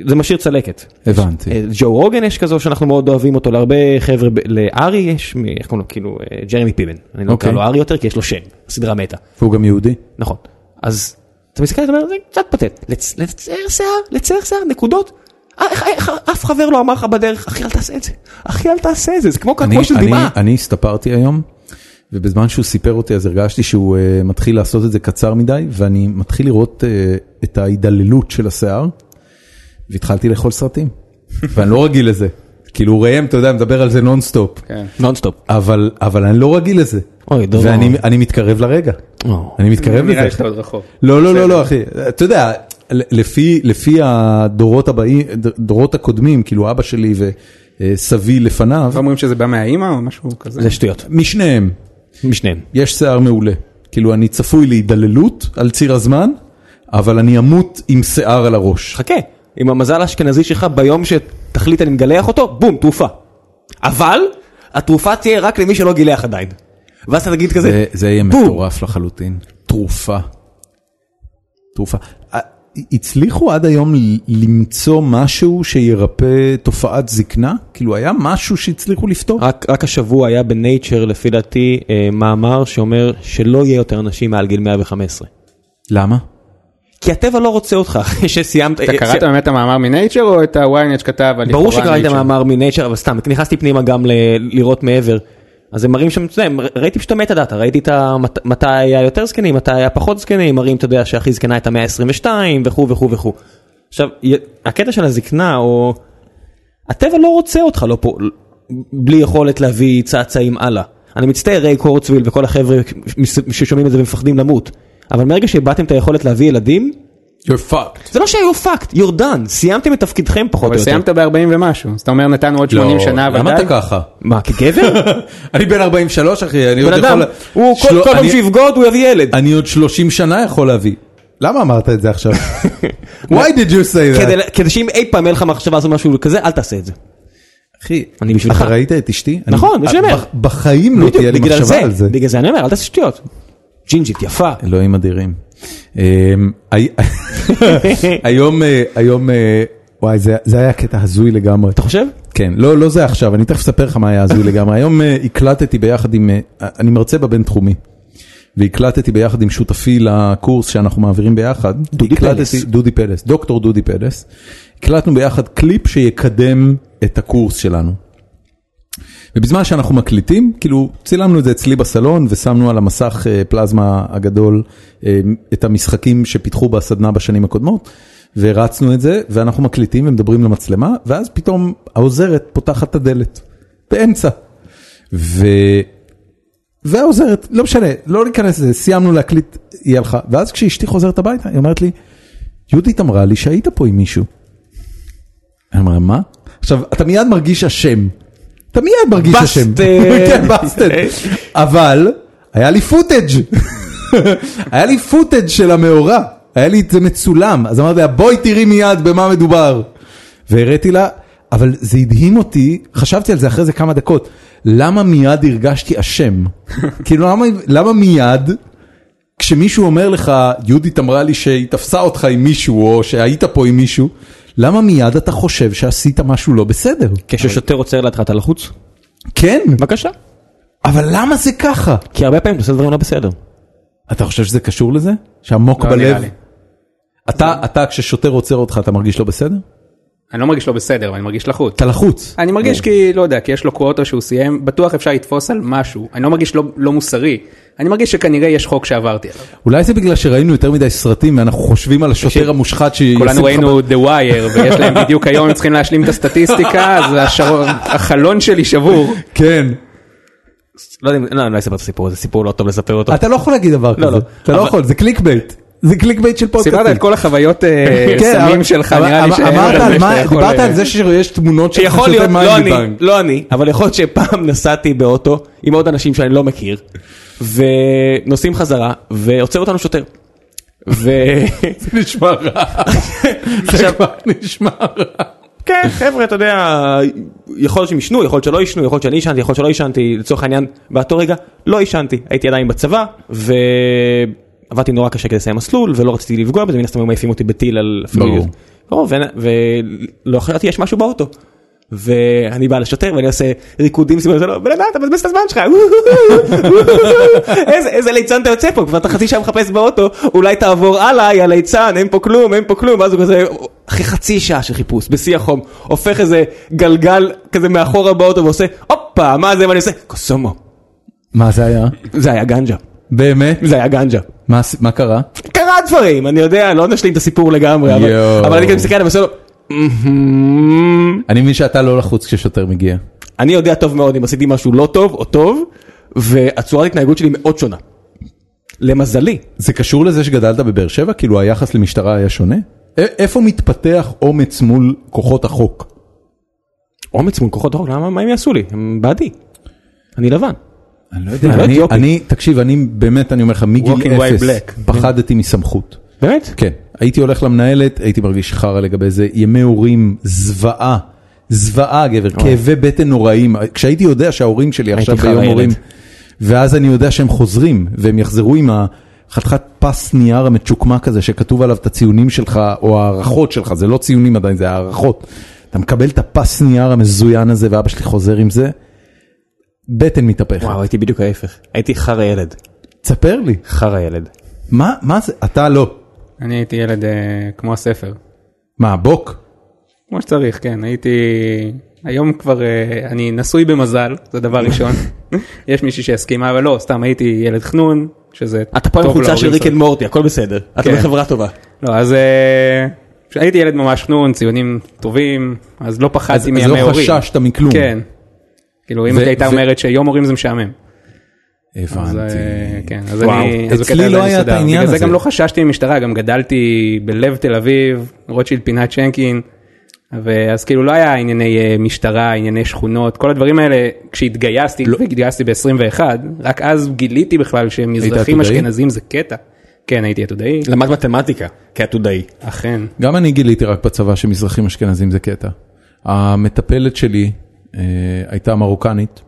Speaker 2: זה משאיר צלקת.
Speaker 1: הבנתי.
Speaker 2: אה, ג'ו רוגן יש כזו שאנחנו מאוד אוהבים אותו להרבה חבר'ה, ב- לארי יש, מ- איך קוראים לו, כאילו אה, ג'רמי פיבן, אני לא
Speaker 1: אוקיי.
Speaker 2: אקרא לו ארי יותר כי יש לו שם, הסדרה מתה,
Speaker 1: והוא גם יהודי.
Speaker 2: נכון. אז אתה מסתכל ואתה אומר זה קצת פתט, לצ- לצייר שיער, לצייר שיער, נקודות. אה, איך- איך- אף חבר לא אמר לך בדרך, אחי אל תעשה את זה, אחי אל תעשה את זה, זה כמו
Speaker 1: אני-
Speaker 2: קעקוע של
Speaker 1: אני-
Speaker 2: דמעה.
Speaker 1: אני הסתפרתי היום, ובזמן שהוא סיפר אותי אז הרגשתי שהוא אה, מתחיל לעשות את זה קצר מדי, ואני מתחיל לראות אה, את ההידללות של השיער, והתחלתי לאכול סרטים. ואני לא רגיל לזה. כאילו ראם, אתה יודע, מדבר על זה נונסטופ.
Speaker 3: כן.
Speaker 2: נונסטופ.
Speaker 1: אבל אבל אני לא רגיל לזה.
Speaker 2: אוי, דודו.
Speaker 1: ואני אני מתקרב לרגע.
Speaker 2: או.
Speaker 1: אני מתקרב
Speaker 3: נראה לי
Speaker 1: לזה.
Speaker 3: שאתה עוד רחוק.
Speaker 1: לא לא לא לא אחי אתה יודע ל- לפי לפי הדורות הבאים דורות הקודמים כאילו אבא שלי וסבי לפניו
Speaker 3: לא אומרים שזה בא מהאימא או משהו כזה?
Speaker 2: זה שטויות,
Speaker 1: משניהם
Speaker 2: משניהם.
Speaker 1: יש שיער מעולה כאילו אני צפוי להידללות על ציר הזמן אבל אני אמות עם שיער על הראש
Speaker 2: חכה, עם המזל האשכנזי שלך ביום שתחליט אני מגלח אותו, בום, תרופה. אבל התרופה תהיה רק למי שלא גילח עדיין. ואז אתה תגיד כזה,
Speaker 1: זה- זה יהיה
Speaker 2: בום.
Speaker 1: מטורף לחלוטין תרופה. תרופה. ה- הצליחו עד היום ל- למצוא משהו שירפא תופעת זקנה כאילו היה משהו שהצליחו לפתור.
Speaker 2: רק, רק השבוע היה בנייצ'ר לפי דעתי אה, מאמר שאומר שלא יהיה יותר אנשים מעל גיל 115.
Speaker 1: למה?
Speaker 2: כי הטבע לא רוצה אותך אחרי שסיימת.
Speaker 3: אתה
Speaker 2: אה,
Speaker 3: קראת
Speaker 2: סי-
Speaker 3: באמת את המאמר מנייצ'ר או את הוויינט שכתב על
Speaker 2: ברור
Speaker 3: לכאורה
Speaker 2: שקראתי את
Speaker 3: נייצ'ר?
Speaker 2: המאמר מנייצ'ר אבל סתם נכנסתי פנימה גם ל- לראות מעבר. אז הם מראים שם, אתה יודע, הם- ראיתי פשוט המטה דאטה, ראיתי את המת- מתי היה יותר זקנים, מתי היה פחות זקנים, מראים, אתה יודע, שהכי זקנה הייתה 122 וכו' וכו' וכו'. עכשיו, י- הקטע של הזקנה, או... הטבע לא רוצה אותך לא פה, בלי יכולת להביא צעצעים הלאה. אני מצטער, ריי קורצוויל וכל החבר'ה מס- ששומעים את זה ומפחדים למות, אבל מרגע שאיבדתם את היכולת להביא ילדים,
Speaker 1: You're fucked.
Speaker 2: זה לא שהיו פאקט, you're done, סיימתם את תפקידכם פחות או
Speaker 3: אבל
Speaker 2: יותר.
Speaker 3: סיימת ב-40 ומשהו, אז אתה אומר נתנו עוד 80 שנה, אבל
Speaker 1: לא, למה
Speaker 3: די.
Speaker 1: אתה ככה?
Speaker 2: מה, כגבר?
Speaker 1: אני בן 43 אחי, אני עוד
Speaker 2: בן אדם,
Speaker 1: יכול...
Speaker 2: הוא כל
Speaker 1: של-
Speaker 2: כל פעם
Speaker 1: אני-
Speaker 2: שיבגוד הוא יביא ילד.
Speaker 1: אני עוד 30 שנה יכול להביא. למה אמרת את זה עכשיו? Why did you say that?
Speaker 2: כדי ל- כדי שאם אי פעם יהיה לך מחשבה לעשות משהו כזה, אל תעשה את זה.
Speaker 1: אחי,
Speaker 2: אני בשבילך.
Speaker 1: אתה ראית את אשתי? אני-
Speaker 2: נכון, זה
Speaker 1: אה,
Speaker 2: שאומר.
Speaker 1: בח- בחיים לא תהיה לי
Speaker 2: בגלל
Speaker 1: מחשבה על זה.
Speaker 2: בגלל זה אני אומר, אל תעשה שטויות. ג'ינג'ית, יפה.
Speaker 1: אלוהים אדירים. אמ, הי- היום, אה, היום, אה, וואי, זה זה היה קטע הזוי לגמרי.
Speaker 2: אתה חושב?
Speaker 1: כן, לא, לא זה עכשיו, אני תכף אספר לך מה היה הזוי לגמרי. היום אה, הקלטתי ביחד עם, אה, אני מרצה בבינתחומי, והקלטתי ביחד עם שותפי לקורס שאנחנו מעבירים ביחד.
Speaker 2: דודי
Speaker 1: הקלטתי-
Speaker 2: פלס.
Speaker 1: דודי פלס, דוקטור דודי פלס. הקלטנו ביחד קליפ שיקדם את הקורס שלנו. ובזמן שאנחנו מקליטים, כאילו צילמנו את זה אצלי בסלון ושמנו על המסך אה, פלזמה הגדול אה, את המשחקים שפיתחו בסדנה בשנים הקודמות, והרצנו את זה, ואנחנו מקליטים ומדברים למצלמה, ואז פתאום העוזרת פותחת את הדלת, באמצע. ו... והעוזרת, לא משנה, לא ניכנס לזה, סיימנו להקליט, היא הלכה, ואז כשאשתי חוזרת הביתה, היא אומרת לי, יהודית אמרה לי שהיית פה עם מישהו. אני אומר, מה? עכשיו, אתה מיד מרגיש אשם. אתה מיד מרגיש
Speaker 2: בסטד.
Speaker 1: אשם. כן, בסטד. אבל, היה לי פוטאג'. היה לי פוטאג' של המאורע. היה לי את זה מצולם. אז אמרתי לה, בואי תראי מיד במה מדובר. והראיתי לה, אבל זה הדהים אותי, חשבתי על זה אחרי זה כמה דקות, למה מיד הרגשתי אשם? כאילו, למה, למה מיד כשמישהו אומר לך, יהודית אמרה לי שהיא תפסה אותך עם מישהו, או שהיית פה עם מישהו, למה מיד אתה חושב שעשית משהו לא בסדר?
Speaker 2: כששוטר עוצר לידך אתה לחוץ?
Speaker 1: כן,
Speaker 2: בבקשה.
Speaker 1: אבל למה זה ככה?
Speaker 2: כי הרבה פעמים אתה עושה דברים לא בסדר.
Speaker 1: אתה חושב שזה קשור לזה? שעמוק
Speaker 3: לא, נראה
Speaker 1: בלב?
Speaker 3: לי.
Speaker 1: אתה, אתה כששוטר עוצר אותך, אתה מרגיש לא בסדר?
Speaker 3: אני לא מרגיש לא בסדר, אבל אני מרגיש לחוץ.
Speaker 1: אתה לחוץ.
Speaker 3: אני מרגיש
Speaker 2: כן.
Speaker 3: כי, לא יודע, כי יש לו קווטו שהוא סיים, בטוח אפשר לתפוס על משהו. אני לא מרגיש לא, לא מוסרי, אני מרגיש שכנראה יש חוק שעברתי עליו.
Speaker 1: אולי זה בגלל שראינו יותר מדי סרטים, ואנחנו חושבים על
Speaker 3: תקשיב,
Speaker 1: השוטר המושחת ש...
Speaker 3: כולנו ראינו The Wire, ויש להם בדיוק היום, הם צריכים להשלים את הסטטיסטיקה, אז השעון- החלון שלי שבור.
Speaker 1: כן.
Speaker 2: לא יודע, אם- לא, אני לא אספר את הסיפור הזה, סיפור לא טוב לספר אותו.
Speaker 1: אתה לא יכול להגיד דבר
Speaker 2: לא,
Speaker 1: כזה.
Speaker 2: לא.
Speaker 1: אתה לא
Speaker 2: אבל-
Speaker 1: יכול, זה קליק בייט. זה קליק בייט של פודקאסטים.
Speaker 3: סיפרת את כל החוויות אה,
Speaker 1: כן, אבל-
Speaker 3: סמים שלך,
Speaker 1: אבל-
Speaker 3: נראה לי
Speaker 1: אבל-
Speaker 3: שאין
Speaker 1: אמרת
Speaker 3: הרבה
Speaker 1: על
Speaker 3: שאתה
Speaker 1: מה-
Speaker 3: יכול,
Speaker 1: דיברת
Speaker 3: אה,
Speaker 1: על זה שיש תמונות של
Speaker 2: יכול להיות, לא אני,
Speaker 1: בבנק.
Speaker 2: לא אני, אבל יכול להיות שפעם נסעתי באוטו עם עוד אנשים שאני לא מכיר, ונוסעים חזרה, ועוצר אותנו שוטר. ו...
Speaker 1: זה נשמע רע. זה כבר נשמע רע.
Speaker 2: כן, חבר'ה, אתה יודע, יכול להיות שהם עישנו, יכול להיות שלא עישנו, יכול להיות שאני עישנתי, יכול להיות שלא עישנתי, לצורך העניין, באותו רגע לא עישנתי, הייתי עדיין בצבא, ועבדתי נורא קשה כדי לסיים מסלול, ולא רציתי לפגוע בזה, מן הסתם היו מעיפים אותי בטיל על...
Speaker 1: ברור.
Speaker 2: ברור. ולא חשבתי, יש משהו באוטו. ואני בא לשוטר ואני עושה ריקודים סביבו, ואומר לו, בן אדם, אתה מבזבז את הזמן שלך, איזה- איזה ליצן אתה יוצא פה, כבר אתה חצי שעה מחפש באוטו, אולי תעבור הלאה, יא ליצן, אין פה כלום, אין פה כלום, ואז הוא כזה, אחרי חצי שעה של חיפוש, בשיא החום, הופך איזה גלגל כזה מאחורה באוטו ועושה, הופה, מה זה, ואני עושה, קוסומו,
Speaker 1: מה זה היה?
Speaker 2: זה היה גנג'ה,
Speaker 1: באמת?
Speaker 2: זה היה גנג'ה.
Speaker 1: מה עש- מה קרה?
Speaker 2: קרה דברים, אני יודע, לא נשלים את הסיפור לגמרי, אבל-
Speaker 1: יואו.
Speaker 2: אבל אני גם מסתכל עליו ועושה לו, "מהמם."
Speaker 1: אני מבין שאתה לא לחוץ כששוטר מגיע.
Speaker 2: אני יודע טוב מאוד אם עשיתי משהו לא טוב או טוב, והצורת התנהגות שלי מאוד שונה. למזלי,
Speaker 1: זה קשור לזה שגדלת בבאר שבע? כאילו היחס למשטרה היה שונה? א- איפה מתפתח אומץ מול כוחות החוק?
Speaker 2: אומץ מול כוחות החוק, למה, מה הם יעשו לי? הם בעדי. אני לבן.
Speaker 1: אני לא
Speaker 2: אני לא
Speaker 1: אני,
Speaker 2: אתיופי.
Speaker 1: אני, תקשיב, אני באמת, אני אומר לך,
Speaker 3: Walking
Speaker 1: מגיל
Speaker 3: white
Speaker 1: אפס
Speaker 3: black.
Speaker 1: פחדתי מסמכות.
Speaker 2: באמת?
Speaker 1: כן, הייתי הולך למנהלת, הייתי מרגיש חרא לגבי זה, ימי הורים, זוועה, זוועה גבר, כאבי בטן נוראים, כשהייתי יודע שההורים שלי עכשיו
Speaker 2: חרא
Speaker 1: ביום
Speaker 2: ילד.
Speaker 1: הורים, ואז אני יודע שהם חוזרים, והם יחזרו עם החתיכת פס נייר המצ'וקמק הזה שכתוב עליו את הציונים שלך, או הערכות שלך, זה לא ציונים עדיין, זה הערכות. אתה מקבל את הפס נייר המזוין הזה, ואבא שלי חוזר עם זה, בטן מתהפכת.
Speaker 2: וואו, הייתי בדיוק ההפך. הייתי חרא ילד.
Speaker 1: תספר לי,
Speaker 2: חרא ילד.
Speaker 1: מה, מה זה, אתה לא.
Speaker 3: אני הייתי ילד אה, כמו הספר.
Speaker 1: מה, בוק?
Speaker 3: כמו שצריך, כן, הייתי היום כבר אה, אני נשוי במזל, זה דבר ראשון. יש מישהי שהסכימה, אבל לא, סתם הייתי ילד חנון, שזה
Speaker 2: אתה פה עם
Speaker 3: טוב
Speaker 2: חולצה של
Speaker 3: להורים
Speaker 2: ריק אנד
Speaker 3: שלו.
Speaker 2: מורטי, הכל בסדר. אתה
Speaker 3: כן.
Speaker 2: בחברה טובה.
Speaker 3: לא, אז אה, הייתי ילד ממש חנון, ציונים טובים, אז לא
Speaker 1: אז
Speaker 3: פחדתי
Speaker 1: אז
Speaker 3: מימי
Speaker 1: לא
Speaker 3: הורים.
Speaker 1: חששת מכלום.
Speaker 3: כן. כאילו, אם
Speaker 1: ו-
Speaker 3: היא הייתה
Speaker 1: ו-
Speaker 3: אומרת שיום הורים זה משעמם. אז,
Speaker 1: הבנתי.
Speaker 3: אה, כן, אז
Speaker 1: וואו.
Speaker 3: אני, אז בקטע
Speaker 1: אצלי
Speaker 3: הזה
Speaker 1: לא
Speaker 3: אני
Speaker 1: היה את
Speaker 3: מסודר.
Speaker 1: העניין
Speaker 3: בגלל
Speaker 1: הזה.
Speaker 3: זה גם לא חששתי ממשטרה, גם גדלתי בלב תל אביב, רוטשילד פינת צ'נקין, ואז כאילו לא היה ענייני אה, משטרה, ענייני שכונות, כל הדברים האלה, כשהתגייסתי,
Speaker 1: לא-
Speaker 3: והתגייסתי ב-21, רק אז גיליתי בכלל שמזרחים
Speaker 1: עתודאי? לא.
Speaker 3: אשכנזים זה קטע. כן, הייתי עתודאי,
Speaker 2: למד מתמטיקה כעתודאי.
Speaker 3: אכן.
Speaker 1: גם אני גיליתי רק בצבא שמזרחים אשכנזים זה קטע. המטפלת שלי אה, הייתה מרוקנית,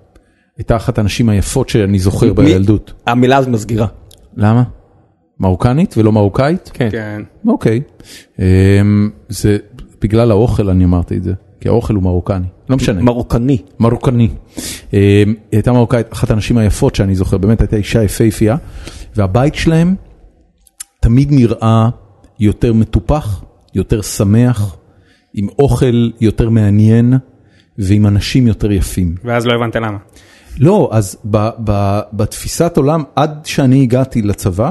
Speaker 1: הייתה אחת הנשים היפות שאני זוכר
Speaker 2: מי-
Speaker 1: בילדות.
Speaker 2: המילה הזאת מסגירה.
Speaker 1: למה? מרוקנית ולא מרוקאית?
Speaker 3: כן.
Speaker 1: אוקיי. אה, זה בגלל האוכל אני אמרתי את זה, כי האוכל הוא מרוקני, לא משנה.
Speaker 2: מרוקני.
Speaker 1: מרוקני. אה, היא הייתה מרוקאית, אחת הנשים היפות שאני זוכר, באמת הייתה אישה יפהפייה, והבית שלהם תמיד נראה יותר מטופח, יותר שמח, עם אוכל יותר מעניין ועם אנשים יותר יפים.
Speaker 3: ואז לא הבנת למה.
Speaker 1: לא, אז ב, ב, בתפיסת עולם, עד שאני הגעתי לצבא,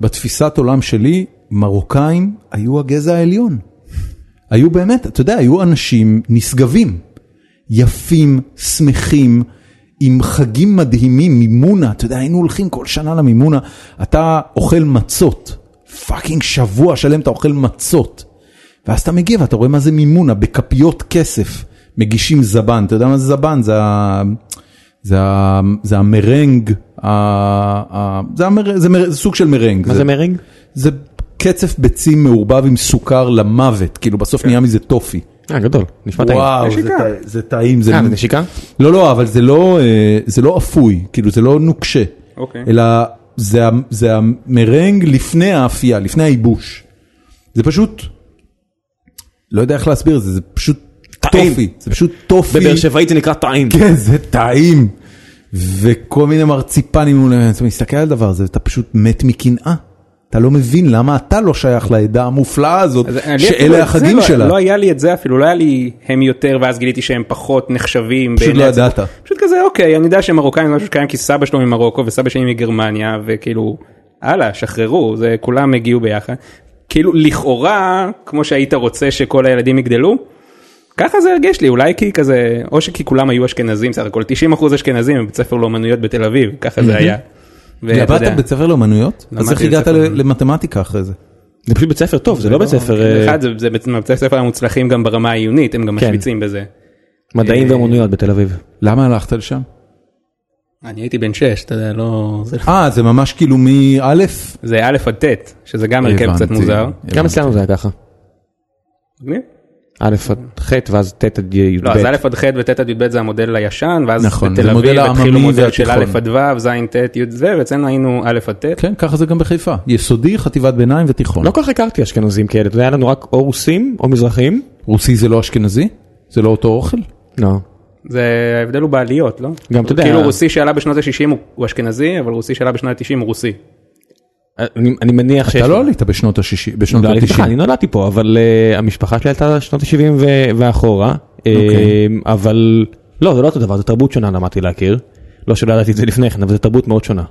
Speaker 1: בתפיסת עולם שלי, מרוקאים היו הגזע העליון. היו באמת, אתה יודע, היו אנשים נשגבים, יפים, שמחים, עם חגים מדהימים, מימונה, אתה יודע, היינו הולכים כל שנה למימונה, אתה אוכל מצות, פאקינג שבוע שלם אתה אוכל מצות, ואז אתה מגיע ואתה רואה מה זה מימונה, בכפיות כסף מגישים זבן, אתה יודע מה זה זבן? זה, ה- זה, ה- זה המרנג, ה, ה, זה, המר, זה, מר, זה סוג של מרנג.
Speaker 2: מה זה מרינג?
Speaker 1: זה קצף ביצים מעורבב עם סוכר למוות, כאילו בסוף
Speaker 2: כן.
Speaker 1: נהיה מזה טופי.
Speaker 2: אה, גדול. נשמע טעים.
Speaker 1: וואו, זה
Speaker 3: נשיקה.
Speaker 1: טע- זה טעים, זה...
Speaker 2: אה, זה נשיקה?
Speaker 1: לא, לא, אבל זה לא, אה, זה לא אפוי, כאילו זה לא נוקשה,
Speaker 3: אוקיי.
Speaker 1: אלא זה, ה- זה המרנג לפני האפייה, לפני הייבוש. זה פשוט, לא יודע איך להסביר את זה, זה פשוט
Speaker 2: טעים.
Speaker 1: טופי, זה פשוט טופי.
Speaker 2: בבאר שבעית זה נקרא טעים.
Speaker 1: כן, זה טעים. וכל מיני מרציפנים, מול- אתה מסתכל על דבר הזה, אתה פשוט מת מקנאה. אתה לא מבין למה אתה לא שייך לעדה המופלאה הזאת,
Speaker 3: אז אני אפילו
Speaker 1: שאלה
Speaker 3: את זה
Speaker 1: החגים
Speaker 3: לא-
Speaker 1: שלה.
Speaker 3: לא היה לי את זה אפילו, לא היה לי הם יותר, ואז גיליתי שהם פחות נחשבים.
Speaker 1: פשוט
Speaker 3: בעיני
Speaker 1: לא
Speaker 3: הציבור.
Speaker 1: ידעת.
Speaker 3: פשוט כזה, אוקיי, אני יודע שמרוקאים זה משהו שקיים כי סבא שלו ממרוקו וסבא שלי מגרמניה, וכאילו, הלאה, שחררו, זה כולם הגיעו ביחד. כאילו, לכאורה, כמו שהיית רוצה שכל הילדים יגדלו, ככה זה הרגיש לי, אולי כי כזה, או שכי כולם היו אשכנזים, סך הכל 90% אשכנזים בבית ספר לאומנויות בתל אביב, ככה זה היה. ואתה יודע,
Speaker 1: למדת בבית ספר לאומנויות? אז
Speaker 3: למדתי
Speaker 1: איך הגעת
Speaker 3: בבית ספר
Speaker 1: ל- למתמטיקה אחרי זה?
Speaker 2: זה פשוט בית ספר טוב, זה לא בית ספר אה,
Speaker 3: אחד, זה- זה בעצם הבית ספר המוצלחים גם ברמה העיונית, הם גם
Speaker 2: כן.
Speaker 3: משוויצים בזה.
Speaker 2: מדעים
Speaker 3: אה,
Speaker 2: ואומנויות בתל אביב.
Speaker 1: למה הלכת לשם?
Speaker 3: אני הייתי בן 6, אתה יודע, לא... זה לא-
Speaker 1: אה, זה ממש כאילו מא'?
Speaker 3: זה א' עד ט', שזה גם הרכב קצת
Speaker 1: הבנתי,
Speaker 3: מוזר.
Speaker 1: הבנתי.
Speaker 2: גם אצלנו זה היה ככה.
Speaker 3: מגניב.
Speaker 2: א' עד ח' ואז ט' עד י'
Speaker 3: לא, אז א' עד ח' וט' עד י"ב זה המודל הישן, ואז
Speaker 1: נכון,
Speaker 3: בתל
Speaker 1: זה מודל
Speaker 3: אביב התחילו
Speaker 1: העממי
Speaker 3: מודל של
Speaker 1: והתיכון.
Speaker 3: א' עד ו', ז', ט', י', זה, ואצלנו היינו א' עד ט'.
Speaker 1: כן, ככה זה גם בחיפה. יסודי, חטיבת ביניים ותיכון.
Speaker 2: לא כל כך הכרתי אשכנזים כאלה, אתה יודע, היה לנו רק או רוסים או מזרחים.
Speaker 1: רוסי זה לא אשכנזי? זה לא אותו אוכל?
Speaker 2: לא.
Speaker 3: זה, ההבדל הוא בעליות, לא?
Speaker 2: גם אתה יודע-
Speaker 3: כאילו רוסי שעלה בשנות ה-60 הוא אשכנזי, אבל רוסי שעלה בשנות ה-90 הוא רוסי.
Speaker 2: אני אני מניח שיש...
Speaker 1: אתה לא עלית בשנות ה-90. בשנות
Speaker 2: לא, אני איתך,
Speaker 1: ה-90.
Speaker 2: אני נולדתי פה, אבל אה, המשפחה שלי הייתה שנות ה-70 ואחורה, אה,
Speaker 1: אוקיי.
Speaker 2: אבל לא, זה לא אותו דבר, זו תרבות שונה למדתי להכיר. לא שלא ידעתי את זה לפני כן, אבל זו תרבות מאוד שונה.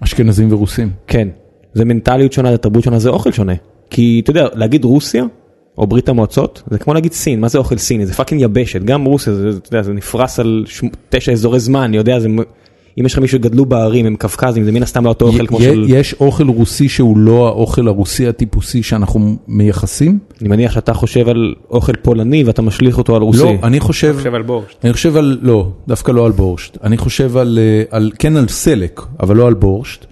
Speaker 1: אשכנזים ורוסים.
Speaker 2: כן, זה מנטליות שונה, זה תרבות שונה, זה אוכל שונה. כי אתה יודע, להגיד רוסיה או ברית המועצות, זה כמו להגיד סין, מה זה אוכל סיני? זה פאקינג יבשת, גם רוסיה, זה, זה- אתה יודע, זה נפרס על שמ- תשע אזורי זמן, אני יודע, זה... מ- אם יש לך מישהו שגדלו בערים, הם קווקזים, זה מן הסתם לא אותו אוכל כמו
Speaker 1: י-
Speaker 2: של...
Speaker 1: יש אוכל רוסי שהוא לא האוכל הרוסי הטיפוסי שאנחנו מייחסים?
Speaker 2: אני מניח שאתה חושב על אוכל פולני ואתה משליך אותו על רוסי.
Speaker 1: לא, אני חושב...
Speaker 3: עכשיו על בורשט.
Speaker 1: אני חושב על, לא, דווקא לא על בורשט. אני חושב על, אה, על כן על סלק, אבל לא על בורשט.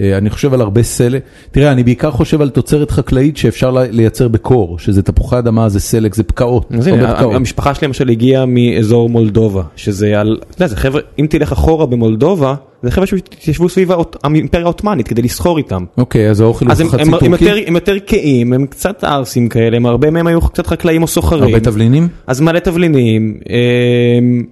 Speaker 1: אה, אני חושב על הרבה סלק. תראה, אני בעיקר חושב על תוצרת חקלאית שאפשר לי- לייצר בקור, שזה תפוחי אדמה, זה סלק, זה פקעות.
Speaker 2: אז
Speaker 1: הרבה
Speaker 2: הנה,
Speaker 1: פקעות.
Speaker 2: המשפחה שלי למשל הגיעה מאזור מולדובה, שזה על, אתה יודע, זה חבר'ה, אם תלך אחורה במולדובה, זה חבר'ה שהתיישבו סביב האוט- האימפריה העות'מאנית כדי לסחור איתם.
Speaker 1: אוקיי, אז האוכל
Speaker 2: אז הם,
Speaker 1: הוא חצי
Speaker 2: הם, הם, יותר,
Speaker 1: טורקי,
Speaker 2: הם יותר כהים, הם קצת ערסים כאלה, הם הרבה מהם היו קצת חקלאים או סוחרים.
Speaker 1: הרבה תבלינים.
Speaker 2: אז מלא תבלינים. אמ,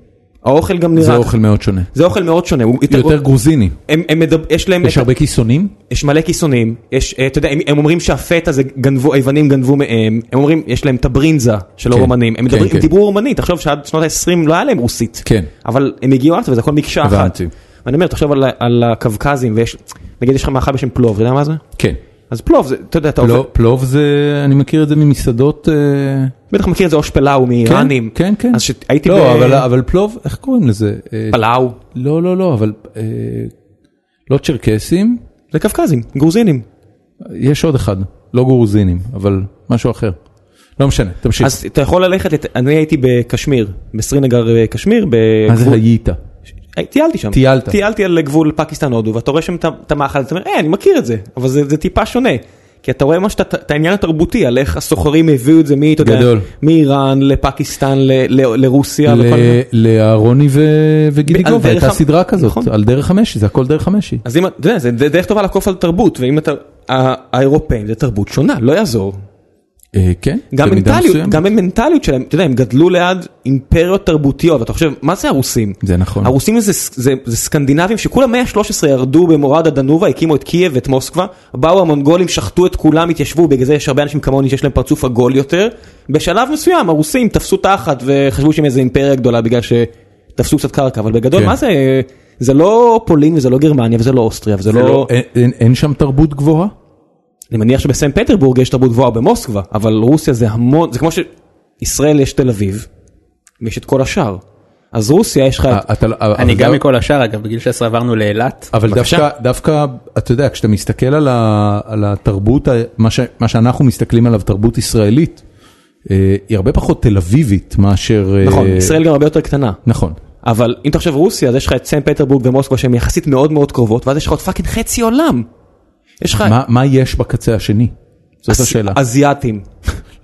Speaker 2: האוכל גם נראה...
Speaker 1: זה אוכל מאוד שונה.
Speaker 2: זה אוכל מאוד שונה. הוא-
Speaker 1: יותר גרוזיני.
Speaker 2: הם, הם מדבר, יש להם,
Speaker 1: יש הרבה כיסונים?
Speaker 2: יש מלא כיסונים, יש, אה, אתה יודע, הם, הם אומרים שהפטה זה גנבו, היוונים גנבו מהם, הם אומרים, יש להם את הברינזה של
Speaker 1: כן,
Speaker 2: הרומנים, הם,
Speaker 1: כן,
Speaker 2: מדברים,
Speaker 1: כן.
Speaker 2: הם דיברו רומנית, תחשוב שעד שנות ה-20 לא היה להם רוסית,
Speaker 1: כן.
Speaker 2: אבל הם הגיעו ארצה וזה הכל מקשה אחת.
Speaker 1: הבנתי.
Speaker 2: ואני אומר, תחשוב על, ה- על הקווקזים, ויש, נגיד יש לך מאכל בשם פלוב, אתה יודע מה זה?
Speaker 1: כן.
Speaker 2: אז פלוב, זה, אתה יודע, אתה עובד,
Speaker 1: פלוב- לא, פלוב זה, אני מכיר את זה ממסעדות... אה,
Speaker 2: בטח מכיר את זה אוש פלאו
Speaker 1: כן,
Speaker 2: מאיראנים.
Speaker 1: כן, כן.
Speaker 2: אז שהייתי
Speaker 1: לא, אבל- אבל פלוב, איך קוראים לזה? אה,
Speaker 2: פלאו,
Speaker 1: לא, לא, לא, אבל אה, לא צ'רקסים,
Speaker 2: זה קווקזים, גרוזינים.
Speaker 1: כן. יש עוד אחד, לא גרוזינים, אבל משהו אחר. לא משנה, תמשיך.
Speaker 2: אז אתה יכול ללכת, לת- אני הייתי בקשמיר, בסרינגר אה, קשמיר,
Speaker 1: מה זה
Speaker 2: בגבול-
Speaker 1: היית?
Speaker 2: היי, טיילתי שם.
Speaker 1: טיילת.
Speaker 2: טיילתי על גבול פקיסטן הודו ואתה רואה שם את ה- את המאכל, אתה אומר, היי, אני מכיר את זה, אבל זה, זה טיפה שונה. כי אתה רואה מה שאתה, את העניין התרבותי, על איך הסוחרים הביאו את זה מ... אתה יודע,
Speaker 1: גדול.
Speaker 2: מאיראן לפקיסטן ל, ל, לרוסיה
Speaker 1: ל-
Speaker 2: וכל מיני.
Speaker 1: לאהרוני ו-
Speaker 2: על דרך
Speaker 1: וגידיגובה, הייתה
Speaker 2: המ-
Speaker 1: סדרה כזאת,
Speaker 2: נכון.
Speaker 1: על דרך המשי, זה הכל דרך המשי.
Speaker 2: אז אם, אתה יודע, זה דרך טובה לעקוף על תרבות, ואם אתה, ה- האירופאים זה תרבות שונה, לא יעזור.
Speaker 1: אה, כן,
Speaker 2: גם
Speaker 1: במידה
Speaker 2: מנטליות,
Speaker 1: מסוימת.
Speaker 2: גם המנטליות שלהם, אתה יודע, הם גדלו ליד אימפריות תרבותיות, ואתה חושב, מה זה הרוסים?
Speaker 1: זה נכון.
Speaker 2: הרוסים זה, זה, זה סקנדינבים שכולם מאה ה-13 ירדו במורד הדנובה, הקימו את קייב ואת מוסקבה, באו המונגולים, שחטו את כולם, התיישבו, בגלל זה יש הרבה אנשים כמוני שיש להם פרצוף עגול יותר. בשלב מסוים הרוסים תפסו תחת וחשבו שהם איזה אימפריה גדולה בגלל שתפסו קצת קרקע, אבל בגדול
Speaker 1: כן.
Speaker 2: מה זה, זה לא פולין וזה לא גרמניה וזה לא אוסטריה וזה
Speaker 1: זה
Speaker 2: לא...
Speaker 1: לא- אין- אין- אין שם תרבות גבוהה?
Speaker 2: אני מניח שבסן פטרבורג יש תרבות גבוהה במוסקבה, אבל רוסיה זה המון, זה כמו שישראל יש תל אביב, ויש את כל השאר. אז רוסיה יש לך את...
Speaker 1: אה, אתה לא- אבל
Speaker 3: אני גם
Speaker 1: דו-
Speaker 3: מכל השאר אגב בגיל 16 עברנו לאילת.
Speaker 1: אבל דווקא, דווקא, אתה יודע, כשאתה מסתכל על, ה, על התרבות, ה- מה, ש, מה שאנחנו מסתכלים עליו, תרבות ישראלית, אה, היא הרבה פחות תל אביבית מאשר... אה,
Speaker 2: נכון, ישראל גם הרבה יותר קטנה.
Speaker 1: נכון.
Speaker 2: אבל אם תחשב רוסיה, אז יש לך את סן פטרבורג ומוסקבה שהן יחסית מאוד מאוד קרובות, ואז יש לך עוד פאקינג חצי עולם. יש לך
Speaker 1: מה, מה יש בקצה השני? זאת
Speaker 2: אס-
Speaker 1: השאלה.
Speaker 2: אזיאתים.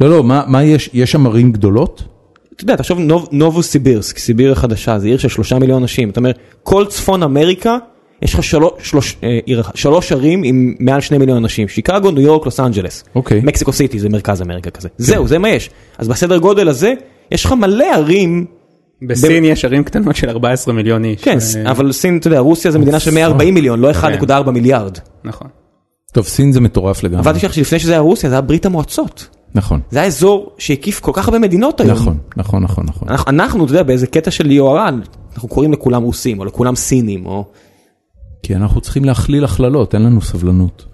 Speaker 1: לא, לא, מה, מה יש? יש שם ערים גדולות?
Speaker 2: אתה יודע, תחשוב נוב, נובו סיבירסק, סיביר החדשה, זה עיר של שלושה מיליון אנשים. אתה אומר, כל צפון אמריקה, יש לך שלוש, שלוש, אה, עיר, אחת- שלוש ערים עם מעל שני מיליון אנשים. שיקגו, ניו יורק, לוס אנג'לס.
Speaker 1: אוקיי. כן.
Speaker 2: מקסיקו סיטי זה מרכז אמריקה כזה. זהו, זה מה יש. אז בסדר גודל הזה, יש לך מלא ערים.
Speaker 3: בסין יש ערים קטנות של 14 מיליון איש.
Speaker 2: כן,
Speaker 3: אה,
Speaker 2: ס- אבל סין, אתה יודע, רוסיה זה מדינה של 140 מיליון,
Speaker 1: כן.
Speaker 2: לא 1.4
Speaker 1: אה.
Speaker 2: מיליארד.
Speaker 3: נכון.
Speaker 1: טוב, סין זה מטורף לגמרי.
Speaker 2: אבל אל תשכח שלפני שזה היה רוסיה, זה היה ברית המועצות.
Speaker 1: נכון,
Speaker 2: זה היה אזור שהקיף כל כך הרבה מדינות היום.
Speaker 1: נכון, נכון, נכון, נכון.
Speaker 2: אנחנו, אנחנו, אתה יודע, באיזה קטע של יוהר"ן, אנחנו קוראים לכולם רוסים, או לכולם סינים, או...
Speaker 1: כי אנחנו צריכים להכליל הכללות, אין לנו סבלנות.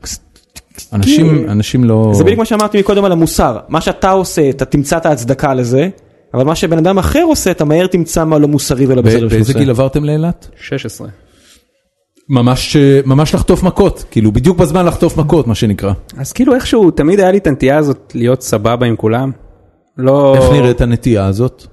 Speaker 1: אנשים, אנשים לא...
Speaker 2: זה בדיוק מה שאמרתי מקודם על המוסר. מה שאתה עושה, אתה תמצא את ההצדקה לזה, אבל מה שבן אדם אחר עושה, אתה מהר תמצא מה לא מוסרי ולא בסדר
Speaker 1: ב-
Speaker 2: שהוא
Speaker 1: באיזה
Speaker 2: עושה.
Speaker 1: גיל עברתם לאילת?
Speaker 3: 16.
Speaker 1: ממש, אה, ממש לחטוף מכות, כאילו בדיוק בזמן לחטוף מכות מה שנקרא.
Speaker 3: אז כאילו איכשהו תמיד היה לי את הנטייה הזאת להיות סבבה עם כולם. לא...
Speaker 1: איך נראית הנטייה הזאת?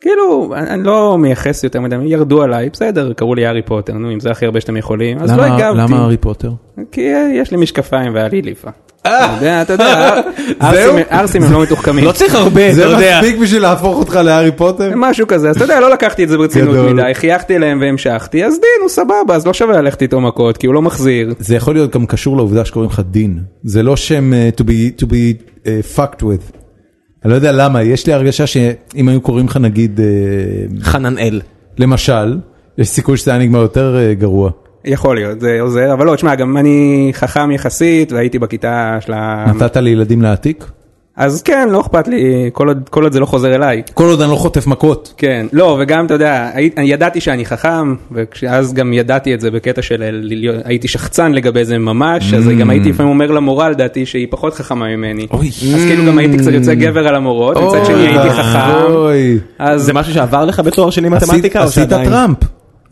Speaker 3: כאילו, אני, אני לא מייחס יותר מדי, ירדו עליי, בסדר, קראו לי הארי פוטר, נו, אם זה הכי הרבה שאתם יכולים, אז לא
Speaker 1: למה-
Speaker 3: הגבתי.
Speaker 1: למה הארי פוטר?
Speaker 3: כי אה, יש לי משקפיים והיה לי ליפה. אתה יודע, אתה יודע,
Speaker 1: זהו?
Speaker 3: ערסים- ערסים הם לא מתוחכמים.
Speaker 2: לא צריך הרבה, אתה יודע.
Speaker 1: בשביל להפוך אותך להארי פוטר?
Speaker 3: משהו כזה, אז אתה יודע, לא לקחתי את זה ברצינות
Speaker 1: גדול.
Speaker 3: מדי, חייכתי אליהם והמשכתי, אז דין, הוא סבבה, אז לא שווה ללכת איתו מכות, כי הוא לא מחזיר.
Speaker 1: זה יכול להיות גם קשור לעובדה שקוראים לך דין. זה לא שם אה, to be, to be אה, fucked with. אני לא יודע למה, יש לי הרגשה שאם היו קוראים לך נגיד, אה,
Speaker 2: חננאל.
Speaker 1: למשל, יש סיכוי שזה היה נגמר יותר אה, גרוע.
Speaker 3: יכול להיות, זה עוזר, אבל לא, תשמע, גם אני חכם יחסית, והייתי בכיתה של ה...
Speaker 1: נתת לילדים להעתיק?
Speaker 3: אז כן, לא אכפת לי, כל עוד- כל עוד זה לא חוזר אליי.
Speaker 1: כל עוד אני לא חוטף מכות.
Speaker 3: כן, לא, וגם, אתה יודע, הי- אני ידעתי שאני חכם, ואז גם ידעתי את זה בקטע של ל- ל- הייתי שחצן לגבי זה ממש, אז גם הייתי לפעמים אומר למורה, לדעתי, שהיא פחות חכמה ממני.
Speaker 1: אוי.
Speaker 3: אז כאילו גם הייתי קצת יוצא גבר על המורות, מצד שני הייתי חכם.
Speaker 1: אוי.
Speaker 3: אז
Speaker 2: זה משהו שעבר לך בתואר שני מתמטיקה? או
Speaker 1: עשית
Speaker 2: שעדיין?
Speaker 1: טראמפ.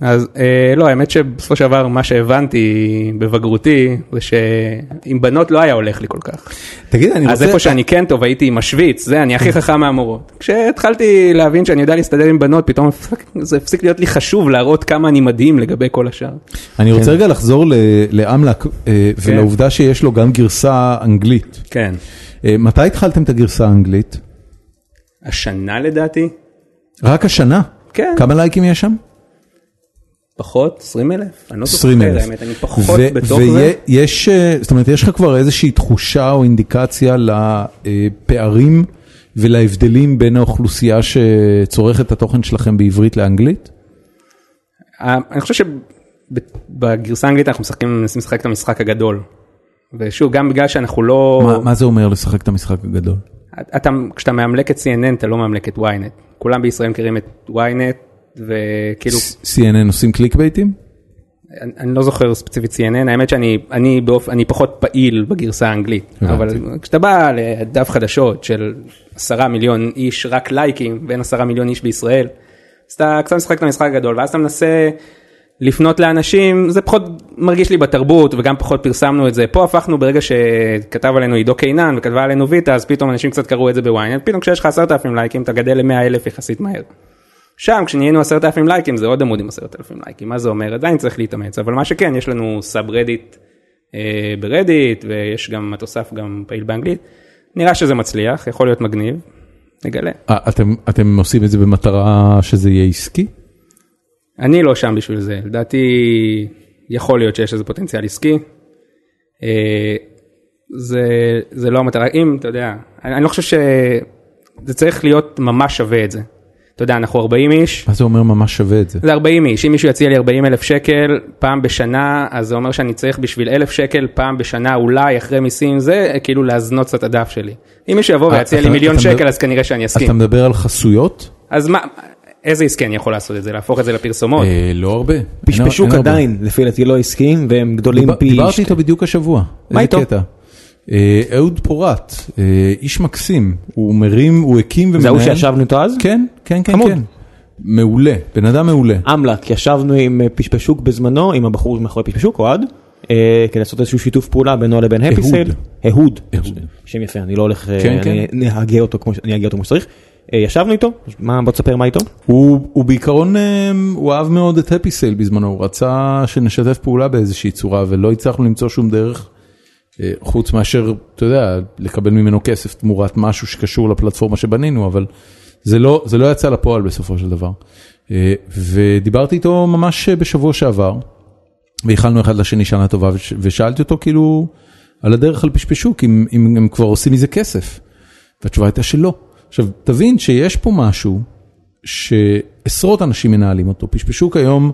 Speaker 3: אז אה, לא, האמת שבסופו של דבר מה שהבנתי בבגרותי זה שעם בנות לא היה הולך לי כל כך.
Speaker 1: תגיד, אני
Speaker 3: אז
Speaker 1: רוצה...
Speaker 3: איפה שאני כן טוב הייתי משוויץ, זה אני הכי חכם מהמורות. כשהתחלתי להבין שאני יודע להסתדר עם בנות, פתאום הפסק- זה הפסיק להיות לי חשוב להראות כמה אני מדהים לגבי כל השאר.
Speaker 1: אני
Speaker 3: כן.
Speaker 1: רוצה רגע לחזור ל- לאמל"ק אה, ולעובדה שיש לו גם גרסה אנגלית.
Speaker 3: כן.
Speaker 1: אה, מתי התחלתם את הגרסה האנגלית?
Speaker 3: השנה לדעתי,
Speaker 1: רק השנה?
Speaker 3: כן.
Speaker 1: כמה לייקים יש שם?
Speaker 3: פחות, 20 אלף? אני לא זוכר,
Speaker 1: 20 אלף.
Speaker 3: האמת, אני פחות
Speaker 1: ו-
Speaker 3: בתוך זה.
Speaker 1: ויש, אה, זאת אומרת, יש לך כבר איזושהי תחושה או אינדיקציה אה, לפערים ולהבדלים בין האוכלוסייה שצורכת את התוכן שלכם בעברית לאנגלית?
Speaker 3: אה, אני חושב שבגרסה האנגלית אנחנו משחקים, מנסים לשחק את המשחק הגדול. ושוב, גם בגלל שאנחנו לא...
Speaker 1: מה- מה זה אומר לשחק את המשחק הגדול?
Speaker 3: אתה, כשאתה מאמלק את CNN אתה לא מאמלק את ynet. כולם בישראל מכירים את ynet וכאילו
Speaker 1: CNN עושים קליק בייטים?
Speaker 3: אני, אני לא זוכר ספציפית CNN האמת שאני אני באופ, אני פחות פעיל בגרסה האנגלית
Speaker 1: הבנתי.
Speaker 3: אבל כשאתה בא לדף חדשות של 10 מיליון איש רק לייקים בין 10 מיליון איש בישראל אז אתה קצת משחק את המשחק הגדול ואז אתה מנסה לפנות לאנשים זה פחות מרגיש לי בתרבות וגם פחות פרסמנו את זה פה הפכנו ברגע שכתב עלינו עידו קינן וכתבה עלינו ויטה אז פתאום אנשים קצת קראו את זה בוויינט פתאום כשיש לך 10,000 לייקים אתה גדל ל-100 אלף יחסית מהר. שם כשנהיינו 10,000 לייקים זה עוד עמוד עם 10,000 לייקים מה זה אומר עדיין צריך להתאמץ אבל מה שכן יש לנו סאב רדיט אה, ברדיט ויש גם התוסף גם פעיל באנגלית נראה שזה מצליח יכול להיות מגניב נגלה
Speaker 1: אה, אתם- אתם עושים את זה במטרה שזה יהיה עסקי?
Speaker 3: אני לא שם בשביל זה לדעתי יכול להיות שיש איזה פוטנציאל עסקי. אה, זה זה לא המטרה אם אתה יודע אני, אני לא חושב שזה צריך להיות ממש שווה את זה. אתה יודע אנחנו 40 איש
Speaker 1: מה זה אומר ממש שווה את זה?
Speaker 3: זה 40 איש, אם מישהו יציע לי 40 אלף שקל פעם בשנה, אז זה אומר שאני צריך בשביל אלף שקל פעם בשנה אולי אחרי מיסים זה, כאילו להזנות קצת הדף שלי. אם מישהו יבוא
Speaker 1: אה,
Speaker 3: ויציע
Speaker 1: אתה-
Speaker 3: לי מיליון
Speaker 1: אתה מדבר-
Speaker 3: שקל אז כנראה שאני
Speaker 1: אז אתה
Speaker 3: אסכים.
Speaker 1: מדבר על חסויות?
Speaker 3: אז מה, איזה עסקן יכול לעשות את זה? להפוך את זה לפרסומות?
Speaker 1: אה, לא הרבה.
Speaker 2: פשפשוק
Speaker 1: אין- אין הרבה.
Speaker 2: נכון. עדיין לפי דעתי לא עסקיים והם גדולים
Speaker 1: דיבר-
Speaker 2: פי
Speaker 1: דיברתי איתו בדיוק השבוע. איזה
Speaker 2: איתו?
Speaker 1: קטע. אה, אהוד פורת, אה, איש מקסים, הוא מרים, הוא הקים ומנהל.
Speaker 2: זה ההוא שישבנו איתו אז?
Speaker 1: כן, כן, כן,
Speaker 2: חמוד.
Speaker 1: כן. מעולה, בן אדם מעולה.
Speaker 2: אמל"ק ישבנו עם אה, פשפשוק בזמנו עם הבחור מאחורי פשפשוק אוהד אה, כדי לעשות איזשהו שיתוף פעולה בינו לבין הפי
Speaker 1: אהוד.
Speaker 2: סייל. אהוד.
Speaker 1: אהוד.
Speaker 2: שם יפה אני לא הולך אה,
Speaker 1: כן,
Speaker 2: אני
Speaker 1: כן.
Speaker 2: נהגה אותו כמו ש- אני אהגה אותו כמו שצריך. אה, ישבנו איתו מה בוא תספר מה איתו.
Speaker 1: הוא, הוא בעיקרון, אה, הוא אהב מאוד את הפי סייל בזמנו, הוא רצה שנשתף פעולה באיזושהי צורה ולא הצלחנו למצוא שום דרך, אה, חוץ מאשר, אתה יודע, לקבל ממנו כסף תמורת משהו שקשור לפלטפורמה שבנינו, אבל זה לא, זה לא יצא לפועל בסופו של דבר. אה, ודיברתי איתו ממש אה, בשבוע שעבר, ואיחלנו אחד לשני שנה טובה, וש, ושאלתי אותו כאילו על הדרך על פשפשוק, אם, אם הם כבר עושים מזה כסף. והתשובה הייתה שלא. עכשיו, תבין שיש פה משהו שעשרות אנשים מנהלים אותו. פשפשוק היום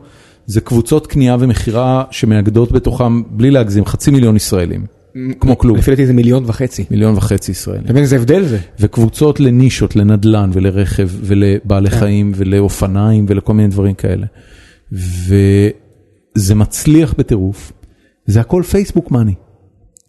Speaker 1: זה קבוצות קנייה ומכירה שמאגדות בתוכם, בלי להגזים, חצי מיליון ישראלים. כמו כלום,
Speaker 4: לפי דעתי זה מיליון וחצי.
Speaker 1: מיליון וחצי ישראלים.
Speaker 4: אתה מבין איזה הבדל זה?
Speaker 1: וקבוצות לנישות, לנדלן ולרכב ולבעלי
Speaker 4: כן.
Speaker 1: חיים ולאופניים ולכל מיני דברים כאלה. וזה מצליח בטירוף, זה הכל פייסבוק מאני.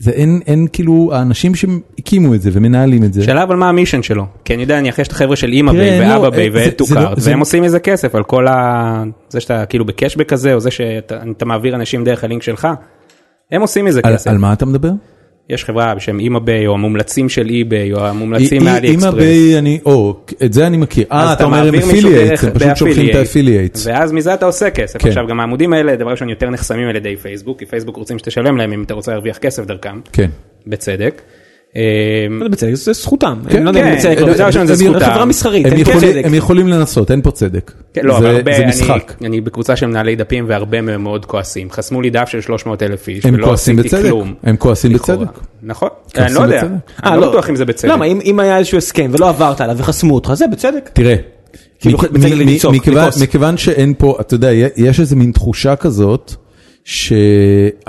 Speaker 1: זה אין, אין כאילו, האנשים שהקימו את זה ומנהלים את זה.
Speaker 3: שאלה אבל מה המישן שלו? כי אני יודע, נניח יש את החבר'ה של אימא
Speaker 1: תראה,
Speaker 3: ביי
Speaker 1: לא,
Speaker 3: ואבא
Speaker 1: אה,
Speaker 3: ביי
Speaker 1: זה-
Speaker 3: ואתו
Speaker 1: זה לא-
Speaker 3: קארט,
Speaker 1: זה-
Speaker 3: והם עושים מזה כסף על כל ה... זה שאתה כאילו בקשבק כזה, או זה שאתה אתה מעביר אנשים דרך הלינק שלך, הם עושים מזה
Speaker 1: על,
Speaker 3: כסף.
Speaker 1: על מה אתה מדבר?
Speaker 3: יש חברה בשם אימא ביי, או המומלצים של אי ביי, או המומלצים
Speaker 1: אי-
Speaker 3: מאלי
Speaker 1: אם
Speaker 3: אקספרס.
Speaker 1: הביי, אני, או, את זה אני מכיר.
Speaker 3: אז
Speaker 1: אה, אתה אומר הם
Speaker 3: מעביר מישהו
Speaker 1: אפילייטס,
Speaker 3: דרך-
Speaker 1: הם פשוט שולחים את
Speaker 3: ב-affiliate,
Speaker 1: האפילייטס.
Speaker 3: ואז מזה אתה עושה כסף.
Speaker 1: כן.
Speaker 3: עכשיו גם העמודים האלה, דבר ראשון, יותר נחסמים על ידי פייסבוק, כי פייסבוק רוצים שתשלם להם אם אתה רוצה להרוויח כסף דרכם,
Speaker 1: כן.
Speaker 3: בצדק. אה,
Speaker 2: מה זה בצדק? זה זכותם.
Speaker 1: כן,
Speaker 2: אני לא יודע אם
Speaker 3: כן,
Speaker 2: בצדק, לא
Speaker 3: זה
Speaker 2: בצדק.
Speaker 3: ראשון, זה
Speaker 2: הם
Speaker 3: זכותם.
Speaker 2: חברה מסחרית.
Speaker 1: הם
Speaker 2: אין
Speaker 1: יכולים-
Speaker 2: צדק.
Speaker 1: הם יכולים לנסות, אין פה צדק.
Speaker 3: כן, לא,
Speaker 1: זה-
Speaker 3: אבל הרבה,
Speaker 1: זה
Speaker 3: אני,
Speaker 1: משחק.
Speaker 3: אני בקבוצה של מנהלי דפים והרבה מהם מאוד כועסים. חסמו לי דף של 300 אלף איש,
Speaker 1: הם
Speaker 3: ולא
Speaker 1: כועסים
Speaker 3: עשיתי
Speaker 1: בצדק,
Speaker 3: כלום.
Speaker 1: הם כועסים
Speaker 3: לכאורה.
Speaker 1: בצדק.
Speaker 3: נכון,
Speaker 1: כועסים
Speaker 3: אני לא יודע,
Speaker 1: בצדק.
Speaker 2: אה,
Speaker 3: אני לא בטוח אם זה בצדק.
Speaker 2: למה אם- אם היה איזשהו הסכם ולא עברת עליו וחסמו אותך זה בצדק.
Speaker 1: תראה,
Speaker 2: כאילו,
Speaker 1: מכ-
Speaker 2: בצדק
Speaker 1: מ-
Speaker 2: לצעוק,
Speaker 1: מ- מכיוון-
Speaker 2: לכעוס.
Speaker 1: מכיוון שאין פה, אתה יודע, יש איזה מין תחושה כזאת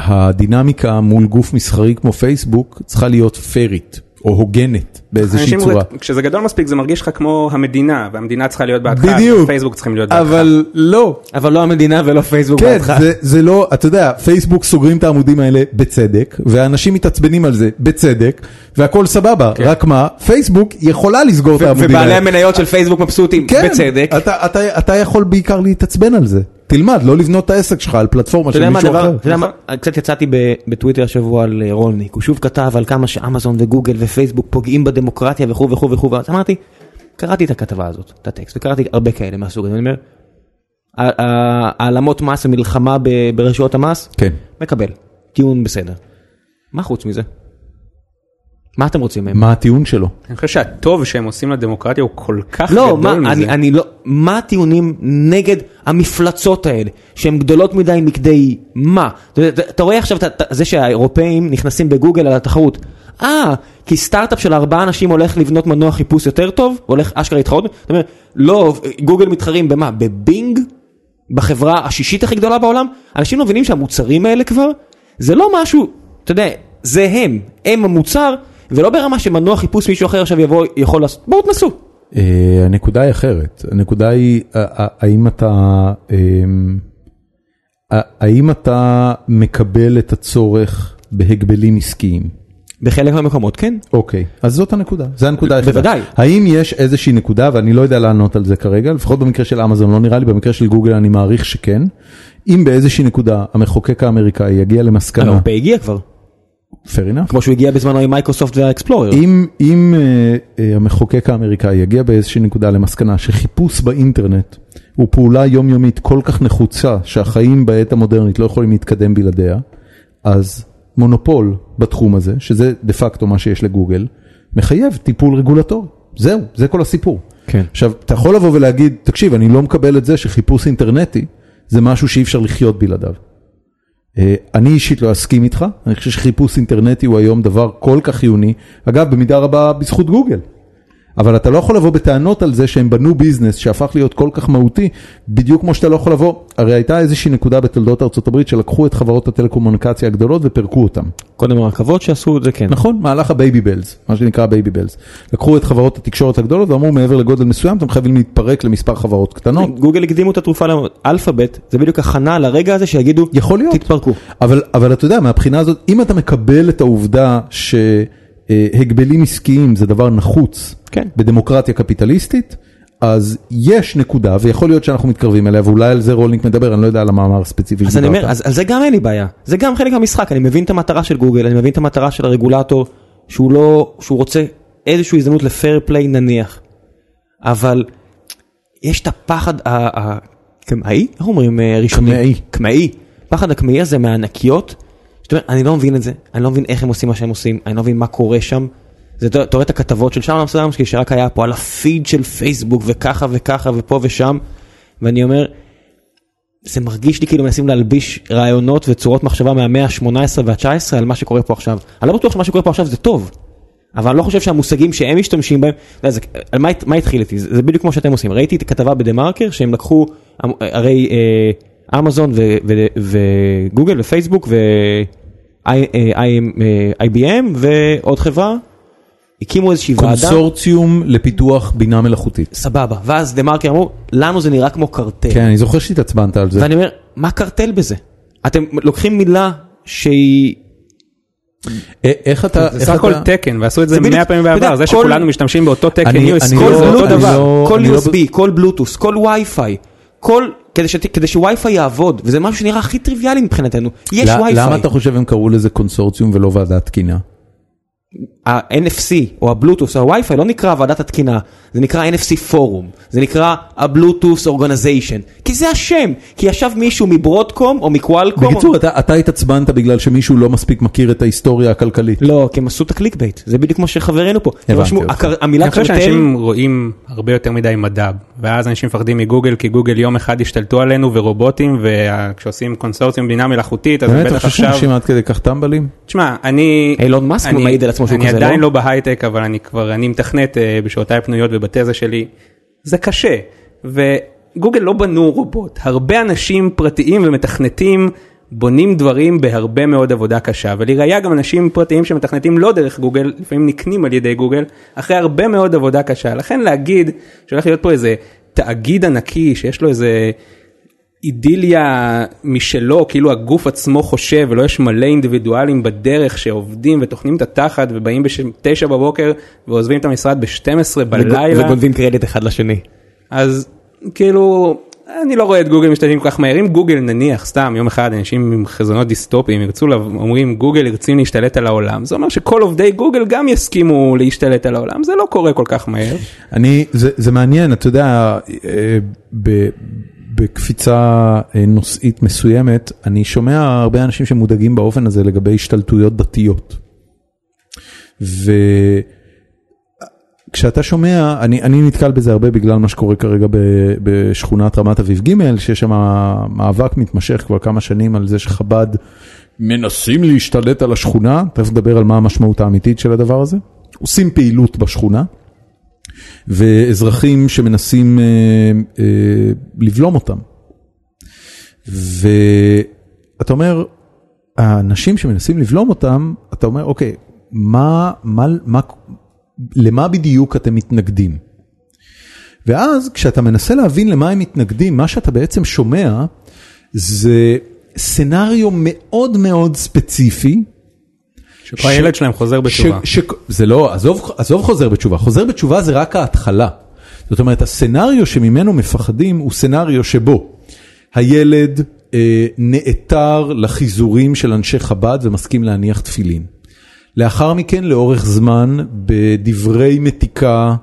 Speaker 1: שהדינמיקה מול גוף מסחרי כמו פייסבוק צריכה להיות פיירית או הוגנת באיזושהי
Speaker 3: אנשים
Speaker 1: צורה.
Speaker 3: רוצים- כשזה גדול מספיק זה מרגיש לך כמו המדינה, והמדינה צריכה להיות בעדך,
Speaker 1: בדיוק.
Speaker 3: פייסבוק צריכים להיות בעדך.
Speaker 1: אבל לא,
Speaker 2: אבל לא המדינה ולא פייסבוק.
Speaker 1: כן,
Speaker 2: בעדך.
Speaker 1: זה, זה לא, אתה יודע, פייסבוק סוגרים את העמודים האלה בצדק, והאנשים מתעצבנים על זה בצדק, והכל סבבה, כן. רק מה, פייסבוק יכולה לסגור את העמודים
Speaker 2: ובעלי
Speaker 1: האלה.
Speaker 2: המניות של פייסבוק מבסוטים
Speaker 1: כן,
Speaker 2: בצדק.
Speaker 1: אתה, אתה, אתה יכול בעיקר להתעצבן על זה. תלמד, לא לבנות את העסק שלך על פלטפורמה
Speaker 2: אתה
Speaker 1: של
Speaker 2: יודע מה
Speaker 1: מישהו
Speaker 2: הדבר,
Speaker 1: אחר.
Speaker 2: אתה יודע מה, קצת יצאתי ב- בטוויטר השבוע על אה, רולניק, הוא שוב כתב על כמה שאמזון וגוגל ופייסבוק פוגעים בדמוקרטיה וכו' וכו' וכו', ואז אמרתי, קראתי את הכתבה הזאת, את הטקסט, וקראתי הרבה כאלה מהסוג הזה, אני אומר, ה- ה- העלמות מס ומלחמה ב- ברשויות המס,
Speaker 1: כן.
Speaker 2: מקבל, טיעון בסדר. מה חוץ מזה? מה אתם רוצים מהם?
Speaker 1: מה הטיעון שלו?
Speaker 3: אני חושב שהטוב שהם עושים לדמוקרטיה הוא כל כך
Speaker 2: לא,
Speaker 3: גדול
Speaker 2: מה,
Speaker 3: מזה.
Speaker 2: אני, אני לא, מה הטיעונים נגד המפלצות האלה, שהן גדולות מדי מכדי מה? אתה, יודע, אתה, אתה רואה עכשיו את ה- את זה שהאירופאים נכנסים בגוגל על התחרות. אה, כי סטארט-אפ של ארבעה אנשים הולך לבנות מנוע חיפוש יותר טוב, הולך אשכרה להתחרות, אתה אומר, לא, גוגל מתחרים במה? בבינג? בחברה השישית הכי גדולה בעולם, אנשים לא מבינים שהמוצרים האלה כבר, זה לא משהו, אתה יודע, זה הם, הם המוצר, ולא ברמה שמנוע חיפוש מישהו אחר עכשיו יבוא, יכול לעשות, בואו תנסו.
Speaker 1: אה, הנקודה היא אחרת, הנקודה היא אה, אה, האם אתה, אמ, אה, האם אתה מקבל את הצורך בהגבלים עסקיים?
Speaker 2: בחלק מהמקומות, כן.
Speaker 1: אוקיי, אז זאת הנקודה, זו הנקודה היחידה.
Speaker 2: בוודאי.
Speaker 1: האם יש איזושהי נקודה, ואני לא יודע לענות על זה כרגע, לפחות במקרה של אמזון לא נראה לי, במקרה של גוגל אני מעריך שכן, אם באיזושהי נקודה המחוקק האמריקאי יגיע
Speaker 2: אבל
Speaker 1: למסקנה,
Speaker 2: הוא הגיע כבר,
Speaker 1: fair enough,
Speaker 2: כמו שהוא הגיע בזמנו עם מייקרוסופט והאקספלורר.
Speaker 1: אם, אם אה, אה, המחוקק האמריקאי יגיע באיזושהי נקודה למסקנה שחיפוש באינטרנט הוא פעולה יומיומית כל כך נחוצה שהחיים בעת המודרנית לא יכולים להתקדם בלעדיה, אז מונופול בתחום הזה, שזה דה פקטו מה שיש לגוגל, מחייב טיפול רגולטורי. זהו, זה כל הסיפור.
Speaker 2: כן.
Speaker 1: עכשיו, אתה יכול לבוא ולהגיד, תקשיב, אני לא מקבל את זה שחיפוש אינטרנטי זה משהו שאי אפשר לחיות בלעדיו. אה, אני אישית לא אסכים איתך, אני חושב שחיפוש אינטרנטי הוא היום דבר כל כך חיוני, אגב במידה רבה בזכות גוגל. אבל אתה לא יכול לבוא בטענות על זה שהם בנו ביזנס שהפך להיות כל כך מהותי, בדיוק כמו שאתה לא יכול לבוא, הרי הייתה איזושהי נקודה בתולדות ארה"ב שלקחו את חברות הטלקומוניקציה הגדולות ופרקו אותן.
Speaker 2: קודם הרכבות שעשו את זה, כן.
Speaker 1: נכון, מהלך הבייבי בלז, מה שנקרא בייבי בלז. לקחו את חברות התקשורת הגדולות ואמרו מעבר לגודל מסוים אתם חייבים להתפרק למספר חברות קטנות.
Speaker 2: גוגל הקדימו את התרופה לאלפאבית, זה בדיוק הכנה לרגע הזה שיגידו,
Speaker 1: יכול להיות.
Speaker 2: תתפרקו.
Speaker 1: אבל, אבל אתה יודע, מהבחינה הזאת, אם אתה מקבל את העובדה שהגבלים עסקיים זה דבר נחוץ
Speaker 2: כן.
Speaker 1: בדמוקרטיה קפיטליסטית, אז יש נקודה, ויכול להיות שאנחנו מתקרבים אליה, ואולי על זה רולניק מדבר, אני לא יודע על המאמר הספציפי
Speaker 2: אז אני אומר, אז על זה גם אין לי בעיה, זה גם חלק מהמשחק, אני מבין את המטרה של גוגל, אני מבין את המטרה של הרגולטור, שהוא לא, שהוא רוצה איזושהי הזדמנות לפייר פליי נניח, אבל יש את הפחד הקמאי, איך אומרים אה, ראשונים?
Speaker 1: קמאי.
Speaker 2: קמאי, פחד הקמאי הזה מהענקיות, שאתה אומר, אני לא מבין את זה, אני לא מבין איך הם עושים מה שהם עושים, אני לא מבין מה קורה שם. זה, אתה אתה רואה את הכתבות של שרלם סדמסקי שרק היה פה על הפיד של פייסבוק וככה וככה ופה ושם ואני אומר זה מרגיש לי כאילו מנסים להלביש רעיונות וצורות מחשבה מהמאה ה-18 וה-19 על מה שקורה פה עכשיו. אני לא בטוח שמה שקורה פה עכשיו זה טוב, אבל אני לא חושב שהמושגים שהם משתמשים בהם, אתה יודע, זה, על מה, הת- מה התחיל איתי? זה, זה בדיוק כמו שאתם עושים. ראיתי את הכתבה בדה מרקר שהם לקחו, אמ- הרי אה, אמזון ו- ו- וגוגל ופייסבוק אה, ו-IBM ועוד חברה, הקימו איזושהי ועדה.
Speaker 1: קונסורציום לפיתוח בינה מלאכותית.
Speaker 2: סבבה, ואז דה מרקר אמרו, לנו זה נראה כמו קרטל.
Speaker 1: כן, אני זוכר שהתעצבנת על זה.
Speaker 2: ואני אומר, מה קרטל בזה? אתם לוקחים מילה שהיא...
Speaker 1: א- איך אתה...
Speaker 3: זה
Speaker 1: איך
Speaker 3: סך הכל
Speaker 1: אתה-
Speaker 3: תקן ועשו את זה
Speaker 2: זה בדיוק-
Speaker 3: 100 פעמים
Speaker 2: אתה יודע,
Speaker 3: בעבר, זה
Speaker 2: כל-
Speaker 3: שכולנו משתמשים באותו תקן
Speaker 1: אני-
Speaker 3: USB
Speaker 1: אני
Speaker 3: זה
Speaker 1: לא-
Speaker 3: אותו
Speaker 1: אני
Speaker 3: דבר.
Speaker 1: לא-
Speaker 2: כל
Speaker 1: אני לא
Speaker 2: USB, כל בלוטוס, כל וי-פיי, כל... כדי, ש... כדי שווי-פיי יעבוד, וזה משהו שנראה הכי טריוויאלי מבחינתנו. יש
Speaker 1: ל-
Speaker 2: וי-פיי.
Speaker 1: למה אתה חושב הם קראו לזה קונסורציום ולא ועדת תקינה?
Speaker 2: ה-NFC או הבלוטוס או הווי-פיי לא נקרא ועדת התקינה, זה נקרא NFC פורום, זה נקרא הבלוטוס אורגניזיישן, כי זה השם, כי ישב מישהו מברודקום או מקוואלקום.
Speaker 1: בקיצור, אתה אתה התעצבנת בגלל שמישהו לא מספיק מכיר את ההיסטוריה הכלכלית.
Speaker 2: לא, כי הם עשו את הקליק בייט, זה בדיוק כמו שחברינו פה. הם
Speaker 1: הבנתי
Speaker 2: רשמו,
Speaker 1: אותך.
Speaker 2: הקר-
Speaker 3: אני
Speaker 2: המילה
Speaker 3: חושב
Speaker 1: לא-
Speaker 2: קרטל,
Speaker 3: שאנשים רואים הרבה יותר מדי מדע, ואז אנשים מפחדים מגוגל, כי גוגל יום אחד השתלטו עלינו ורובוטים, וכשעושים קונסורציום בינה מלאכותית, אז
Speaker 1: באמת, אתה
Speaker 3: בטח
Speaker 1: חושב
Speaker 3: עכשיו...
Speaker 1: שאנשים עד כדי כך טמבלים?
Speaker 3: תשמע, אני...
Speaker 2: אילון מאסק
Speaker 3: אני-
Speaker 2: מעיד על עצמו שהוא כזה,
Speaker 3: אני
Speaker 2: לא?
Speaker 3: עדיין לא בהייטק, אבל אני כבר, אני מתכנת אה, בשעותיי הפנויות ובתזה שלי. זה קשה. וגוגל לא בנו רובוט. הרבה אנשים פרטיים ומתכנתים בונים דברים בהרבה מאוד עבודה קשה. ולראיה גם אנשים פרטיים שמתכנתים לא דרך גוגל, לפעמים נקנים על ידי גוגל, אחרי הרבה מאוד עבודה קשה. לכן להגיד שהולך להיות פה איזה תאגיד ענקי שיש לו איזה... אידיליה משלו, כאילו הגוף עצמו חושב ולא יש מלא אינדיבידואלים בדרך שעובדים וטוחנים את התחת ובאים ב-9 בבוקר ועוזבים את המשרד ב-12 בלילה,
Speaker 2: וגונבים קרדיט אחד לשני.
Speaker 3: אז כאילו אני לא רואה את גוגל משתתפים כל כך מהר, אם גוגל נניח סתם יום אחד אנשים עם חזונות דיסטופיים ירצו, לב- אומרים גוגל רוצים להשתלט על העולם, זה אומר שכל עובדי גוגל גם יסכימו להשתלט על העולם, זה לא קורה כל כך מהר.
Speaker 1: אני, זה, זה מעניין, אתה יודע, אה, ב, בקפיצה אה, נושאית מסוימת, אני שומע הרבה אנשים שמודאגים באופן הזה לגבי השתלטויות דתיות. וכשאתה שומע, אני, אני נתקל בזה הרבה בגלל מה שקורה כרגע ב, בשכונת רמת אביב ג', שיש שם מאבק מתמשך כבר כמה שנים על זה שחב"ד מנסים להשתלט על השכונה, תכף נדבר על מה המשמעות האמיתית של הדבר הזה. עושים פעילות בשכונה. ואזרחים שמנסים אה, אה, לבלום אותם. ואתה אומר, האנשים שמנסים לבלום אותם, אתה אומר, אוקיי, מה, מה, מה, למה בדיוק אתם מתנגדים? ואז כשאתה מנסה להבין למה הם מתנגדים, מה שאתה בעצם שומע זה סצנריו מאוד מאוד ספציפי.
Speaker 3: שפה הילד שלהם חוזר בתשובה.
Speaker 1: ש, ש, זה לא, עזוב, עזוב חוזר בתשובה, חוזר בתשובה זה רק ההתחלה. זאת אומרת, הסצנריו שממנו מפחדים הוא סצנריו שבו הילד אה, נעתר לחיזורים של אנשי חב"ד ומסכים להניח תפילין. לאחר מכן, לאורך זמן, בדברי מתיקה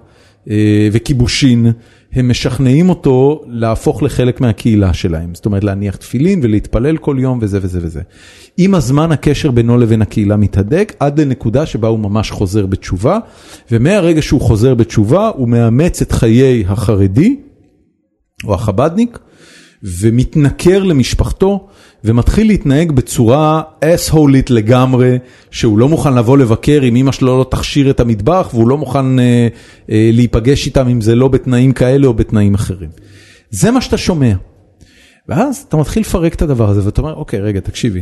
Speaker 1: אה, וכיבושין, הם משכנעים אותו להפוך לחלק מהקהילה שלהם. זאת אומרת, להניח תפילין ולהתפלל כל יום וזה וזה וזה. עם הזמן הקשר בינו לבין הקהילה מתהדק, עד לנקודה שבה הוא ממש חוזר בתשובה, ומהרגע שהוא חוזר בתשובה, הוא מאמץ את חיי החרדי, או החבדניק, ומתנכר למשפחתו, ומתחיל להתנהג בצורה אס-הולית לגמרי, שהוא לא מוכן לבוא לבקר אם אמא שלו לא תכשיר את המטבח, והוא לא מוכן אה, אה, להיפגש איתם אם זה לא בתנאים כאלה או בתנאים אחרים. זה מה שאתה שומע. ואז אתה מתחיל לפרק את הדבר הזה, ואתה אומר, אוקיי, רגע, תקשיבי.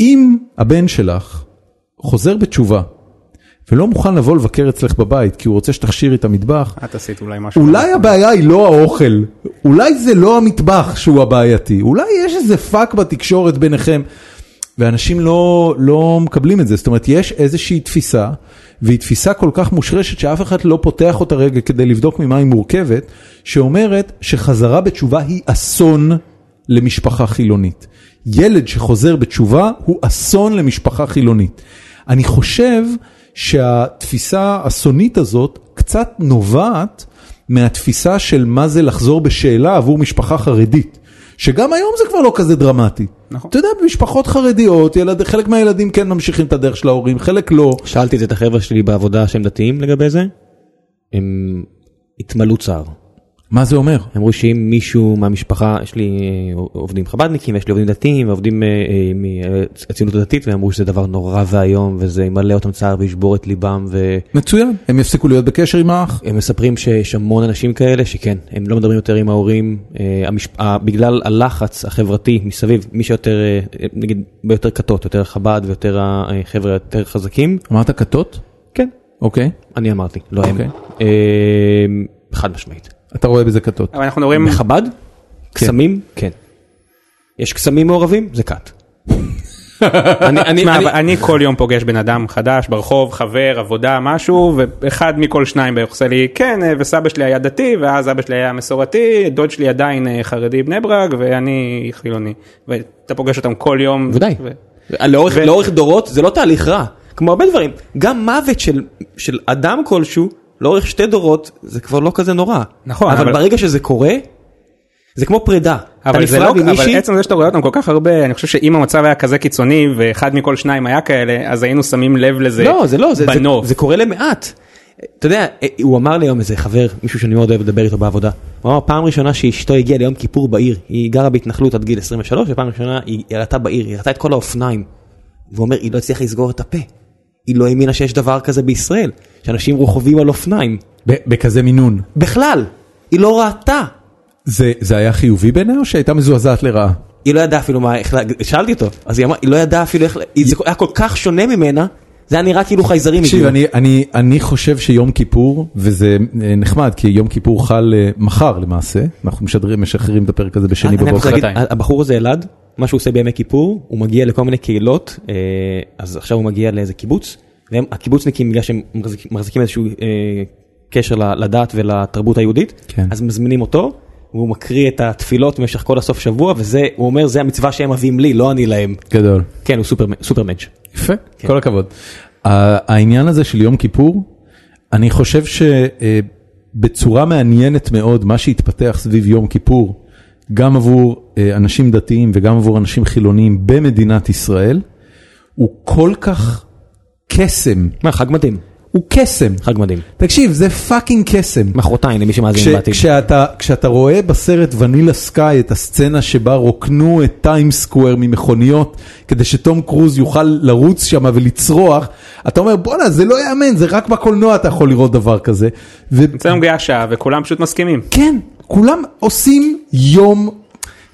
Speaker 1: אם הבן שלך חוזר בתשובה, ולא מוכן לבוא לבקר אצלך בבית, כי הוא רוצה שתכשירי את המטבח,
Speaker 3: את עשית אולי משהו.
Speaker 1: אולי הבעיה היא לא האוכל, אולי זה לא המטבח שהוא הבעייתי, אולי יש איזה פאק בתקשורת ביניכם, ואנשים לא, לא מקבלים את זה, זאת אומרת יש איזושהי תפיסה, והיא תפיסה כל כך מושרשת שאף אחד לא פותח אותה רגע כדי לבדוק ממה היא מורכבת, שאומרת שחזרה בתשובה היא אסון למשפחה חילונית. ילד שחוזר בתשובה הוא אסון למשפחה חילונית. אני חושב שהתפיסה האסונית הזאת קצת נובעת מהתפיסה של מה זה לחזור בשאלה עבור משפחה חרדית. שגם היום זה כבר לא כזה דרמטי.
Speaker 3: נכון.
Speaker 1: אתה יודע, במשפחות חרדיות, ילד, חלק מהילדים כן ממשיכים את הדרך של ההורים, חלק לא.
Speaker 2: שאלתי את זה את החבר'ה שלי בעבודה שהם דתיים לגבי זה, הם התמלאו צער.
Speaker 1: מה זה אומר?
Speaker 2: הם אמרו שאם מישהו מהמשפחה, יש לי אה, עובדים חב"דניקים, יש לי עובדים דתיים, ועובדים אה, אה, מהציונות הדתית, והם אמרו שזה דבר נורא ואיום, וזה ימלא אותם צער וישבור את ליבם, והם
Speaker 1: מצוין, הם יפסיקו להיות בקשר עם האח.
Speaker 2: מספרים שיש המון אנשים כאלה שכן, הם לא מדברים יותר עם ההורים, אה, המשפ... ה- בגלל הלחץ החברתי מסביב, מי שיותר, אה, נגיד, ביותר כתות, יותר חב"ד ויותר החבר'ה היותר חזקים,
Speaker 1: אמרת כתות?
Speaker 2: כן,
Speaker 1: אוקיי.
Speaker 2: אני אמרתי, לא הם.
Speaker 1: אוקיי.
Speaker 2: אה, חד משמעית.
Speaker 1: אתה רואה בזה כתות.
Speaker 3: אבל אנחנו מדברים,
Speaker 2: בחב"ד? קסמים? כן. יש קסמים מעורבים? זה כת. אני- אני-
Speaker 3: תשמע,
Speaker 2: אני-
Speaker 3: אבל אני כל יום פוגש בן אדם חדש ברחוב, חבר, עבודה, משהו, ואחד מכל שניים בערך עושה לי, כן, אה, וסבא שלי היה דתי, ואז אבא שלי היה מסורתי, דוד שלי עדיין אה, חרדי בני ברק, ואני חילוני. ואתה פוגש אותם כל יום.
Speaker 2: בוודאי.
Speaker 3: ו-
Speaker 2: לאורך לאורך דורות זה לא תהליך רע, כמו הרבה דברים. גם מוות של- של אדם כלשהו, לאורך שתי דורות, זה כבר לא כזה נורא.
Speaker 3: נכון,
Speaker 2: אבל
Speaker 3: אבל-
Speaker 2: ברגע שזה קורה, זה כמו פרידה. אתה
Speaker 3: אבל זה
Speaker 2: נפרד
Speaker 3: לא, אבל
Speaker 2: ממישהי,
Speaker 3: עצם זה שאתה רואה אותם כל כך הרבה, אני חושב שאם המצב היה כזה קיצוני ואחד מכל שניים היה כאלה, אז היינו שמים לב לזה
Speaker 2: לא, זה לא, זה, זה,
Speaker 3: בנוף.
Speaker 2: זה קורה למעט. אתה יודע, אה, הוא אמר לי היום איזה חבר, מישהו שאני מאוד אוהב לדבר איתו בעבודה. הוא אמר, פעם ראשונה שאשתו הגיעה ליום כיפור בעיר, היא גרה בהתנחלות עד גיל 23, ופעם ראשונה היא הראתה בעיר, היא הראתה את כל האופניים. והוא אומר, היא לא הצליחה לסגור את הפה. היא לא האמינה שיש דבר כזה בישראל, שאנשים רוכבים על אופניים.
Speaker 1: ב- בכזה מינון.
Speaker 2: בכלל, היא לא ראתה.
Speaker 1: זה זה היה חיובי בעיניי או שהייתה מזועזעת לרעה?
Speaker 2: היא לא ידעה אפילו מה, איך, לה- שאלתי אותו, אז היא אמרה, היא לא ידעה אפילו איך, לה- היא- זה היה כל כך שונה ממנה, זה היה נראה כאילו חייזרים
Speaker 1: תקשיב,
Speaker 2: הגיעו.
Speaker 1: אני, אני, אני חושב שיום כיפור, וזה אה, נחמד, כי יום כיפור חל אה, מחר למעשה, אנחנו משדרים, משחררים את הפרק הזה בשני
Speaker 2: אה, אני רוצה
Speaker 1: בבוקר.
Speaker 2: להגיד,
Speaker 3: מחרתיים.
Speaker 2: הבחור הזה אלעד, מה שהוא עושה בימי כיפור, הוא מגיע לכל מיני קהילות, אה, אז עכשיו הוא מגיע לאיזה קיבוץ, והם הקיבוצניקים בגלל שהם מחזיק- מחזיקים איזשהו אה, קשר ל- לדת ולתרבות היהודית,
Speaker 1: כן.
Speaker 2: אז מזמינים אותו, והוא מקריא את התפילות במשך כל הסוף שבוע, וזה, הוא אומר, זה המצווה שהם מביאים לי, לא אני להם.
Speaker 1: גדול.
Speaker 2: כן, הוא סופר, סופר מאץ'.
Speaker 1: יפה, כן. כל הכבוד. ה- העניין הזה של יום כיפור, אני חושב שבצורה מעניינת מאוד, מה שהתפתח סביב יום כיפור, גם עבור אה, אנשים דתיים וגם עבור אנשים חילוניים במדינת ישראל, הוא כל כך קסם,
Speaker 2: מה, חג מדהים,
Speaker 1: הוא קסם.
Speaker 2: חג מדהים.
Speaker 1: תקשיב, זה פאקינג קסם.
Speaker 2: מחרתיים למי
Speaker 1: כש,
Speaker 2: שמאזין בעתיד.
Speaker 1: כשאתה, כשאתה רואה בסרט ונילה סקאי את הסצנה שבה רוקנו את טיים סקוואר ממכוניות כדי שתום קרוז יוכל לרוץ שם ולצרוח, אתה אומר בואנה זה לא יאמן, זה רק בקולנוע אתה יכול לראות דבר כזה. ו-
Speaker 3: אצלנו מגיעה שעה וכולם פשוט מסכימים.
Speaker 1: כן, כולם עושים יום,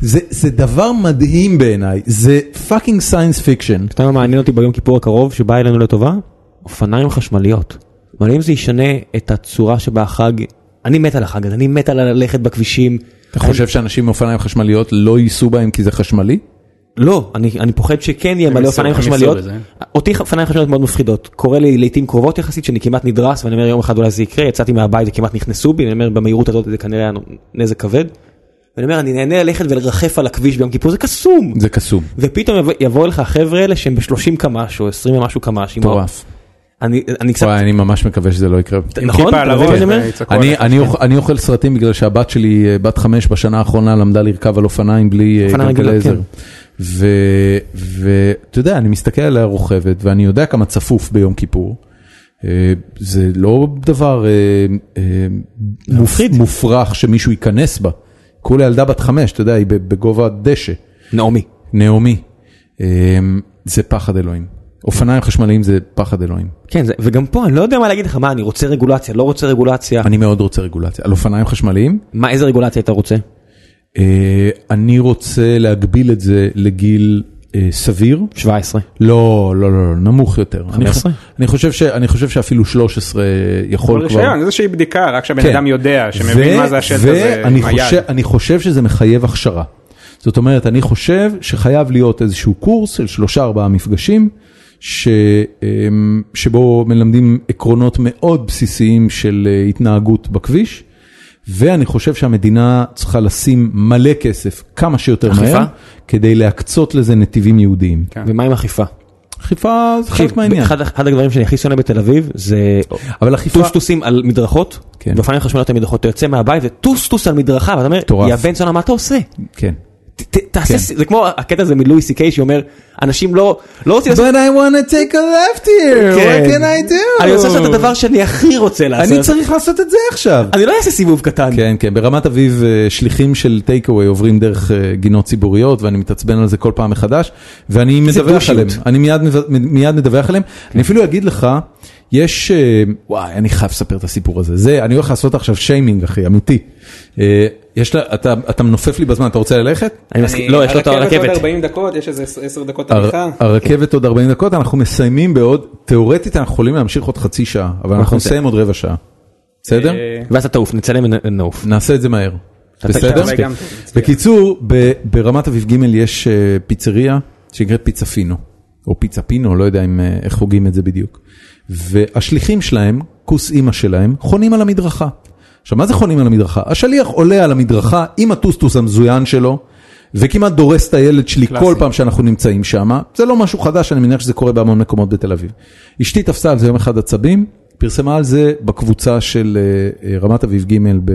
Speaker 1: זה, זה דבר מדהים בעיניי, זה פאקינג סיינס פיקשן.
Speaker 2: אתה יודע מה מעניין אותי ביום כיפור הקרוב שבא אלינו לטובה? אופניים חשמליות. מעניין אם זה ישנה את הצורה שבה החג, אני מת על החג הזה, אני מת על ללכת בכבישים.
Speaker 1: אתה חושב שאנשים עם אופניים חשמליות לא ייסעו בהם כי זה חשמלי?
Speaker 2: לא, אני, אני פוחד שכן יהיה מלא
Speaker 3: ייסעו,
Speaker 2: אופניים
Speaker 3: הם ייסעו
Speaker 2: חשמליות.
Speaker 3: בזה.
Speaker 2: אותי אופניים חשמליות מאוד מפחידות. קורה לי לעיתים קרובות יחסית שאני כמעט נדרס ואני אומר יום אחד אולי זה יקרה, יצאתי מהבית וכמעט נכנסו בי, ואני אומר במהירות הזאת זה כנראה היה נזק כבד. ואני אומר אני נהנה ללכת ולרחף על הכביש ביום כיפור זה קסום.
Speaker 1: זה קסום.
Speaker 2: ופתאום יבוא- יבואו לך החבר'ה האלה שהם ב-30 קמ"ש או 20 ומשהו קמ"ש. עם ה-
Speaker 1: מטורף.
Speaker 2: אני, אני קצת,
Speaker 1: וואי, אני ממש מקווה שזה לא יקרה.
Speaker 2: נכון?
Speaker 3: כיפה על
Speaker 2: אתה מבין מה
Speaker 3: הראש,
Speaker 2: אני אומר?
Speaker 3: ויצעקו
Speaker 1: אני,
Speaker 3: עליך.
Speaker 1: אני, אוכ- אני אוכל סרטים בגלל שהבת שלי, אה, בת חמש בשנה האחרונה, למדה לרכב על אופניים בלי אה,
Speaker 2: אופניים
Speaker 1: גלגל
Speaker 2: רגילות,
Speaker 1: עזר.
Speaker 2: כן.
Speaker 1: ואתה יודע, אני מסתכל עליה רוכבת, ואני יודע כמה צפוף ביום כיפור. אה, זה לא דבר אה, אה, מופ- מופרך שמישהו ייכנס בה. כולה ילדה בת חמש, אתה יודע, היא ב- בגובה דשא.
Speaker 2: נעמי.
Speaker 1: נעמי, אה, זה פחד אלוהים. אופניים חשמליים זה פחד אלוהים.
Speaker 2: כן, זה, וגם פה אני לא יודע מה להגיד לך, מה אני רוצה רגולציה, לא רוצה רגולציה,
Speaker 1: אני מאוד רוצה רגולציה. על אופניים חשמליים,
Speaker 2: מה איזה רגולציה אתה רוצה?
Speaker 1: אה, אני רוצה להגביל את זה לגיל אה, סביר.
Speaker 2: 17.
Speaker 1: לא, לא, לא, לא, נמוך יותר. אני ח-
Speaker 2: 15?
Speaker 1: אני חושב ש- אני חושב שאפילו 13
Speaker 3: אבל
Speaker 1: יכול כבר.
Speaker 3: רישיון, איזושהי בדיקה, רק שהבן
Speaker 1: כן.
Speaker 3: אדם יודע,
Speaker 1: ו-
Speaker 3: שמבין מה זה השלט הזה,
Speaker 1: ואני
Speaker 3: עם היד.
Speaker 1: חושב- אני חושב שזה מחייב הכשרה. זאת אומרת, אני חושב שחייב להיות איזשהו קורס של שלושה ארבעה מפגשים, ש, אמ, שבו מלמדים עקרונות מאוד בסיסיים של אה, התנהגות בכביש, ואני חושב שהמדינה צריכה לשים מלא כסף כמה שיותר
Speaker 2: אכיפה? כן.
Speaker 1: מהר, כדי להקצות לזה נתיבים יהודיים.
Speaker 2: ומה עם אכיפה?
Speaker 1: אכיפה זה חלק
Speaker 2: תקשיב,
Speaker 1: מהעניין,
Speaker 2: אחד, אחד הדברים שאני הכי שונא בתל אביב זה
Speaker 1: אבל אכיפה...
Speaker 2: טוסטוסים על מדרכות,
Speaker 1: כן.
Speaker 2: ואופניים חשמליות על מדרכות, אתה יוצא מהבית וטוסטוס על מדרכה, ואתה אומר,
Speaker 1: מטורף.
Speaker 2: יא בן זונה מה אתה עושה?
Speaker 1: כן.
Speaker 2: ת- ת- תעשה,
Speaker 1: כן.
Speaker 2: ס- זה כמו הקטע הזה מלואי סי קיי שאומר, אנשים לא, לא רוצים לעשות,
Speaker 1: But I want to take a left here,
Speaker 2: כן.
Speaker 1: what can I do?
Speaker 2: אני רוצה לעשות את הדבר שאני הכי רוצה לעשות,
Speaker 1: אני צריך לעשות את זה עכשיו.
Speaker 2: אני לא אעשה סיבוב קטן,
Speaker 1: כן, כן, ברמת אביב אה, שליחים של טייק אווי עוברים דרך אה, גינות ציבוריות ואני מתעצבן על זה כל פעם מחדש ואני מדווח
Speaker 2: דו-שיות.
Speaker 1: עליהם, אני מיד, מב- מיד מדווח עליהם, אני אפילו אגיד לך, יש, אה, וואי, אני חייב לספר את הסיפור הזה, זה, אני הולך לעשות עכשיו שיימינג אחי, אמיתי. אה, יש לה, אתה, אתה מנופף לי בזמן, אתה רוצה ללכת?
Speaker 2: אני מסכים, לא יש לו את
Speaker 3: עוד
Speaker 2: הרכבת,
Speaker 3: 40 דקות, יש איזה 10 דקות
Speaker 1: הר-
Speaker 3: הליכה.
Speaker 1: הרכבת עוד 40 דקות, אנחנו מסיימים בעוד, תיאורטית אנחנו יכולים להמשיך עוד חצי שעה, אבל אנחנו
Speaker 2: נעשה.
Speaker 1: נסיים עוד רבע שעה. בסדר?
Speaker 3: אה,
Speaker 2: ואז אתה תעוף, נצלם ונעוף.
Speaker 1: נעשה את זה מהר. בסדר?
Speaker 3: אולי גם כן. טוב, מצוין.
Speaker 1: בקיצור, ב- ברמת אביב ג' יש אה, פיצריה שנקראת פיצה פינו, או פיצה פינו, לא יודע אם, אה, איך הוגים את זה בדיוק. והשליחים שלהם, כוס אימא שלהם, חונים על המדרכה. עכשיו, מה זה חונים על המדרכה? השליח עולה על המדרכה עם הטוסטוס המזוין שלו, וכמעט דורס את הילד שלי כל פעם שאנחנו נמצאים שם. זה לא משהו חדש, אני מניח שזה קורה בהמון מקומות בתל אביב. אשתי תפסה על זה יום אחד עצבים, פרסמה על זה בקבוצה של אה, אה, רמת אביב ג' ב...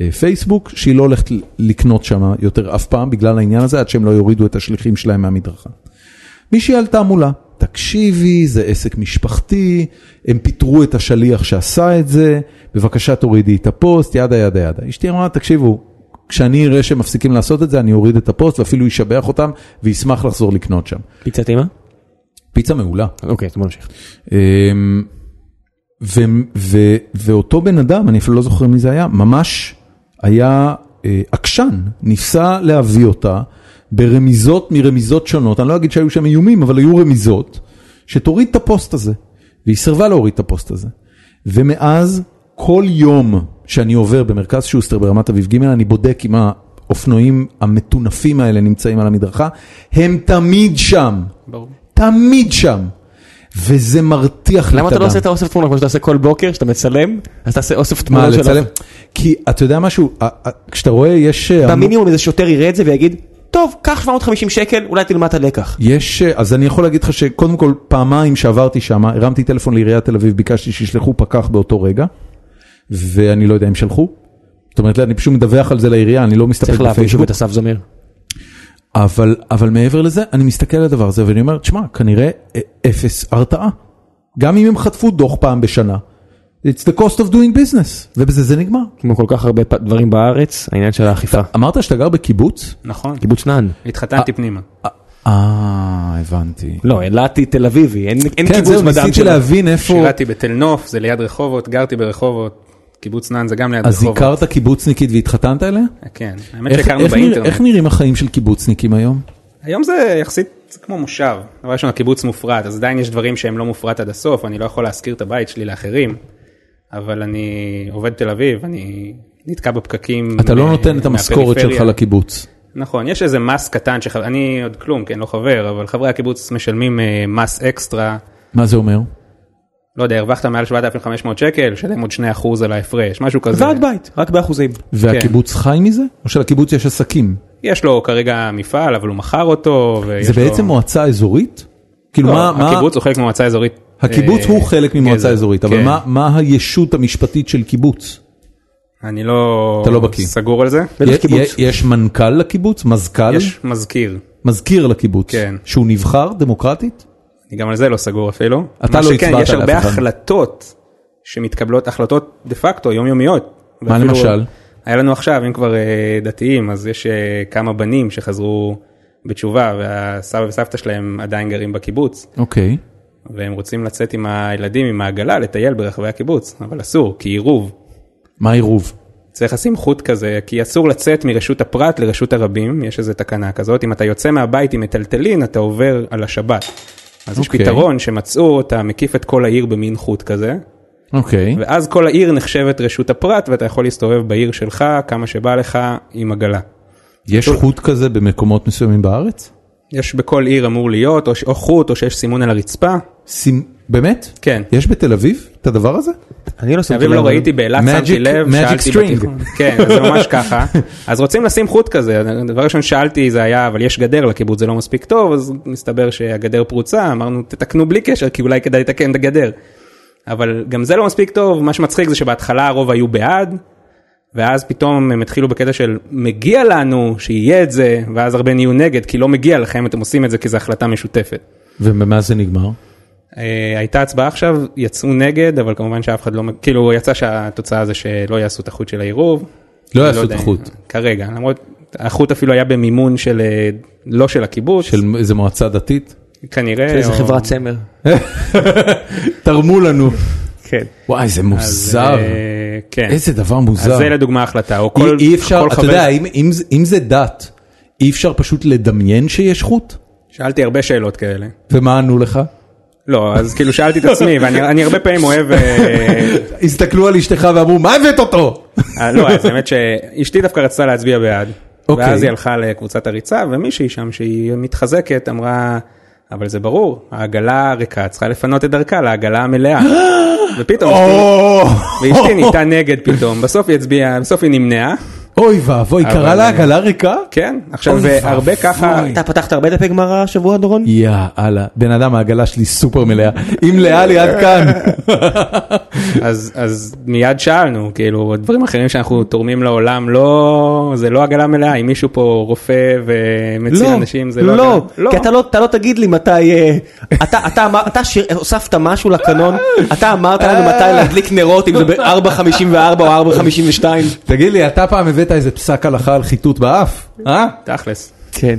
Speaker 1: אה, פייסבוק, שהיא לא הולכת ל- לקנות שם יותר אף פעם בגלל העניין הזה, עד שהם לא יורידו את השליחים שלהם מהמדרכה. מישהי עלתה מולה, תקשיבי, זה עסק משפחתי, הם פיטרו את השליח שעשה את זה, בבקשה תורידי את הפוסט, ידה ידה ידה. אשתי אמרה, תקשיבו, כשאני אראה שהם מפסיקים לעשות את זה, אני אוריד את הפוסט ואפילו אשבח אותם וישמח לחזור לקנות שם.
Speaker 2: פיצת אימא?
Speaker 1: פיצה מעולה.
Speaker 2: אוקיי, אז בוא נמשיך.
Speaker 1: אמ, ו, ו, ואותו בן אדם, אני אפילו לא זוכר מי זה היה, ממש היה אה, עקשן, ניסה להביא אותה ברמיזות מרמיזות שונות, אני לא אגיד שהיו שם איומים, אבל היו רמיזות, שתוריד את הפוסט הזה, והיא סירבה להוריד את הפוסט הזה. ומאז כל יום שאני עובר במרכז שוסטר ברמת אביב ג', אני בודק אם האופנועים המטונפים האלה נמצאים על המדרכה, הם תמיד שם,
Speaker 3: ברור.
Speaker 1: תמיד שם. וזה מרתיח לי את הדם.
Speaker 2: למה אתה לא עושה את האוסף תמונות כמו שאתה עושה כל בוקר, שאתה מצלם, אז תעשה אוסף
Speaker 1: מה,
Speaker 2: תמונות של...
Speaker 1: לצלם? לא כי אתה יודע משהו, ה- ה- כשאתה רואה יש... אה, המון-
Speaker 2: במינימום איזה שוטר יראה את זה ויגיד, טוב, קח 750 שקל, אולי תלמד את הלקח.
Speaker 1: יש, אה, אז אני יכול להגיד לך שקודם כל פעמיים שעברתי שם, הרמתי טלפון לעיריית תל אביב, ביקשתי שישלחו פקח באותו רגע, ואני לא יודע אם שלחו. זאת אומרת, אני פשוט מדווח על זה לעירייה, אני לא מסתפק
Speaker 2: צריך להביא שוב
Speaker 1: בפייסבוק.
Speaker 2: את אסף זמיר.
Speaker 1: אבל, אבל מעבר לזה, אני מסתכל על הדבר הזה ואני אומר, תשמע, כנראה אה, אפס הרתעה. גם אם הם חטפו דוח פעם בשנה. It's the cost of doing business, ובזה זה נגמר.
Speaker 2: כמו כל כך הרבה פ- דברים בארץ, העניין של האכיפה.
Speaker 1: אמרת שאתה גר בקיבוץ?
Speaker 3: נכון,
Speaker 2: קיבוץ נען.
Speaker 3: התחתנתי פנימה.
Speaker 1: אה, הבנתי.
Speaker 2: לא, אילתי תל אביבי, אין אין
Speaker 1: כן,
Speaker 2: קיבוץ
Speaker 1: זהו,
Speaker 2: בדם
Speaker 1: ניסיתי
Speaker 2: שלו.
Speaker 1: להבין איפה...
Speaker 3: שירתי בתל נוף, זה ליד רחובות, גרתי ברחובות, קיבוץ נען זה גם ליד
Speaker 1: אז
Speaker 3: רחובות.
Speaker 1: הכרת קיבוצניקית והתחתנת אליה?
Speaker 3: כן, האמת
Speaker 1: איך,
Speaker 3: שהכרנו
Speaker 1: איך, נרא,
Speaker 3: באינטרנט.
Speaker 1: איך נראים החיים של קיבוצניקים היום?
Speaker 3: היום זה יחסית זה כמו מושב. דבר ראשון, הקיבוץ מופרט, אז עדיין יש דברים שהם לא מופרט עד הסוף, אני לא יכול להשכיר את הבית שלי לאחרים, אבל אני עובד תל אביב, אני נתקע בפקקים.
Speaker 1: אתה לא
Speaker 3: אה,
Speaker 1: נותן את המשכורת
Speaker 3: מהפריפריה.
Speaker 1: שלך לקיבוץ.
Speaker 3: נכון, יש איזה מס קטן, שח... אני עוד כלום, כן, לא חבר, אבל חברי הקיבוץ משלמים אה, מס אקסטרה.
Speaker 1: מה זה אומר?
Speaker 3: לא יודע, הרווחת מעל 7,500 שקל, שלם עוד 2% על ההפרש, משהו כזה.
Speaker 2: ועד בית, רק באחוזים.
Speaker 1: והקיבוץ
Speaker 3: כן.
Speaker 1: חי מזה? או שלקיבוץ יש עסקים?
Speaker 3: יש לו כרגע מפעל, אבל הוא מכר אותו. ויש
Speaker 1: זה
Speaker 3: לו...
Speaker 1: בעצם מועצה אזורית? כאילו
Speaker 3: לא,
Speaker 1: מה, מה,
Speaker 3: הקיבוץ הוא חלק ממועצה אזורית.
Speaker 1: הקיבוץ
Speaker 3: אה,
Speaker 1: הוא חלק ממועצה
Speaker 3: גזר.
Speaker 1: אזורית, אבל
Speaker 3: כן.
Speaker 1: מה- מה הישות המשפטית של קיבוץ?
Speaker 3: אני לא...
Speaker 1: אתה לא בקיא.
Speaker 3: סגור על זה.
Speaker 2: בטח
Speaker 1: יה-
Speaker 2: קיבוץ.
Speaker 1: יה- יש מנכ"ל לקיבוץ? מזכ"ל?
Speaker 3: יש מזכיר,
Speaker 1: מזכיר לקיבוץ?
Speaker 3: כן.
Speaker 1: שהוא נבחר דמוקרטית?
Speaker 3: אני גם על זה לא סגור אפילו.
Speaker 1: אתה
Speaker 3: מה
Speaker 1: לא
Speaker 3: שכן,
Speaker 1: הצבעת
Speaker 3: כן, יש
Speaker 1: על
Speaker 3: הרבה
Speaker 1: אף אחד.
Speaker 3: החלטות שמתקבלות, החלטות דה פקטו יומיומיות.
Speaker 1: מה
Speaker 3: ואפילו
Speaker 1: למשל?
Speaker 3: היה לנו עכשיו, אם כבר אה, דתיים, אז יש אה, כמה בנים שחזרו בתשובה, והסבא וסבתא שלהם עדיין גרים בקיבוץ,
Speaker 1: אוקיי.
Speaker 3: והם רוצים לצאת עם הילדים עם העגלה לטייל ברחבי הקיבוץ, אבל אסור, כי עירוב.
Speaker 1: מה העירוב?
Speaker 3: צריך לשים חוט כזה, כי אסור לצאת מרשות הפרט לרשות הרבים, יש איזו תקנה כזאת, אם אתה יוצא מהבית עם מטלטלין, אתה עובר על השבת. אז יש
Speaker 1: אוקיי.
Speaker 3: פתרון שמצאו, אתה מקיף את כל העיר במין חוט כזה,
Speaker 1: אוקיי.
Speaker 3: ואז כל העיר נחשבת רשות הפרט, ואתה יכול להסתובב בעיר שלך כמה שבא לך עם עגלה.
Speaker 1: יש חוט כזה במקומות מסוימים בארץ?
Speaker 3: יש בכל עיר אמור להיות, או, ש- או חוט, או שיש סימון על הרצפה,
Speaker 1: סימ- באמת?
Speaker 3: כן.
Speaker 1: יש בתל אביב את הדבר הזה?
Speaker 2: אני לא
Speaker 3: תל
Speaker 2: שמתי
Speaker 3: אביב
Speaker 2: לב,
Speaker 3: לא
Speaker 2: אבל-
Speaker 3: ראיתי, באילת
Speaker 1: Magic-
Speaker 3: שמתי לב,
Speaker 1: Magic
Speaker 3: שאלתי
Speaker 1: string.
Speaker 3: בתיכון. כן, אז זה ממש ככה. אז רוצים לשים חוט כזה, דבר ראשון שאלתי זה היה, אבל יש גדר לקיבוץ, זה לא מספיק טוב, אז מסתבר שהגדר פרוצה, אמרנו תתקנו בלי קשר, כי אולי כדאי לתקן את הגדר. אבל גם זה לא מספיק טוב, מה שמצחיק זה שבהתחלה הרוב היו בעד, ואז פתאום הם התחילו בקטע של מגיע לנו שיהיה את זה, ואז הרבה נהיו נגד, כי לא מגיע לכם, אתם עושים את זה כי זו החלטה משותפת.
Speaker 1: ובמה זה נגמר?
Speaker 3: אה, הייתה הצבעה עכשיו, יצאו נגד, אבל כמובן שאף אחד לא, מ- כאילו יצא שהתוצאה זה שלא יעשו את החוט של העירוב.
Speaker 1: לא
Speaker 3: אני
Speaker 1: יעשו את
Speaker 3: יודע,
Speaker 1: החוט.
Speaker 3: כרגע, למרות, החוט אפילו היה במימון של, אה, לא של הקיבוץ,
Speaker 1: של איזה מועצה דתית?
Speaker 3: כנראה.
Speaker 2: איזה
Speaker 3: או-
Speaker 2: חברת צמר.
Speaker 1: תרמו לנו.
Speaker 3: כן.
Speaker 1: וואי, זה
Speaker 3: אז,
Speaker 1: מוזר.
Speaker 3: אה, כן.
Speaker 1: איזה דבר מוזר.
Speaker 3: אז זה לדוגמה החלטה, או כל,
Speaker 1: אי- אי אפשר,
Speaker 3: כל
Speaker 1: אתה יודע, אם- אם זה- אם זה דת, אי אפשר פשוט לדמיין שיש חוט?
Speaker 3: שאלתי הרבה שאלות כאלה.
Speaker 1: ומה ענו לך?
Speaker 3: לא, אז כאילו שאלתי את עצמי, ואני אני הרבה פעמים אוהב, אה,
Speaker 1: הסתכלו על אשתך ואמרו, מה הבאת אותו?
Speaker 3: אה, לא, אז האמת שאשתי דווקא רצתה להצביע בעד.
Speaker 1: אוקיי.
Speaker 3: ואז היא הלכה לקבוצת הריצה, ומישהי שם שהיא מתחזקת אמרה, אבל זה ברור, העגלה הריקה צריכה לפנות את דרכה לעגלה המלאה. ופתאום, אשתי- ואשתי נהייתה נגד פתאום, בסוף היא הצביעה, בסוף היא נמנעה,
Speaker 1: אוי ואבוי,
Speaker 3: אבל-
Speaker 1: קרא לה עגלה ריקה?
Speaker 3: כן, עכשיו
Speaker 1: אוי
Speaker 3: הרבה
Speaker 1: ואבוי.
Speaker 3: ככה,
Speaker 2: אתה פתחת הרבה דפי גמרא השבוע דורון?
Speaker 1: יאללה, בן אדם העגלה שלי סופר מלאה, אם לאה לי עד כאן.
Speaker 3: אז, אז מיד שאלנו, כאילו, דברים אחרים שאנחנו תורמים לעולם, לא, זה לא עגלה מלאה, אם מישהו פה רופא ומציל אנשים, זה לא,
Speaker 2: לא,
Speaker 3: עגלה- לא,
Speaker 2: כי אתה לא, אתה לא תגיד לי מתי, אה, אתה, אתה, אמר- אתה שיר, הוספת משהו לקנון, אתה אמרת לנו
Speaker 1: אה.
Speaker 2: מתי להדליק נרות, אם זה ב-4.54 או 4.52.
Speaker 1: תגיד לי, אתה פעם הבאת איזה פסק הלכה על חיטוט באף? אה?
Speaker 3: תכלס.
Speaker 2: כן.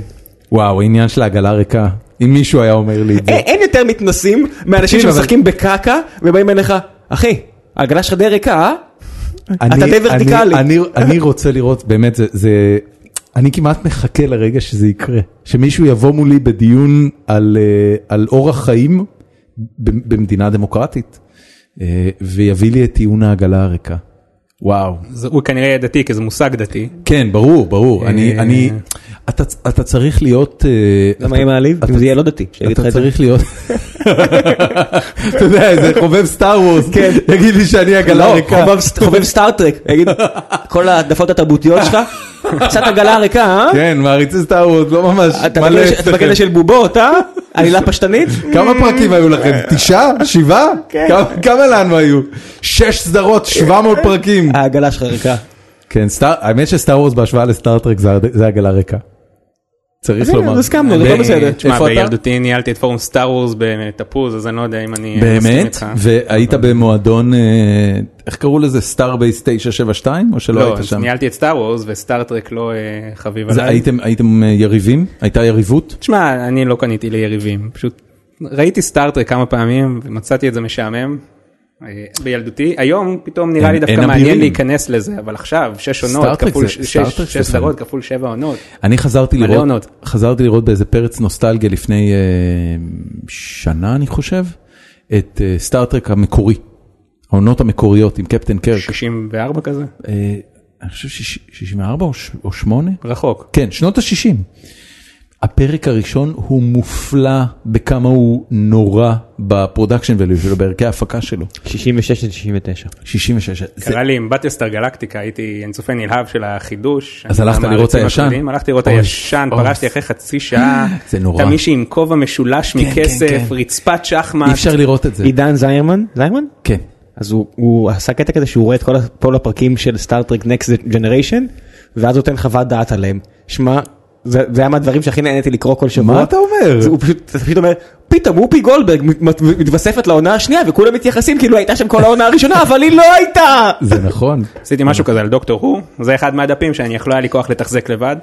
Speaker 1: וואו, עניין של העגלה ריקה. אם מישהו היה אומר לי את זה.
Speaker 2: אין, אין יותר מתנסים מאנשים
Speaker 1: תקשיב, אבל-
Speaker 2: שמשחקים בקקה ובאים אליך, אחי, העגלה שלך די ריקה, אה? אתה די ורטיקלי.
Speaker 1: אני, אני, אני רוצה לראות, באמת, זה, זה... אני כמעט מחכה לרגע שזה יקרה. שמישהו יבוא מולי בדיון על, אה, על אורח חיים ב- במדינה דמוקרטית, אה, ויביא לי את טיעון העגלה הריקה. וואו.
Speaker 3: זה- הוא כנראה יהיה דתי, כי זה מושג דתי.
Speaker 1: כן, ברור, ברור. אני,
Speaker 3: אה.
Speaker 1: אני... אתה, אתה צריך להיות... אה,
Speaker 2: למה יהיה מעליב?
Speaker 1: אתה-
Speaker 2: אם זה יהיה לא דתי, שיגיד לך
Speaker 1: אתה
Speaker 2: את זה.
Speaker 1: צריך להיות, אתה יודע, איזה חובב סטאר וורס,
Speaker 2: כן.
Speaker 1: יגיד לי שאני עגלה
Speaker 2: לא,
Speaker 1: ריקה.
Speaker 2: חובב- חובב סטארטרק, יגיד, כל ההעדפות התרבותיות שלך, קצת עגלה ריקה, אה?
Speaker 1: כן, מעריצי סטאר וורס, לא ממש.
Speaker 2: אתה
Speaker 1: מלא
Speaker 2: בקטע- אתה
Speaker 1: אצלכם.
Speaker 2: בקטע של בובות, אה? עלילה פשטנית?
Speaker 1: כמה פרקים היו לכם? תשעה? שבעה?
Speaker 2: כן.
Speaker 1: כמה- כמה לנו היו? שש סדרות, 700 פרקים.
Speaker 2: העגלה שלך ריקה.
Speaker 1: כן, סטאר- האמת שסטאר וורס בהשוואה לסטאר טרק זה הד- זה עגלה ריקה. צריך
Speaker 2: אז הנה,
Speaker 1: לומר.
Speaker 2: אז הסכמנו, זה לא
Speaker 1: ב-
Speaker 2: בסדר.
Speaker 3: תשמע,
Speaker 1: איפה אתה?
Speaker 3: בילדותי ניהלתי את פורום סטאר וורס בתפוז, אז אני לא יודע אם אני מסכים
Speaker 1: באמת?
Speaker 3: איתך.
Speaker 1: והיית במועדון, אה, איך קראו לזה? סטאר בייס 972? או שלא
Speaker 3: לא,
Speaker 1: היית
Speaker 3: אז
Speaker 1: שם?
Speaker 3: ניהלתי את סטאר וורס וסטאר טרק לא אה, חביב
Speaker 1: אז
Speaker 3: עליי.
Speaker 1: הייתם- הייתם אה, יריבים? הייתה יריבות?
Speaker 3: תשמע, אני לא קניתי ליריבים, פשוט ראיתי סטאר טרק כמה פעמים ומצאתי את זה משעמם. אה, בילדותי, היום פתאום נראה לי
Speaker 5: אין-
Speaker 3: דווקא
Speaker 5: אין
Speaker 3: מעניין
Speaker 5: אבירים.
Speaker 3: להיכנס לזה, אבל עכשיו, שש עונות,
Speaker 1: סטארט-טרק
Speaker 3: כפול
Speaker 1: זה-
Speaker 3: ש-
Speaker 1: סטארט-טרק
Speaker 3: שש
Speaker 1: זה
Speaker 3: שש סדרות, כפול שבע עונות.
Speaker 1: אני חזרתי
Speaker 3: מלא
Speaker 1: לראות,
Speaker 3: עונות.
Speaker 1: חזרתי לראות באיזה פרץ נוסטלגיה לפני אה, שנה אני חושב, את אה, סטארטרק המקורי, העונות המקוריות עם קפטן קרק,
Speaker 3: 64 כזה?
Speaker 1: אה, אני חושב שיש- 64 או ש- או 8?
Speaker 3: רחוק.
Speaker 1: כן, שנות ה-60. הפרק הראשון הוא מופלא בכמה הוא נורא בפרודקשן value שלו, בערכי ההפקה שלו.
Speaker 2: 66 עד 69.
Speaker 1: כן. 66. זה-
Speaker 3: קרה לי עם בטיוסטר גלקטיקה, הייתי אין סופי נלהב של החידוש.
Speaker 1: אז
Speaker 3: אני
Speaker 1: הלכת
Speaker 3: גם
Speaker 1: לראות את
Speaker 3: מעריצים
Speaker 1: הישן?
Speaker 3: הכבדים, הלכתי לראות
Speaker 1: אוי,
Speaker 3: הישן,
Speaker 1: אוי.
Speaker 3: פרשתי אחרי חצי שעה.
Speaker 1: זה נורא.
Speaker 3: אתה מישהי עם כובע משולש
Speaker 1: כן,
Speaker 3: מכסף,
Speaker 1: כן.
Speaker 3: רצפת
Speaker 1: אי
Speaker 3: שחמט.
Speaker 1: אפשר לראות את זה.
Speaker 2: עידן זיירמן? זיירמן?
Speaker 1: כן.
Speaker 2: אז הוא, הוא עשה קטע כזה שהוא רואה את כל, ה- כל הפרקים של סטארטרק נקסט ג'נריישן ואז נותן חוות דעת עליהם. שמע, זה, זה היה מהדברים שהכי נהניתי לקרוא כל שבוע.
Speaker 1: מה אתה אומר?
Speaker 2: זה, הוא פשוט, אתה פשוט אומר, פתאום אופי גולדברג מת- מת- מתווספת לעונה השנייה וכולם מתייחסים כאילו הייתה שם כל העונה הראשונה אבל היא לא הייתה.
Speaker 1: זה נכון.
Speaker 3: עשיתי משהו כזה על דוקטור הוא, זה אחד מהדפים שאני יכול היה לי כוח לתחזק לבד.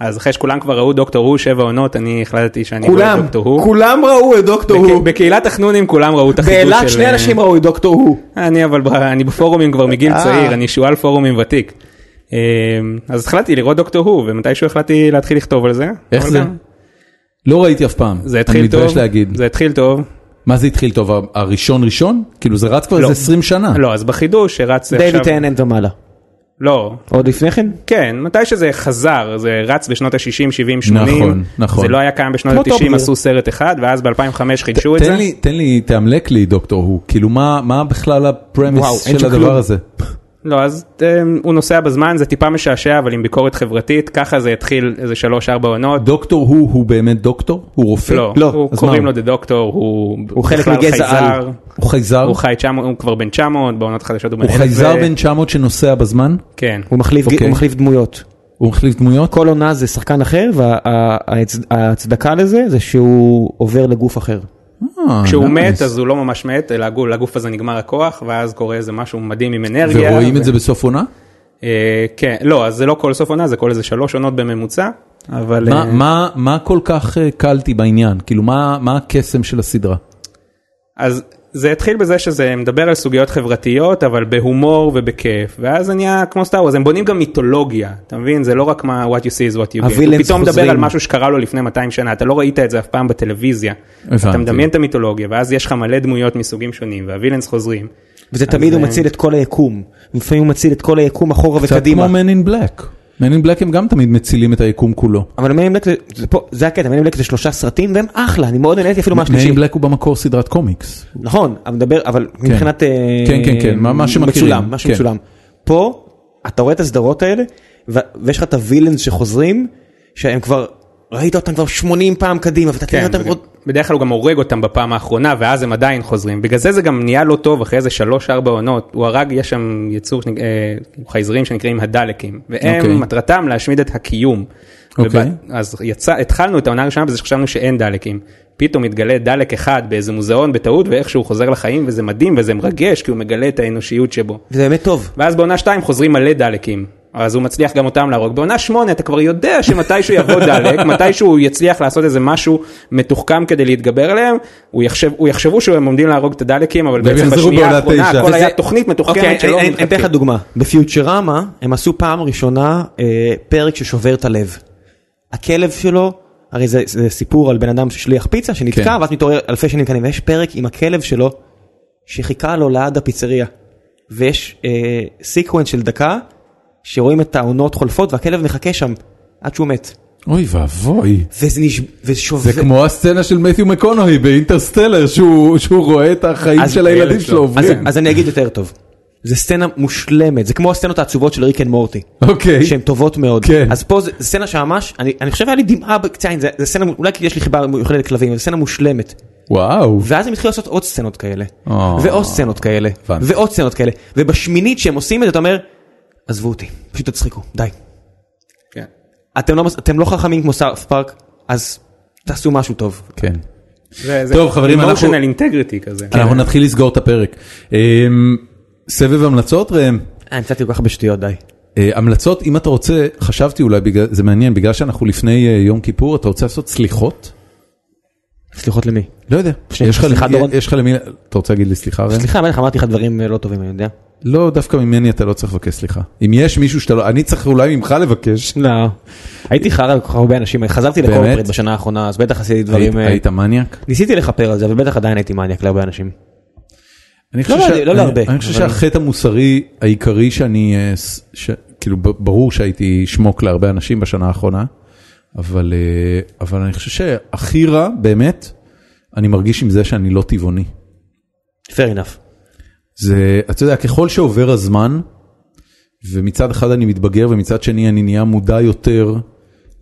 Speaker 3: אז אחרי שכולם כבר ראו דוקטור הוא שבע עונות, אני החלטתי שאני רואה
Speaker 2: כולם,
Speaker 3: דוקטור הוא.
Speaker 2: כולם ראו את דוקטור
Speaker 3: בק-
Speaker 2: הוא.
Speaker 3: בקהילת החנונים כולם ראו את החידוש של... אה,
Speaker 2: באילת שני אנשים ראו את דוקטור הוא.
Speaker 3: אני אבל ב- אני בפורומים כבר מגיל
Speaker 2: אה.
Speaker 3: צעיר, אני שועל פורומים ותיק. אמ, אז החלטתי לראות דוקטור הוא, ומתישהו החלטתי להתחיל לכתוב על זה.
Speaker 1: איך
Speaker 3: אבל
Speaker 1: זה?
Speaker 3: גם-
Speaker 1: לא ראיתי אף פעם.
Speaker 3: זה התחיל
Speaker 1: אני
Speaker 3: טוב,
Speaker 1: מתבייש להגיד.
Speaker 3: זה התחיל טוב.
Speaker 1: מה זה התחיל טוב? ה- הראשון ראשון? כאילו זה רץ כבר
Speaker 3: לא.
Speaker 1: איזה 20 שנה.
Speaker 3: לא, אז בחידוש שרץ עכשיו...
Speaker 2: דיוויד טננט ומעלה.
Speaker 3: לא,
Speaker 2: עוד לפני כן?
Speaker 3: כן, מתי שזה חזר, זה רץ בשנות ה-60, 70, 80.
Speaker 1: נכון, נכון.
Speaker 3: זה לא היה קיים בשנות
Speaker 2: כמו
Speaker 3: ה-90,
Speaker 2: טופ
Speaker 3: עשו סרט אחד, ואז ב-2005
Speaker 1: ת-
Speaker 3: חידשו את זה.
Speaker 1: תן לי, תן לי, תאמלק לי דוקטור הוא, כאילו מה, מה בכלל
Speaker 2: וואו,
Speaker 1: הפרמיס
Speaker 2: אין
Speaker 1: של
Speaker 2: שם
Speaker 1: הדבר
Speaker 2: כלום.
Speaker 1: הזה?
Speaker 3: לא, אז אמ, הוא נוסע בזמן, זה טיפה משעשע, אבל עם ביקורת חברתית, ככה זה התחיל איזה 3-4 עונות.
Speaker 1: דוקטור הוא, הוא באמת דוקטור? הוא רופא?
Speaker 3: לא,
Speaker 2: לא,
Speaker 3: הוא
Speaker 1: אז
Speaker 3: קוראים
Speaker 1: מה?
Speaker 3: לו דה דוקטור, הוא
Speaker 2: הוא חלק
Speaker 3: בכלל
Speaker 2: מגזע
Speaker 3: חייזר,
Speaker 2: על.
Speaker 1: הוא חייזר?
Speaker 3: הוא חי 900, הוא כבר בן 900, בעונות חדשות הוא בן
Speaker 1: הוא
Speaker 3: אלף
Speaker 1: חייזר
Speaker 3: ו-
Speaker 1: בן 900 שנוסע בזמן?
Speaker 3: כן.
Speaker 2: הוא מחליף
Speaker 1: אוקיי.
Speaker 2: הוא מחליף דמויות.
Speaker 1: הוא מחליף דמויות?
Speaker 2: כל עונה זה שחקן אחר וההצדקה לזה זה שהוא עובר לגוף אחר.
Speaker 1: אה,
Speaker 3: כשהוא
Speaker 1: nice.
Speaker 3: מת אז הוא לא ממש מת, אלא הגו- לגוף הזה נגמר הכוח, ואז קורה איזה משהו מדהים עם אנרגיה.
Speaker 1: ורואים
Speaker 3: ו-
Speaker 1: את זה בסוף עונה?
Speaker 3: אה, כן, לא, אז זה לא כל סוף עונה, זה כל איזה שלוש עונות בממוצע, אבל...
Speaker 1: מה-
Speaker 3: אה,
Speaker 1: מה- מה כל כך אה, קלטי בעניין? כאילו מה מה הקסם של הסדרה?
Speaker 3: אז זה התחיל בזה שזה מדבר על סוגיות חברתיות אבל בהומור ובכיף ואז זה נהיה כמו סטאר וורז הם בונים גם מיתולוגיה אתה מבין זה לא רק מה what you see is what you get. הוא
Speaker 2: הווילאנס
Speaker 3: פתאום מדבר
Speaker 2: חוזרים.
Speaker 3: על משהו שקרה לו לפני 200 שנה אתה לא ראית את זה אף פעם בטלוויזיה.
Speaker 1: הבנתי.
Speaker 3: אתה מדמיין את המיתולוגיה ואז יש לך מלא דמויות מסוגים שונים והווילאנס חוזרים.
Speaker 2: וזה תמיד הוא מציל את כל היקום. לפעמים הוא מציל את כל היקום אחורה
Speaker 1: קצת
Speaker 2: וקדימה.
Speaker 1: כמו Man in Black. Man in Black הם גם תמיד מצילים את היקום כולו.
Speaker 2: אבל מיין בלק זה פה זה הקטע מיין בלק זה שלושה סרטים והם אחלה אני מאוד נהניתי אפילו
Speaker 1: Man
Speaker 2: מהשלישי.
Speaker 1: in Black הוא במקור סדרת קומיקס.
Speaker 2: נכון אבל מדבר אבל מבחינת אה,
Speaker 1: כן, כן, כן, מה- מה שמכירים.
Speaker 2: מצולם
Speaker 1: כן.
Speaker 2: מה שמצולם. פה אתה רואה את הסדרות האלה ו- ויש לך את הווילאנס שחוזרים שהם כבר ראית אותם כבר 80 פעם קדימה ואתה תראה
Speaker 3: כן,
Speaker 2: אותם
Speaker 3: וגם-
Speaker 2: עוד
Speaker 3: בדרך כלל הוא גם הורג אותם בפעם האחרונה ואז הם עדיין חוזרים בגלל זה זה גם נהיה לא טוב אחרי איזה שלוש ארבע עונות הוא הרג יש שם יצור שנק- אה, חייזרים שנקראים הדלקים והם
Speaker 1: אוקיי.
Speaker 3: מטרתם להשמיד את הקיום.
Speaker 1: אוקיי.
Speaker 3: וב- אז יצא התחלנו את העונה הראשונה בזה שחשבנו שאין דלקים פתאום מתגלה דלק אחד באיזה מוזיאון בטעות ואיכשהו הוא חוזר לחיים וזה מדהים וזה מרגש כי הוא מגלה את האנושיות שבו.
Speaker 2: וזה באמת טוב.
Speaker 3: ואז בעונה 2 חוזרים מלא דלקים. אז הוא מצליח גם אותם להרוג. בעונה 8 אתה כבר יודע שמתישהו יבוא דלק, מתישהו הוא יצליח לעשות איזה משהו מתוחכם כדי להתגבר עליהם, הוא, יחשב, הוא יחשבו שהם עומדים להרוג את הדלקים, אבל בעצם
Speaker 1: יחזרו בעונה
Speaker 3: בשנייה האחרונה
Speaker 1: תשע.
Speaker 3: הכל
Speaker 1: וזה-
Speaker 3: היה תוכנית
Speaker 2: אוקיי,
Speaker 3: מתוחכמת
Speaker 2: אני- אני
Speaker 3: שלא
Speaker 2: אני אתן לך
Speaker 3: מלכתחילה.
Speaker 2: דוגמה. בפיוטרמה הם עשו פעם ראשונה אה, פרק ששובר את הלב. הכלב שלו, הרי זה זה סיפור על בן אדם ששליח פיצה שנתקע
Speaker 1: כן.
Speaker 2: ואז מתעורר אלפי שנים כאן ויש פרק עם הכלב שלו שחיכה לו ליד הפיצריה. ויש אה, סיקוונס של דקה שרואים את העונות חולפות והכלב מחכה שם עד שהוא מת.
Speaker 1: אוי ואבוי.
Speaker 2: וזה נש... וזה שובר.
Speaker 1: זה כמו הסצנה של מתיו מקונאי באינטרסטלר שהוא שהוא רואה את החיים
Speaker 2: אז-
Speaker 1: של הילדים
Speaker 3: הילד
Speaker 1: שלו
Speaker 3: שלו.
Speaker 2: אז,
Speaker 1: עוברים.
Speaker 2: אז אני אגיד יותר טוב. זה סצנה מושלמת, זה כמו הסצנות העצובות של ריק אנד מורטי.
Speaker 1: אוקיי.
Speaker 2: שהן טובות מאוד.
Speaker 1: כן.
Speaker 2: אז פה זה, זה סצנה שממש, אני, אני חושב היה לי דמעה בקצה העין, זה, זה סצנה, אולי כי יש לי חיבה מיוחדת לכלבים, אבל זו סצנה מושלמת.
Speaker 1: וואו.
Speaker 2: ואז הם התחילו לעשות עוד סצנות כאלה,
Speaker 1: אה.
Speaker 2: ועוד סצנות כאלה,
Speaker 1: הבנתי.
Speaker 2: ועוד סצנות כאלה, ובשמינית שהם עושים את זה אתה אומר, עזבו אותי, פשוט תצחיקו, די.
Speaker 3: כן.
Speaker 2: אתם לא, מס- אתם לא חכמים כמו סארף פארק, אז תעשו משהו טוב.
Speaker 1: כן.
Speaker 3: זה- זה
Speaker 1: טוב, חברים, אנחנו-
Speaker 3: emotional integrity כזה.
Speaker 1: אנחנו נתחיל לסגור את הפרק. אמ, סבב המלצות ראם.
Speaker 2: אה, נמצאתי כל כך בשטויות, די.
Speaker 1: אה, המלצות אם אתה רוצה חשבתי אולי בגלל זה מעניין בגלל שאנחנו לפני אה, יום כיפור אתה רוצה לעשות סליחות.
Speaker 2: סליחות למי?
Speaker 1: לא יודע.
Speaker 2: שנייה,
Speaker 1: יש לך
Speaker 2: סליחה,
Speaker 1: למי-
Speaker 2: דורון.
Speaker 1: יש לך למי... אתה רוצה להגיד לי סליחה? ראם?
Speaker 2: סליחה, בטח אמרתי לך דברים אה, לא טובים, אני יודע.
Speaker 1: לא, דווקא ממני אתה לא צריך לבקש סליחה. אם יש מישהו שאתה לא... אני צריך אולי ממך לבקש.
Speaker 2: לא. הייתי חרא לכל כך הרבה אנשים, חזרתי
Speaker 1: באמת?
Speaker 2: לקורפרט בשנה האחרונה, אז בטח עשיתי
Speaker 1: היית
Speaker 2: דברים... אה,
Speaker 1: היית מניאק?
Speaker 2: ניסיתי לכפר על זה, אבל בטח עדיין הייתי מניאק להרבה אנשים.
Speaker 1: אני חושב
Speaker 2: לא,
Speaker 1: שה-
Speaker 2: לא, לא
Speaker 1: אני-
Speaker 2: להרבה,
Speaker 1: אני חושב
Speaker 2: אבל-
Speaker 1: שהחטא המוסרי העיקרי שאני, אה, ס- ש- כאילו ב- ברור שהייתי שמוק להרבה אנשים בשנה האחרונה, אבל אה, אבל אני חושב שהכי רע, באמת, אני מרגיש עם זה שאני לא טבעוני.
Speaker 2: fair enough.
Speaker 1: זה, אתה יודע, ככל שעובר הזמן, ומצד אחד אני מתבגר ומצד שני אני נהיה מודע יותר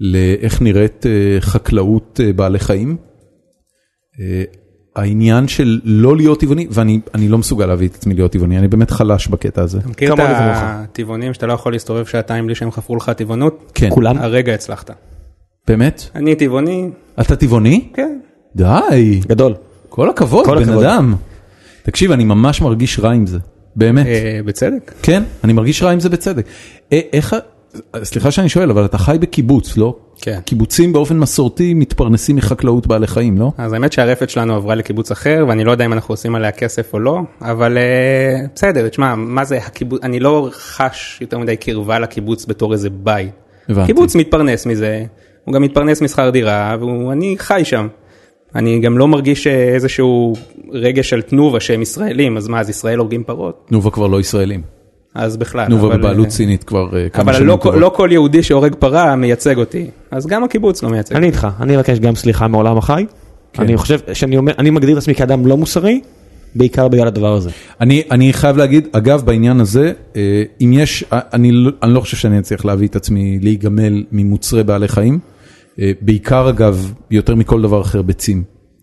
Speaker 1: לאיך נראית אה, חקלאות אה, בעלי חיים, אה, העניין של לא להיות טבעוני, ואני אני לא מסוגל להביא את עצמי להיות טבעוני, אני באמת חלש בקטע הזה.
Speaker 3: אתה מכיר את
Speaker 2: כמוני כמוך.
Speaker 3: הטבעונים שאתה לא יכול להסתובב שעתיים בלי שהם חפרו לך טבעונות?
Speaker 1: כן.
Speaker 2: כולם?
Speaker 3: הרגע הצלחת.
Speaker 1: באמת?
Speaker 3: אני טבעוני,
Speaker 1: אתה טבעוני?
Speaker 3: כן.
Speaker 1: די,
Speaker 2: גדול.
Speaker 1: כל הכבוד,
Speaker 2: כל
Speaker 1: בן
Speaker 2: הכבוד.
Speaker 1: אדם. תקשיב, אני ממש מרגיש רע עם זה, באמת.
Speaker 3: אה, בצדק.
Speaker 1: כן, אני מרגיש רע עם זה בצדק. אה, איך, ה- סליחה שאני שואל, אבל אתה חי בקיבוץ, לא?
Speaker 3: כן.
Speaker 1: קיבוצים באופן מסורתי מתפרנסים מחקלאות בעלי חיים, לא?
Speaker 3: אז האמת שהרפת שלנו עברה לקיבוץ אחר ואני לא יודע אם אנחנו עושים עליה כסף או לא אבל אה, בסדר תשמע מה זה הקיבוץ אני לא חש יותר מדי קרבה לקיבוץ בתור איזה בית.
Speaker 1: הבנתי.
Speaker 3: קיבוץ מתפרנס מזה הוא גם מתפרנס משכר דירה ואני חי שם. אני גם לא מרגיש אה, איזשהו רגש של תנובה שהם ישראלים אז מה אז ישראל הורגים פרות
Speaker 1: תנובה כבר לא ישראלים.
Speaker 3: אז בכלל.
Speaker 1: תנובה
Speaker 3: אבל,
Speaker 1: בבעלות
Speaker 3: אה,
Speaker 1: סינית כבר אה, כמה
Speaker 3: אבל
Speaker 1: שנים.
Speaker 3: לא, כל-
Speaker 1: טובות.
Speaker 3: לא כל יהודי שהורג פרה מייצג אותי אז גם הקיבוץ לא מייצג.
Speaker 2: אני איתך, אני אבקש גם סליחה מעולם החי. אני חושב שאני אומר, אני מגדיר את עצמי כאדם לא מוסרי, בעיקר בגלל הדבר הזה.
Speaker 1: אני, אני חייב להגיד, אגב, בעניין הזה, אה, אם יש, אה, אני, לא- אני לא חושב שאני אצליח להביא את עצמי להיגמל ממוצרי בעלי חיים. אה, בעיקר, אגב, יותר מכל דבר אחר, ביצים.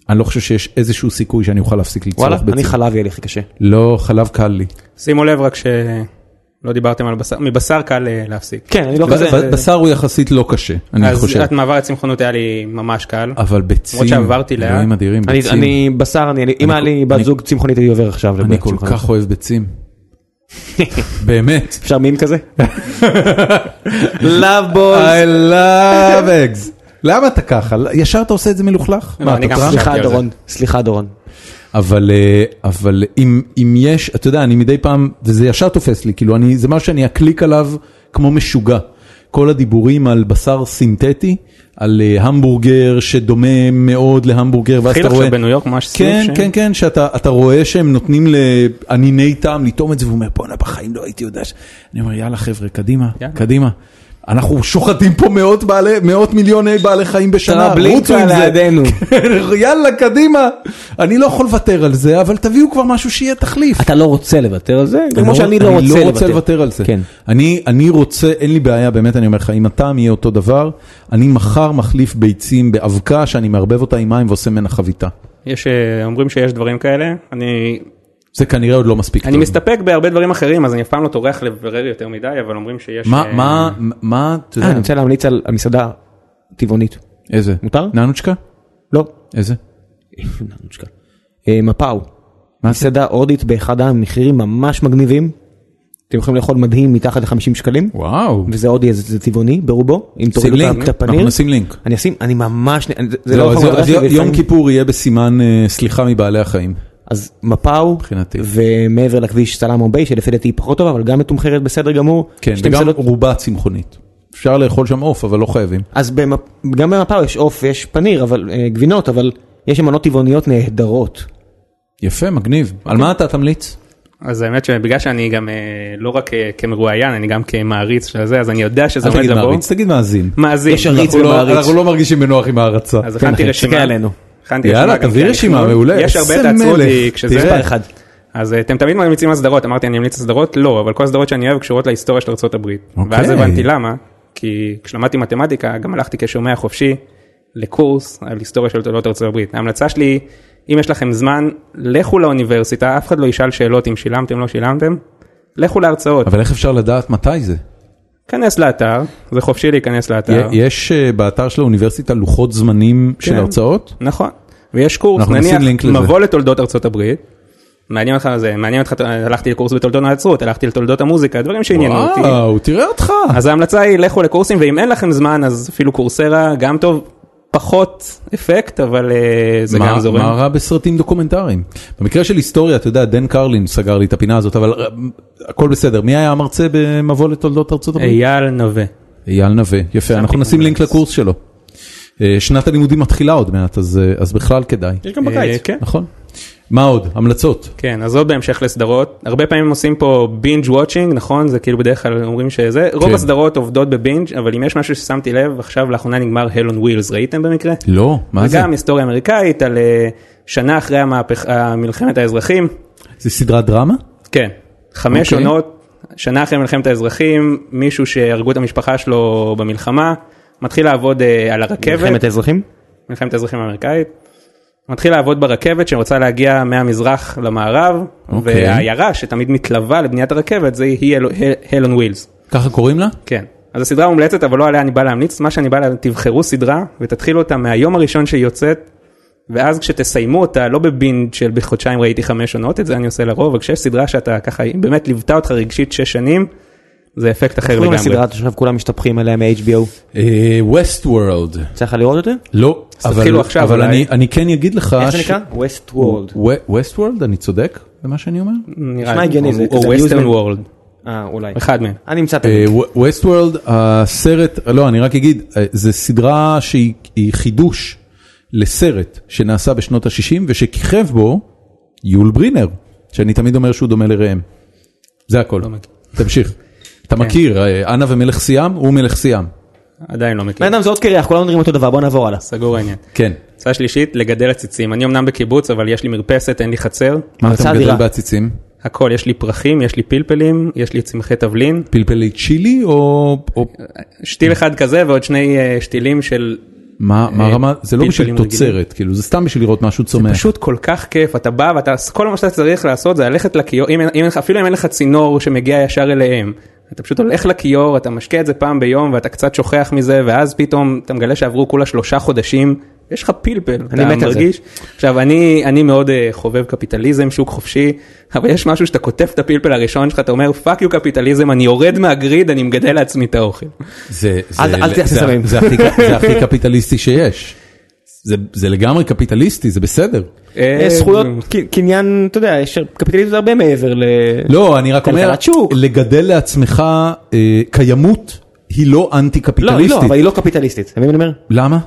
Speaker 1: אני לא חושב שיש איזשהו סיכוי שאני אוכל להפסיק לצרוך
Speaker 2: וואלה,
Speaker 1: ביצים.
Speaker 2: אני חלב יהיה לי הכי קשה.
Speaker 1: לא, חלב קל לי.
Speaker 3: שימו לב רק שלא דיברתם על בשר, מבשר קל אה, להפסיק.
Speaker 2: כן, אני לא כזה...
Speaker 1: ב- בשר הוא יחסית לא קשה, אני
Speaker 3: אז
Speaker 1: חושב.
Speaker 3: את מעבר לצמחונות היה לי ממש קל.
Speaker 1: אבל ביצים,
Speaker 3: למרות שעברתי לאט.
Speaker 1: אלוהים אדירים,
Speaker 2: אני,
Speaker 1: ביצים.
Speaker 2: אני בשר, אני, אם היה לי בת זוג צמחונית הייתי עובר עכשיו.
Speaker 1: אני
Speaker 2: לבת
Speaker 1: כל
Speaker 2: צמחונית.
Speaker 1: כך אוהב ביצים. באמת.
Speaker 2: אפשר מים כזה? לא לאב בוז.
Speaker 1: I love eggs. למה אתה ככה? ישר אתה עושה את זה מלוכלך?
Speaker 3: לא,
Speaker 1: מה,
Speaker 3: אני
Speaker 1: אתה
Speaker 3: גם
Speaker 1: טראמפ?
Speaker 3: חשבתי
Speaker 2: סליחה
Speaker 3: על זה.
Speaker 2: דורון, סליחה דורון.
Speaker 1: אבל אה, אבל אם אם יש אתה יודע אני מדי פעם וזה ישר תופס לי כאילו אני זה משהו שאני אקליק עליו כמו משוגע. כל הדיבורים על בשר סינתטי, על אה, המבורגר שדומה מאוד להמבורגר, ואז
Speaker 3: התחיל
Speaker 1: אתה
Speaker 3: עכשיו
Speaker 1: רואה...
Speaker 3: בניו יורק ממש סניף
Speaker 1: כן,
Speaker 3: שהם-
Speaker 1: כן, כן, שאתה אתה רואה שהם נותנים לעניני טעם לטעום את זה, והוא אומר, בואנה, בחיים לא הייתי יודע ש... אני אומר, יאללה חבר'ה, קדימה,
Speaker 3: יאללה."
Speaker 1: קדימה. אנחנו שוחטים פה מאות בעלי, מאות מיליוני בעלי חיים בשנה, רוצו עם זה. יאללה, קדימה. אני לא יכול לוותר על זה, אבל תביאו כבר משהו שיהיה תחליף.
Speaker 2: אתה לא רוצה לוותר על זה? כמו שאני לא
Speaker 1: אני
Speaker 2: רוצה
Speaker 1: לא רוצה לוותר על זה.
Speaker 2: כן.
Speaker 1: אני, אני רוצה, אין לי בעיה, באמת אני אומר לך, אם הטעם יהיה אותו דבר, אני מחר מחליף ביצים באבקה שאני מערבב אותה עם מים ועושה ממנה חביתה.
Speaker 3: יש, אה, אומרים שיש דברים כאלה, אני,
Speaker 1: זה כנראה עוד לא מספיק
Speaker 3: אני
Speaker 1: טוב.
Speaker 3: מסתפק בהרבה דברים אחרים אז אני אף פעם לא טורח לברר יותר מדי אבל אומרים שיש...
Speaker 1: מה,
Speaker 3: אה,
Speaker 1: מה, מה, אתה
Speaker 2: אה, אני
Speaker 1: יודע,
Speaker 2: רוצה להמליץ על על מסעדה טבעונית.
Speaker 1: איזה?
Speaker 2: מותר?
Speaker 1: ננוצ'קה?
Speaker 2: לא.
Speaker 1: איזה?
Speaker 2: ננוצ'קה. אה, מפאו. מסעדה הודית באחד המחירים ממש מגניבים. אתם יכולים לאכול מדהים מתחת ל-50 שקלים.
Speaker 1: וואו.
Speaker 2: וזה הודי, אז זה טבעוני ברובו. אם
Speaker 1: שים
Speaker 2: תורידו
Speaker 1: לינק,
Speaker 2: את
Speaker 1: אנחנו
Speaker 2: הפניר.
Speaker 1: נשים לינק.
Speaker 2: אני אשים, אני ממש, אני- זה- זה
Speaker 1: לא,
Speaker 2: לא
Speaker 1: אז-
Speaker 2: יכול
Speaker 1: אז יום- יום כיפור יהיה בסימן אה, סליחה מבעלי החיים.
Speaker 2: אז מפאו,
Speaker 1: מבחינתי.
Speaker 2: ומעבר לכביש סלאם ביי שלפי דעתי היא פחות טובה, אבל גם מתומחרת בסדר גמור.
Speaker 1: כן,
Speaker 2: שתי
Speaker 1: וגם
Speaker 2: מסעדות-
Speaker 1: רובה צמחונית. אפשר לאכול שם עוף, אבל לא חייבים.
Speaker 2: אז במפ... גם במפאו יש עוף ויש פניר, אבל אה, גבינות, אבל יש שם מנות טבעוניות נהדרות.
Speaker 1: יפה, מגניב. על מה אתה תמליץ?
Speaker 3: אז האמת שבגלל שאני גם אה, לא רק אה, כמרואיין אני גם כמעריץ של זה אז אני יודע שזה
Speaker 1: אל
Speaker 3: עומד
Speaker 1: תגיד
Speaker 3: לבוא.
Speaker 1: מעריץ, תגיד מאזין.
Speaker 3: מאזין.
Speaker 2: יש עריץ
Speaker 3: אנחנו לא-
Speaker 2: ומעריץ.
Speaker 1: אנחנו לא מרגישים בנוח עם ההערצה.
Speaker 3: אז
Speaker 2: כן,
Speaker 3: הכנתי
Speaker 2: אחי,
Speaker 3: רשימה.
Speaker 2: תסתכל עלינו.
Speaker 3: הכנתי
Speaker 1: יאללה,
Speaker 3: גם
Speaker 1: תביא
Speaker 3: כאן.
Speaker 1: רשימה, מעולה.
Speaker 3: יש הרבה
Speaker 1: איזה
Speaker 3: תעצרו
Speaker 1: מלך.
Speaker 3: אותי כשזה...
Speaker 2: מספר אחד.
Speaker 3: אז אה, אתם תמיד ממליצים על סדרות, אמרתי אני אמליץ על סדרות, לא, אבל כל הסדרות שאני אוהב קשורות להיסטוריה של ארה"ב.
Speaker 1: אוקיי.
Speaker 3: ואז הבנתי למה, כי כשלמדתי מתמטיקה גם הלכתי כשומע חופשי לקורס על היסטוריה של תולדות ארה"ב. ההמלצה שלי, אם יש לכם זמן, לכו לאוניברסיטה, אף אחד לא ישאל שאלות אם שילמתם, לא שילמתם, לכו להרצאות.
Speaker 1: אבל איך אפשר לדעת מתי זה?
Speaker 3: כנס לאתר, זה חופשי להיכנס לאתר.
Speaker 1: י- יש אה, באתר של האוניברסיטה לוחות זמנים של
Speaker 3: כן.
Speaker 1: הרצאות?
Speaker 3: נכון. ויש קורס,
Speaker 1: אנחנו נשים
Speaker 3: נניח,
Speaker 1: לינק לזה.
Speaker 3: מבוא לתולדות ארצות הברית. מעניין אותך זה, מעניין אותך, הלכתי לקורס בתולדות הנצרות, הלכתי לתולדות המוזיקה, דברים שעניינו אותי.
Speaker 1: וואו, תראה אותך.
Speaker 3: אז ההמלצה היא לכו לקורסים, ואם אין לכם זמן אז אפילו קורסרה גם טוב. פחות אפקט, אבל אה, זה
Speaker 1: מה-
Speaker 3: גם זורם.
Speaker 1: מה רע בסרטים דוקומנטריים? במקרה של היסטוריה, אתה יודע, דן קרלין סגר לי את הפינה הזאת, אבל אה, הכל בסדר. מי היה המרצה במבוא לתולדות ארצות הברית?
Speaker 3: אייל נווה.
Speaker 1: אייל נווה, יפה, אנחנו
Speaker 3: שמתי
Speaker 1: נשים לינק
Speaker 3: קומץ.
Speaker 1: לקורס שלו. אה, שנת הלימודים מתחילה עוד מעט, אז אה, אז בכלל כדאי.
Speaker 3: יש גם
Speaker 1: אה,
Speaker 3: בקיץ.
Speaker 1: כן. נכון. מה עוד? המלצות.
Speaker 3: כן, אז עוד בהמשך לסדרות, הרבה פעמים עושים פה בינג' וואצ'ינג, נכון? זה כאילו בדרך כלל אומרים שזה, רוב
Speaker 1: כן.
Speaker 3: הסדרות עובדות בבינג', אבל אם יש משהו ששמתי לב, עכשיו לאחרונה נגמר הל און ווילס, ראיתם במקרה?
Speaker 1: לא, מה זה?
Speaker 3: וגם היסטוריה אמריקאית על אה, שנה אחרי המהפכ- אה, מלחמת האזרחים,
Speaker 1: זה סדרת דרמה?
Speaker 3: כן, חמש
Speaker 1: אוקיי.
Speaker 3: עונות, שנה אחרי מלחמת האזרחים, מישהו שהרגו את המשפחה שלו במלחמה, מתחיל לעבוד אה, על הרכבת,
Speaker 2: מלחמת האזרחים?
Speaker 3: מלחמת האזרחים האמריקאית. מתחיל לעבוד ברכבת שרוצה להגיע מהמזרח למערב,
Speaker 1: אוקיי.
Speaker 3: והעיירה שתמיד מתלווה לבניית הרכבת זה היא הלון ווילס.
Speaker 1: ככה קוראים לה?
Speaker 3: כן. אז הסדרה מומלצת אבל לא עליה אני בא להמליץ, מה שאני בא לה, תבחרו סדרה ותתחילו אותה מהיום הראשון שהיא יוצאת, ואז כשתסיימו אותה, לא בבינד של בחודשיים ראיתי חמש עונות, את זה אני עושה לרוב, אבל כשיש סדרה שאתה ככה, היא באמת ליוותה אותך רגשית שש שנים, זה אפקט אחר
Speaker 2: קוראים
Speaker 3: לגמרי.
Speaker 2: לסדרה שעכשיו כולם משתפכים עליה מ-HBO.
Speaker 1: אה, ווסט וורלד.
Speaker 2: צריך לראות את זה?
Speaker 1: לא,
Speaker 3: אז
Speaker 1: אבל
Speaker 3: תתחילו עכשיו
Speaker 1: אבל
Speaker 3: אולי.
Speaker 1: אני- אני כן אגיד לך...
Speaker 2: איך זה נקרא? West World.
Speaker 1: ווסט וורלד? אני צודק במה שאני אומר?
Speaker 3: נראה
Speaker 2: נשמע הגיוני, זה
Speaker 3: או
Speaker 2: כזה
Speaker 3: ווסטרן
Speaker 2: amusement.
Speaker 3: וורלד,
Speaker 2: אה, אולי.
Speaker 3: אחד מהם.
Speaker 2: אני אמצא
Speaker 1: אה,
Speaker 2: את הלינק.
Speaker 1: ווסט וורלד, הסרט, לא, אני רק אגיד, אה, זה סדרה שהיא היא חידוש לסרט שנעשה בשנות ה-60 ושכיכב בו יול ברינר, שאני תמיד אומר שהוא דומה לראם. זה הכל.
Speaker 3: מכיר.
Speaker 1: תמשיך.
Speaker 3: כן.
Speaker 1: אתה מכיר, אה, אנה ומלך סיאם, הוא מלך סיאם.
Speaker 3: עדיין לא מכיר.
Speaker 2: בן אדם זה עוד קרח, כולם אומרים אותו דבר, בוא נעבור הלאה.
Speaker 3: סגור העניין.
Speaker 1: כן.
Speaker 3: הצעה שלישית, לגדל עציצים. אני אמנם בקיבוץ, אבל יש לי מרפסת, אין לי חצר.
Speaker 1: מה
Speaker 2: הרצאה
Speaker 1: אתה מגדל
Speaker 2: אדירה.
Speaker 1: בעציצים?
Speaker 3: הכל, יש לי פרחים, יש לי פלפלים, יש לי צמחי תבלין.
Speaker 1: פלפלי צ'ילי או... או-
Speaker 3: שתיל אחד כזה ועוד שני אה, שתילים של...
Speaker 1: מה מה
Speaker 3: אה,
Speaker 1: הרמה? זה לא בשביל
Speaker 3: פלפלים רגילים.
Speaker 1: תוצרת, כאילו, זה סתם בשביל לראות משהו צומח.
Speaker 3: פשוט כל כך כיף, אתה בא ואתה, כל מה שאתה צריך לעשות זה ללכת לכיור, אם, אין- אם, אין לך- אפילו אם אין לך צינור שמגיע ישר אליהם. אתה פשוט הולך לכיור, אתה משקיע את זה פעם ביום ואתה קצת שוכח מזה, ואז פתאום אתה מגלה שעברו כולה שלושה חודשים, יש לך פלפל, אתה
Speaker 2: מת על זה.
Speaker 3: מרגיש. עכשיו אני, אני מאוד אה, חובב קפיטליזם, שוק חופשי, אבל יש משהו שאתה קוטף את הפלפל הראשון שלך, אתה אומר פאק יו קפיטליזם, אני יורד מהגריד, אני מגדל לעצמי את האוכל.
Speaker 1: זה, זה,
Speaker 2: אל- אל תעשה
Speaker 1: זה-
Speaker 2: סמים.
Speaker 1: זה הכי- זה הכי קפיטליסטי שיש. זה, זה לגמרי קפיטליסטי, זה בסדר.
Speaker 3: אה,
Speaker 2: יש זכויות ק- קניין, אתה יודע, יש קפיטליזם זה הרבה מעבר ל...
Speaker 1: לא, אני רק אומר,
Speaker 2: כלכלת שוק.
Speaker 1: לגדל לעצמך אה, קיימות היא לא אנטי
Speaker 2: לא, היא
Speaker 1: קפיטליסטית.
Speaker 2: לא, אבל היא לא קפיטליסטית, אתה מבין מה אני אומר?
Speaker 1: למה?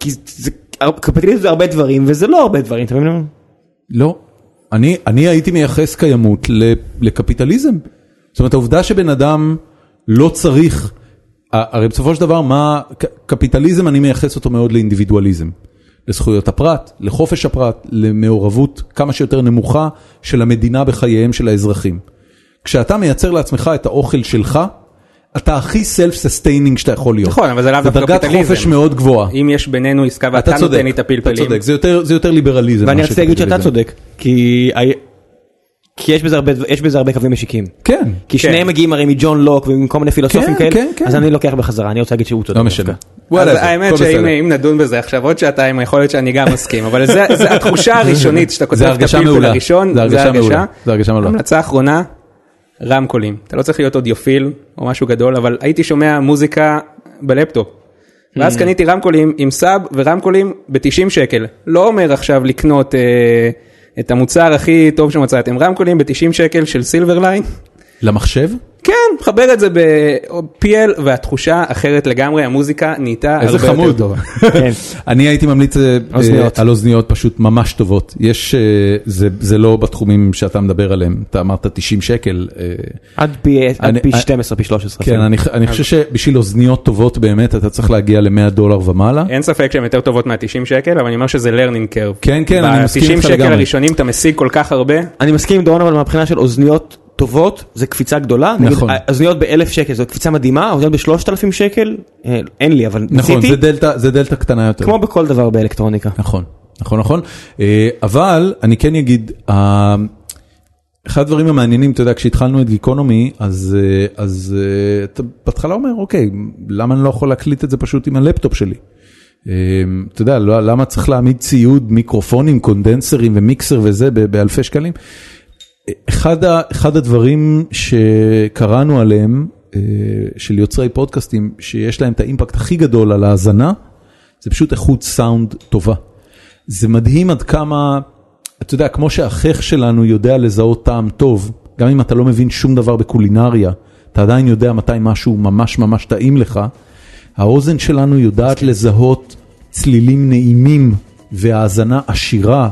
Speaker 2: כי זה- קפיטליזם זה הרבה דברים וזה לא הרבה דברים, אתה מבין מה אני אומר?
Speaker 1: לא. אני, אני הייתי מייחס קיימות ל, לקפיטליזם. זאת אומרת, העובדה שבן אדם לא צריך, ה- הרי בסופו של דבר, מה, ק- קפיטליזם, אני מייחס אותו מאוד לאינדיבידואליזם. לזכויות הפרט, לחופש הפרט, למעורבות כמה שיותר נמוכה של המדינה בחייהם של האזרחים. כשאתה מייצר לעצמך את האוכל שלך, אתה הכי self-sustaining שאתה יכול להיות.
Speaker 3: נכון, אבל זה לאו דווקא
Speaker 1: זו דרגת
Speaker 3: קפיטליזם.
Speaker 1: חופש מאוד גבוהה.
Speaker 3: אם יש בינינו עסקה ואתה
Speaker 1: אתה צודק,
Speaker 3: נותן לי את
Speaker 1: אתה
Speaker 3: הפלפלים.
Speaker 1: צודק, זה יותר, זה יותר ליברליזם.
Speaker 2: ואני
Speaker 1: מאשר
Speaker 2: רציתי להגיד שאתה
Speaker 1: קפיטליזם.
Speaker 2: צודק, כי ה- כי יש בזה הרבה דבר- יש בזה הרבה קווים משיקים.
Speaker 1: כן.
Speaker 2: כי
Speaker 3: כן.
Speaker 2: שניהם מגיעים הרי מג'ון לוק ומכל מיני פילוסופים
Speaker 1: כן,
Speaker 2: כאלה,
Speaker 1: כן, כן.
Speaker 2: אז אני לוקח בחזרה, אני רוצה להגיד שהוא צודק.
Speaker 1: לא משנה.
Speaker 2: דווקא.
Speaker 1: וואלה,
Speaker 3: אז
Speaker 1: זה,
Speaker 3: האמת
Speaker 1: הכל
Speaker 3: שאם
Speaker 1: בסדר.
Speaker 3: אם נדון בזה עכשיו עוד שעתיים יכול להיות שאני גם מסכים אבל זה, זה התחושה הראשונית שאתה כותב
Speaker 1: זה
Speaker 3: את
Speaker 1: הרגשה
Speaker 3: הפלפל
Speaker 1: מעולה.
Speaker 3: הראשון
Speaker 1: זה הרגשה מעולה. זה הרגשה מעולה.
Speaker 3: המלצה אחרונה רמקולים אתה לא צריך להיות אודיופיל או משהו גדול אבל הייתי שומע מוזיקה בלפטופ. ואז קניתי רמקולים עם סאב ורמקולים ב-90 שקל לא אומר עכשיו לקנות אה, את המוצר הכי טוב שמצאתם רמקולים ב-90 שקל של סילברליין
Speaker 1: למחשב?
Speaker 3: כן, חבר את זה ב-PL והתחושה אחרת לגמרי, המוזיקה נהייתה הרבה
Speaker 1: איזה
Speaker 3: יותר
Speaker 1: אה, חמוד.
Speaker 3: טובה.
Speaker 2: כן.
Speaker 1: אני הייתי ממליץ אה,
Speaker 2: אוזניות.
Speaker 1: אה, על אוזניות פשוט ממש טובות. יש, אה, זה זה לא בתחומים שאתה מדבר עליהם, אתה אמרת 90 שקל. אה,
Speaker 2: עד פי עד
Speaker 1: אני-
Speaker 2: פי
Speaker 1: אני-
Speaker 2: 12, פי 13.
Speaker 1: כן,
Speaker 2: אפילו.
Speaker 1: אני אני חושב שבשביל אוזניות טובות באמת אתה צריך להגיע ל-100 דולר ומעלה.
Speaker 3: אין ספק שהן יותר טובות מה-90 שקל, אבל אני אומר שזה learning curve.
Speaker 1: כן, כן, אני מסכים איתך
Speaker 3: ב-90 שקל
Speaker 1: לגמרי.
Speaker 3: הראשונים אתה משיג כל כך הרבה,
Speaker 2: אני מסכים עם דורון אבל מהבחינה של אוזניות טובות זה קפיצה גדולה. נגיד, אה,
Speaker 1: נכון.
Speaker 2: אוזניות באלף שקל זו קפיצה מדהימה, אוזניות בשלושת אלפים שקל אה, אין לי אבל
Speaker 1: נכון, זה
Speaker 2: ניסיתי,
Speaker 1: דלתא- זה דלתא קטנה יותר.
Speaker 2: כמו בכל דבר באלקטרוניקה.
Speaker 1: נכון, נכון, נכון. אה, אבל אני כן אגיד, אה, אחד הדברים המעניינים, אתה יודע, כשהתחלנו את גיקונומי, אז, אה, אז אה, אתה בהתחלה אומר, אוקיי, למה אני לא יכול להקליט את זה פשוט עם הלפטופ שלי? אה, אתה יודע, לא- למה צריך להעמיד ציוד, מיקרופונים, קונדנסרים ומיקסר וזה ב- באלפי שקלים? אה, אחד, ה, אחד הדברים שקראנו עליהם, אה, של יוצרי פודקאסטים, שיש להם את האימפקט הכי גדול על ההאזנה, זה פשוט איכות סאונד טובה. זה מדהים עד כמה, אתה יודע, כמו שהחייך שלנו יודע לזהות טעם טוב, גם אם אתה לא מבין שום דבר בקולינריה, אתה עדיין יודע מתי משהו ממש ממש טעים לך, האוזן שלנו יודעת לזהות צלילים נעימים והאזנה עשירה,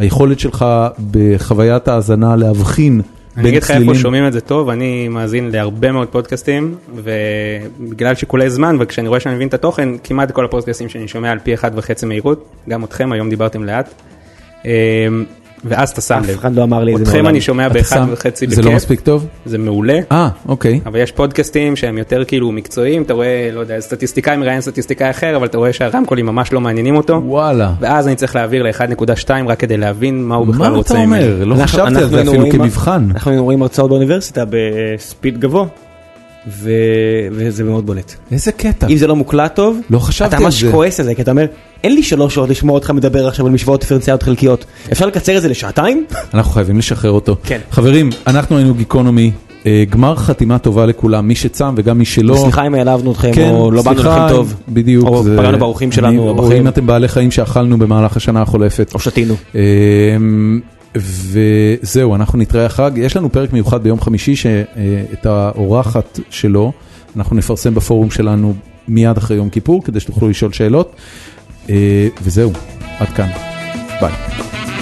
Speaker 1: והיכולת שלך בחוויית האזנה להבחין
Speaker 3: אני אגיד לך איפה שומעים את זה טוב, אני מאזין להרבה מאוד פודקאסטים, ובגלל שיקולי זמן, וכשאני רואה שאני מבין את התוכן, כמעט כל הפודקאסטים שאני שומע על פי אחד וחצי מהירות, גם אתכם, היום דיברתם לאט. אמ, ואז אתה שם
Speaker 2: אף
Speaker 3: לב.
Speaker 2: אחד לא אמר לי את זה
Speaker 3: אתכם
Speaker 2: מעולם.
Speaker 3: אני שומע
Speaker 1: אתה
Speaker 3: באחד
Speaker 1: שם-
Speaker 3: וחצי
Speaker 1: זה לא
Speaker 3: בכיף,
Speaker 1: מספיק טוב?
Speaker 3: זה מעולה.
Speaker 1: אה, אוקיי.
Speaker 3: אבל יש פודקאסטים שהם יותר כאילו מקצועיים, אתה רואה, לא יודע, סטטיסטיקאי מראיין סטטיסטיקאי אחר, אבל אתה רואה שהרמקולים ממש לא מעניינים אותו,
Speaker 1: וואלה.
Speaker 3: ואז אני צריך להעביר ל-1.2 רק כדי להבין מה הוא בכלל
Speaker 1: מה אתה
Speaker 3: רוצה ממני.
Speaker 1: אומר? לא
Speaker 2: אנחנו-
Speaker 1: חשבתי על
Speaker 2: אנחנו
Speaker 1: זה
Speaker 2: היינו
Speaker 1: אפילו
Speaker 2: רואים-
Speaker 1: כמבחן.
Speaker 2: אנחנו היינו רואים הרצאות באוניברסיטה בספיד גבוה, ו... וזה מאוד בולט.
Speaker 1: איזה קטע.
Speaker 2: אם זה לא מוקלט טוב,
Speaker 1: לא חשבתי
Speaker 2: אתה
Speaker 1: על
Speaker 2: ממש
Speaker 1: זה.
Speaker 2: כועס על זה, כי אתה אומר, אין לי שלוש שעות לשמוע אותך מדבר עכשיו על משוואות דיפרנציאליות חלקיות. אפשר לקצר את זה לשעתיים?
Speaker 1: אנחנו חייבים לשחרר אותו.
Speaker 2: כן.
Speaker 1: חברים, אנחנו היינו גיקונומי. אה, גמר חתימה טובה לכולם, מי שצם וגם מי שלא.
Speaker 2: סליחה אם העלבנו אתכם,
Speaker 1: כן,
Speaker 2: או לא באנו
Speaker 1: סליחה,
Speaker 2: לכם טוב.
Speaker 1: בדיוק.
Speaker 2: או
Speaker 1: זה-
Speaker 2: פגענו באורחים שלנו,
Speaker 1: אני-
Speaker 2: או
Speaker 1: או
Speaker 2: בחיים,
Speaker 1: אם אתם בעלי חיים שאכלנו במהלך השנה החולפת.
Speaker 2: או שתינו.
Speaker 1: אמ, וזהו, אנחנו נתראה החג. יש לנו פרק מיוחד ביום חמישי, שאת האורחת שלו, אנחנו נפרסם בפורום שלנו מיד אחרי יום כיפור, כדי שתוכלו לשאול שאלות. אה, וזהו, עד כאן. ביי.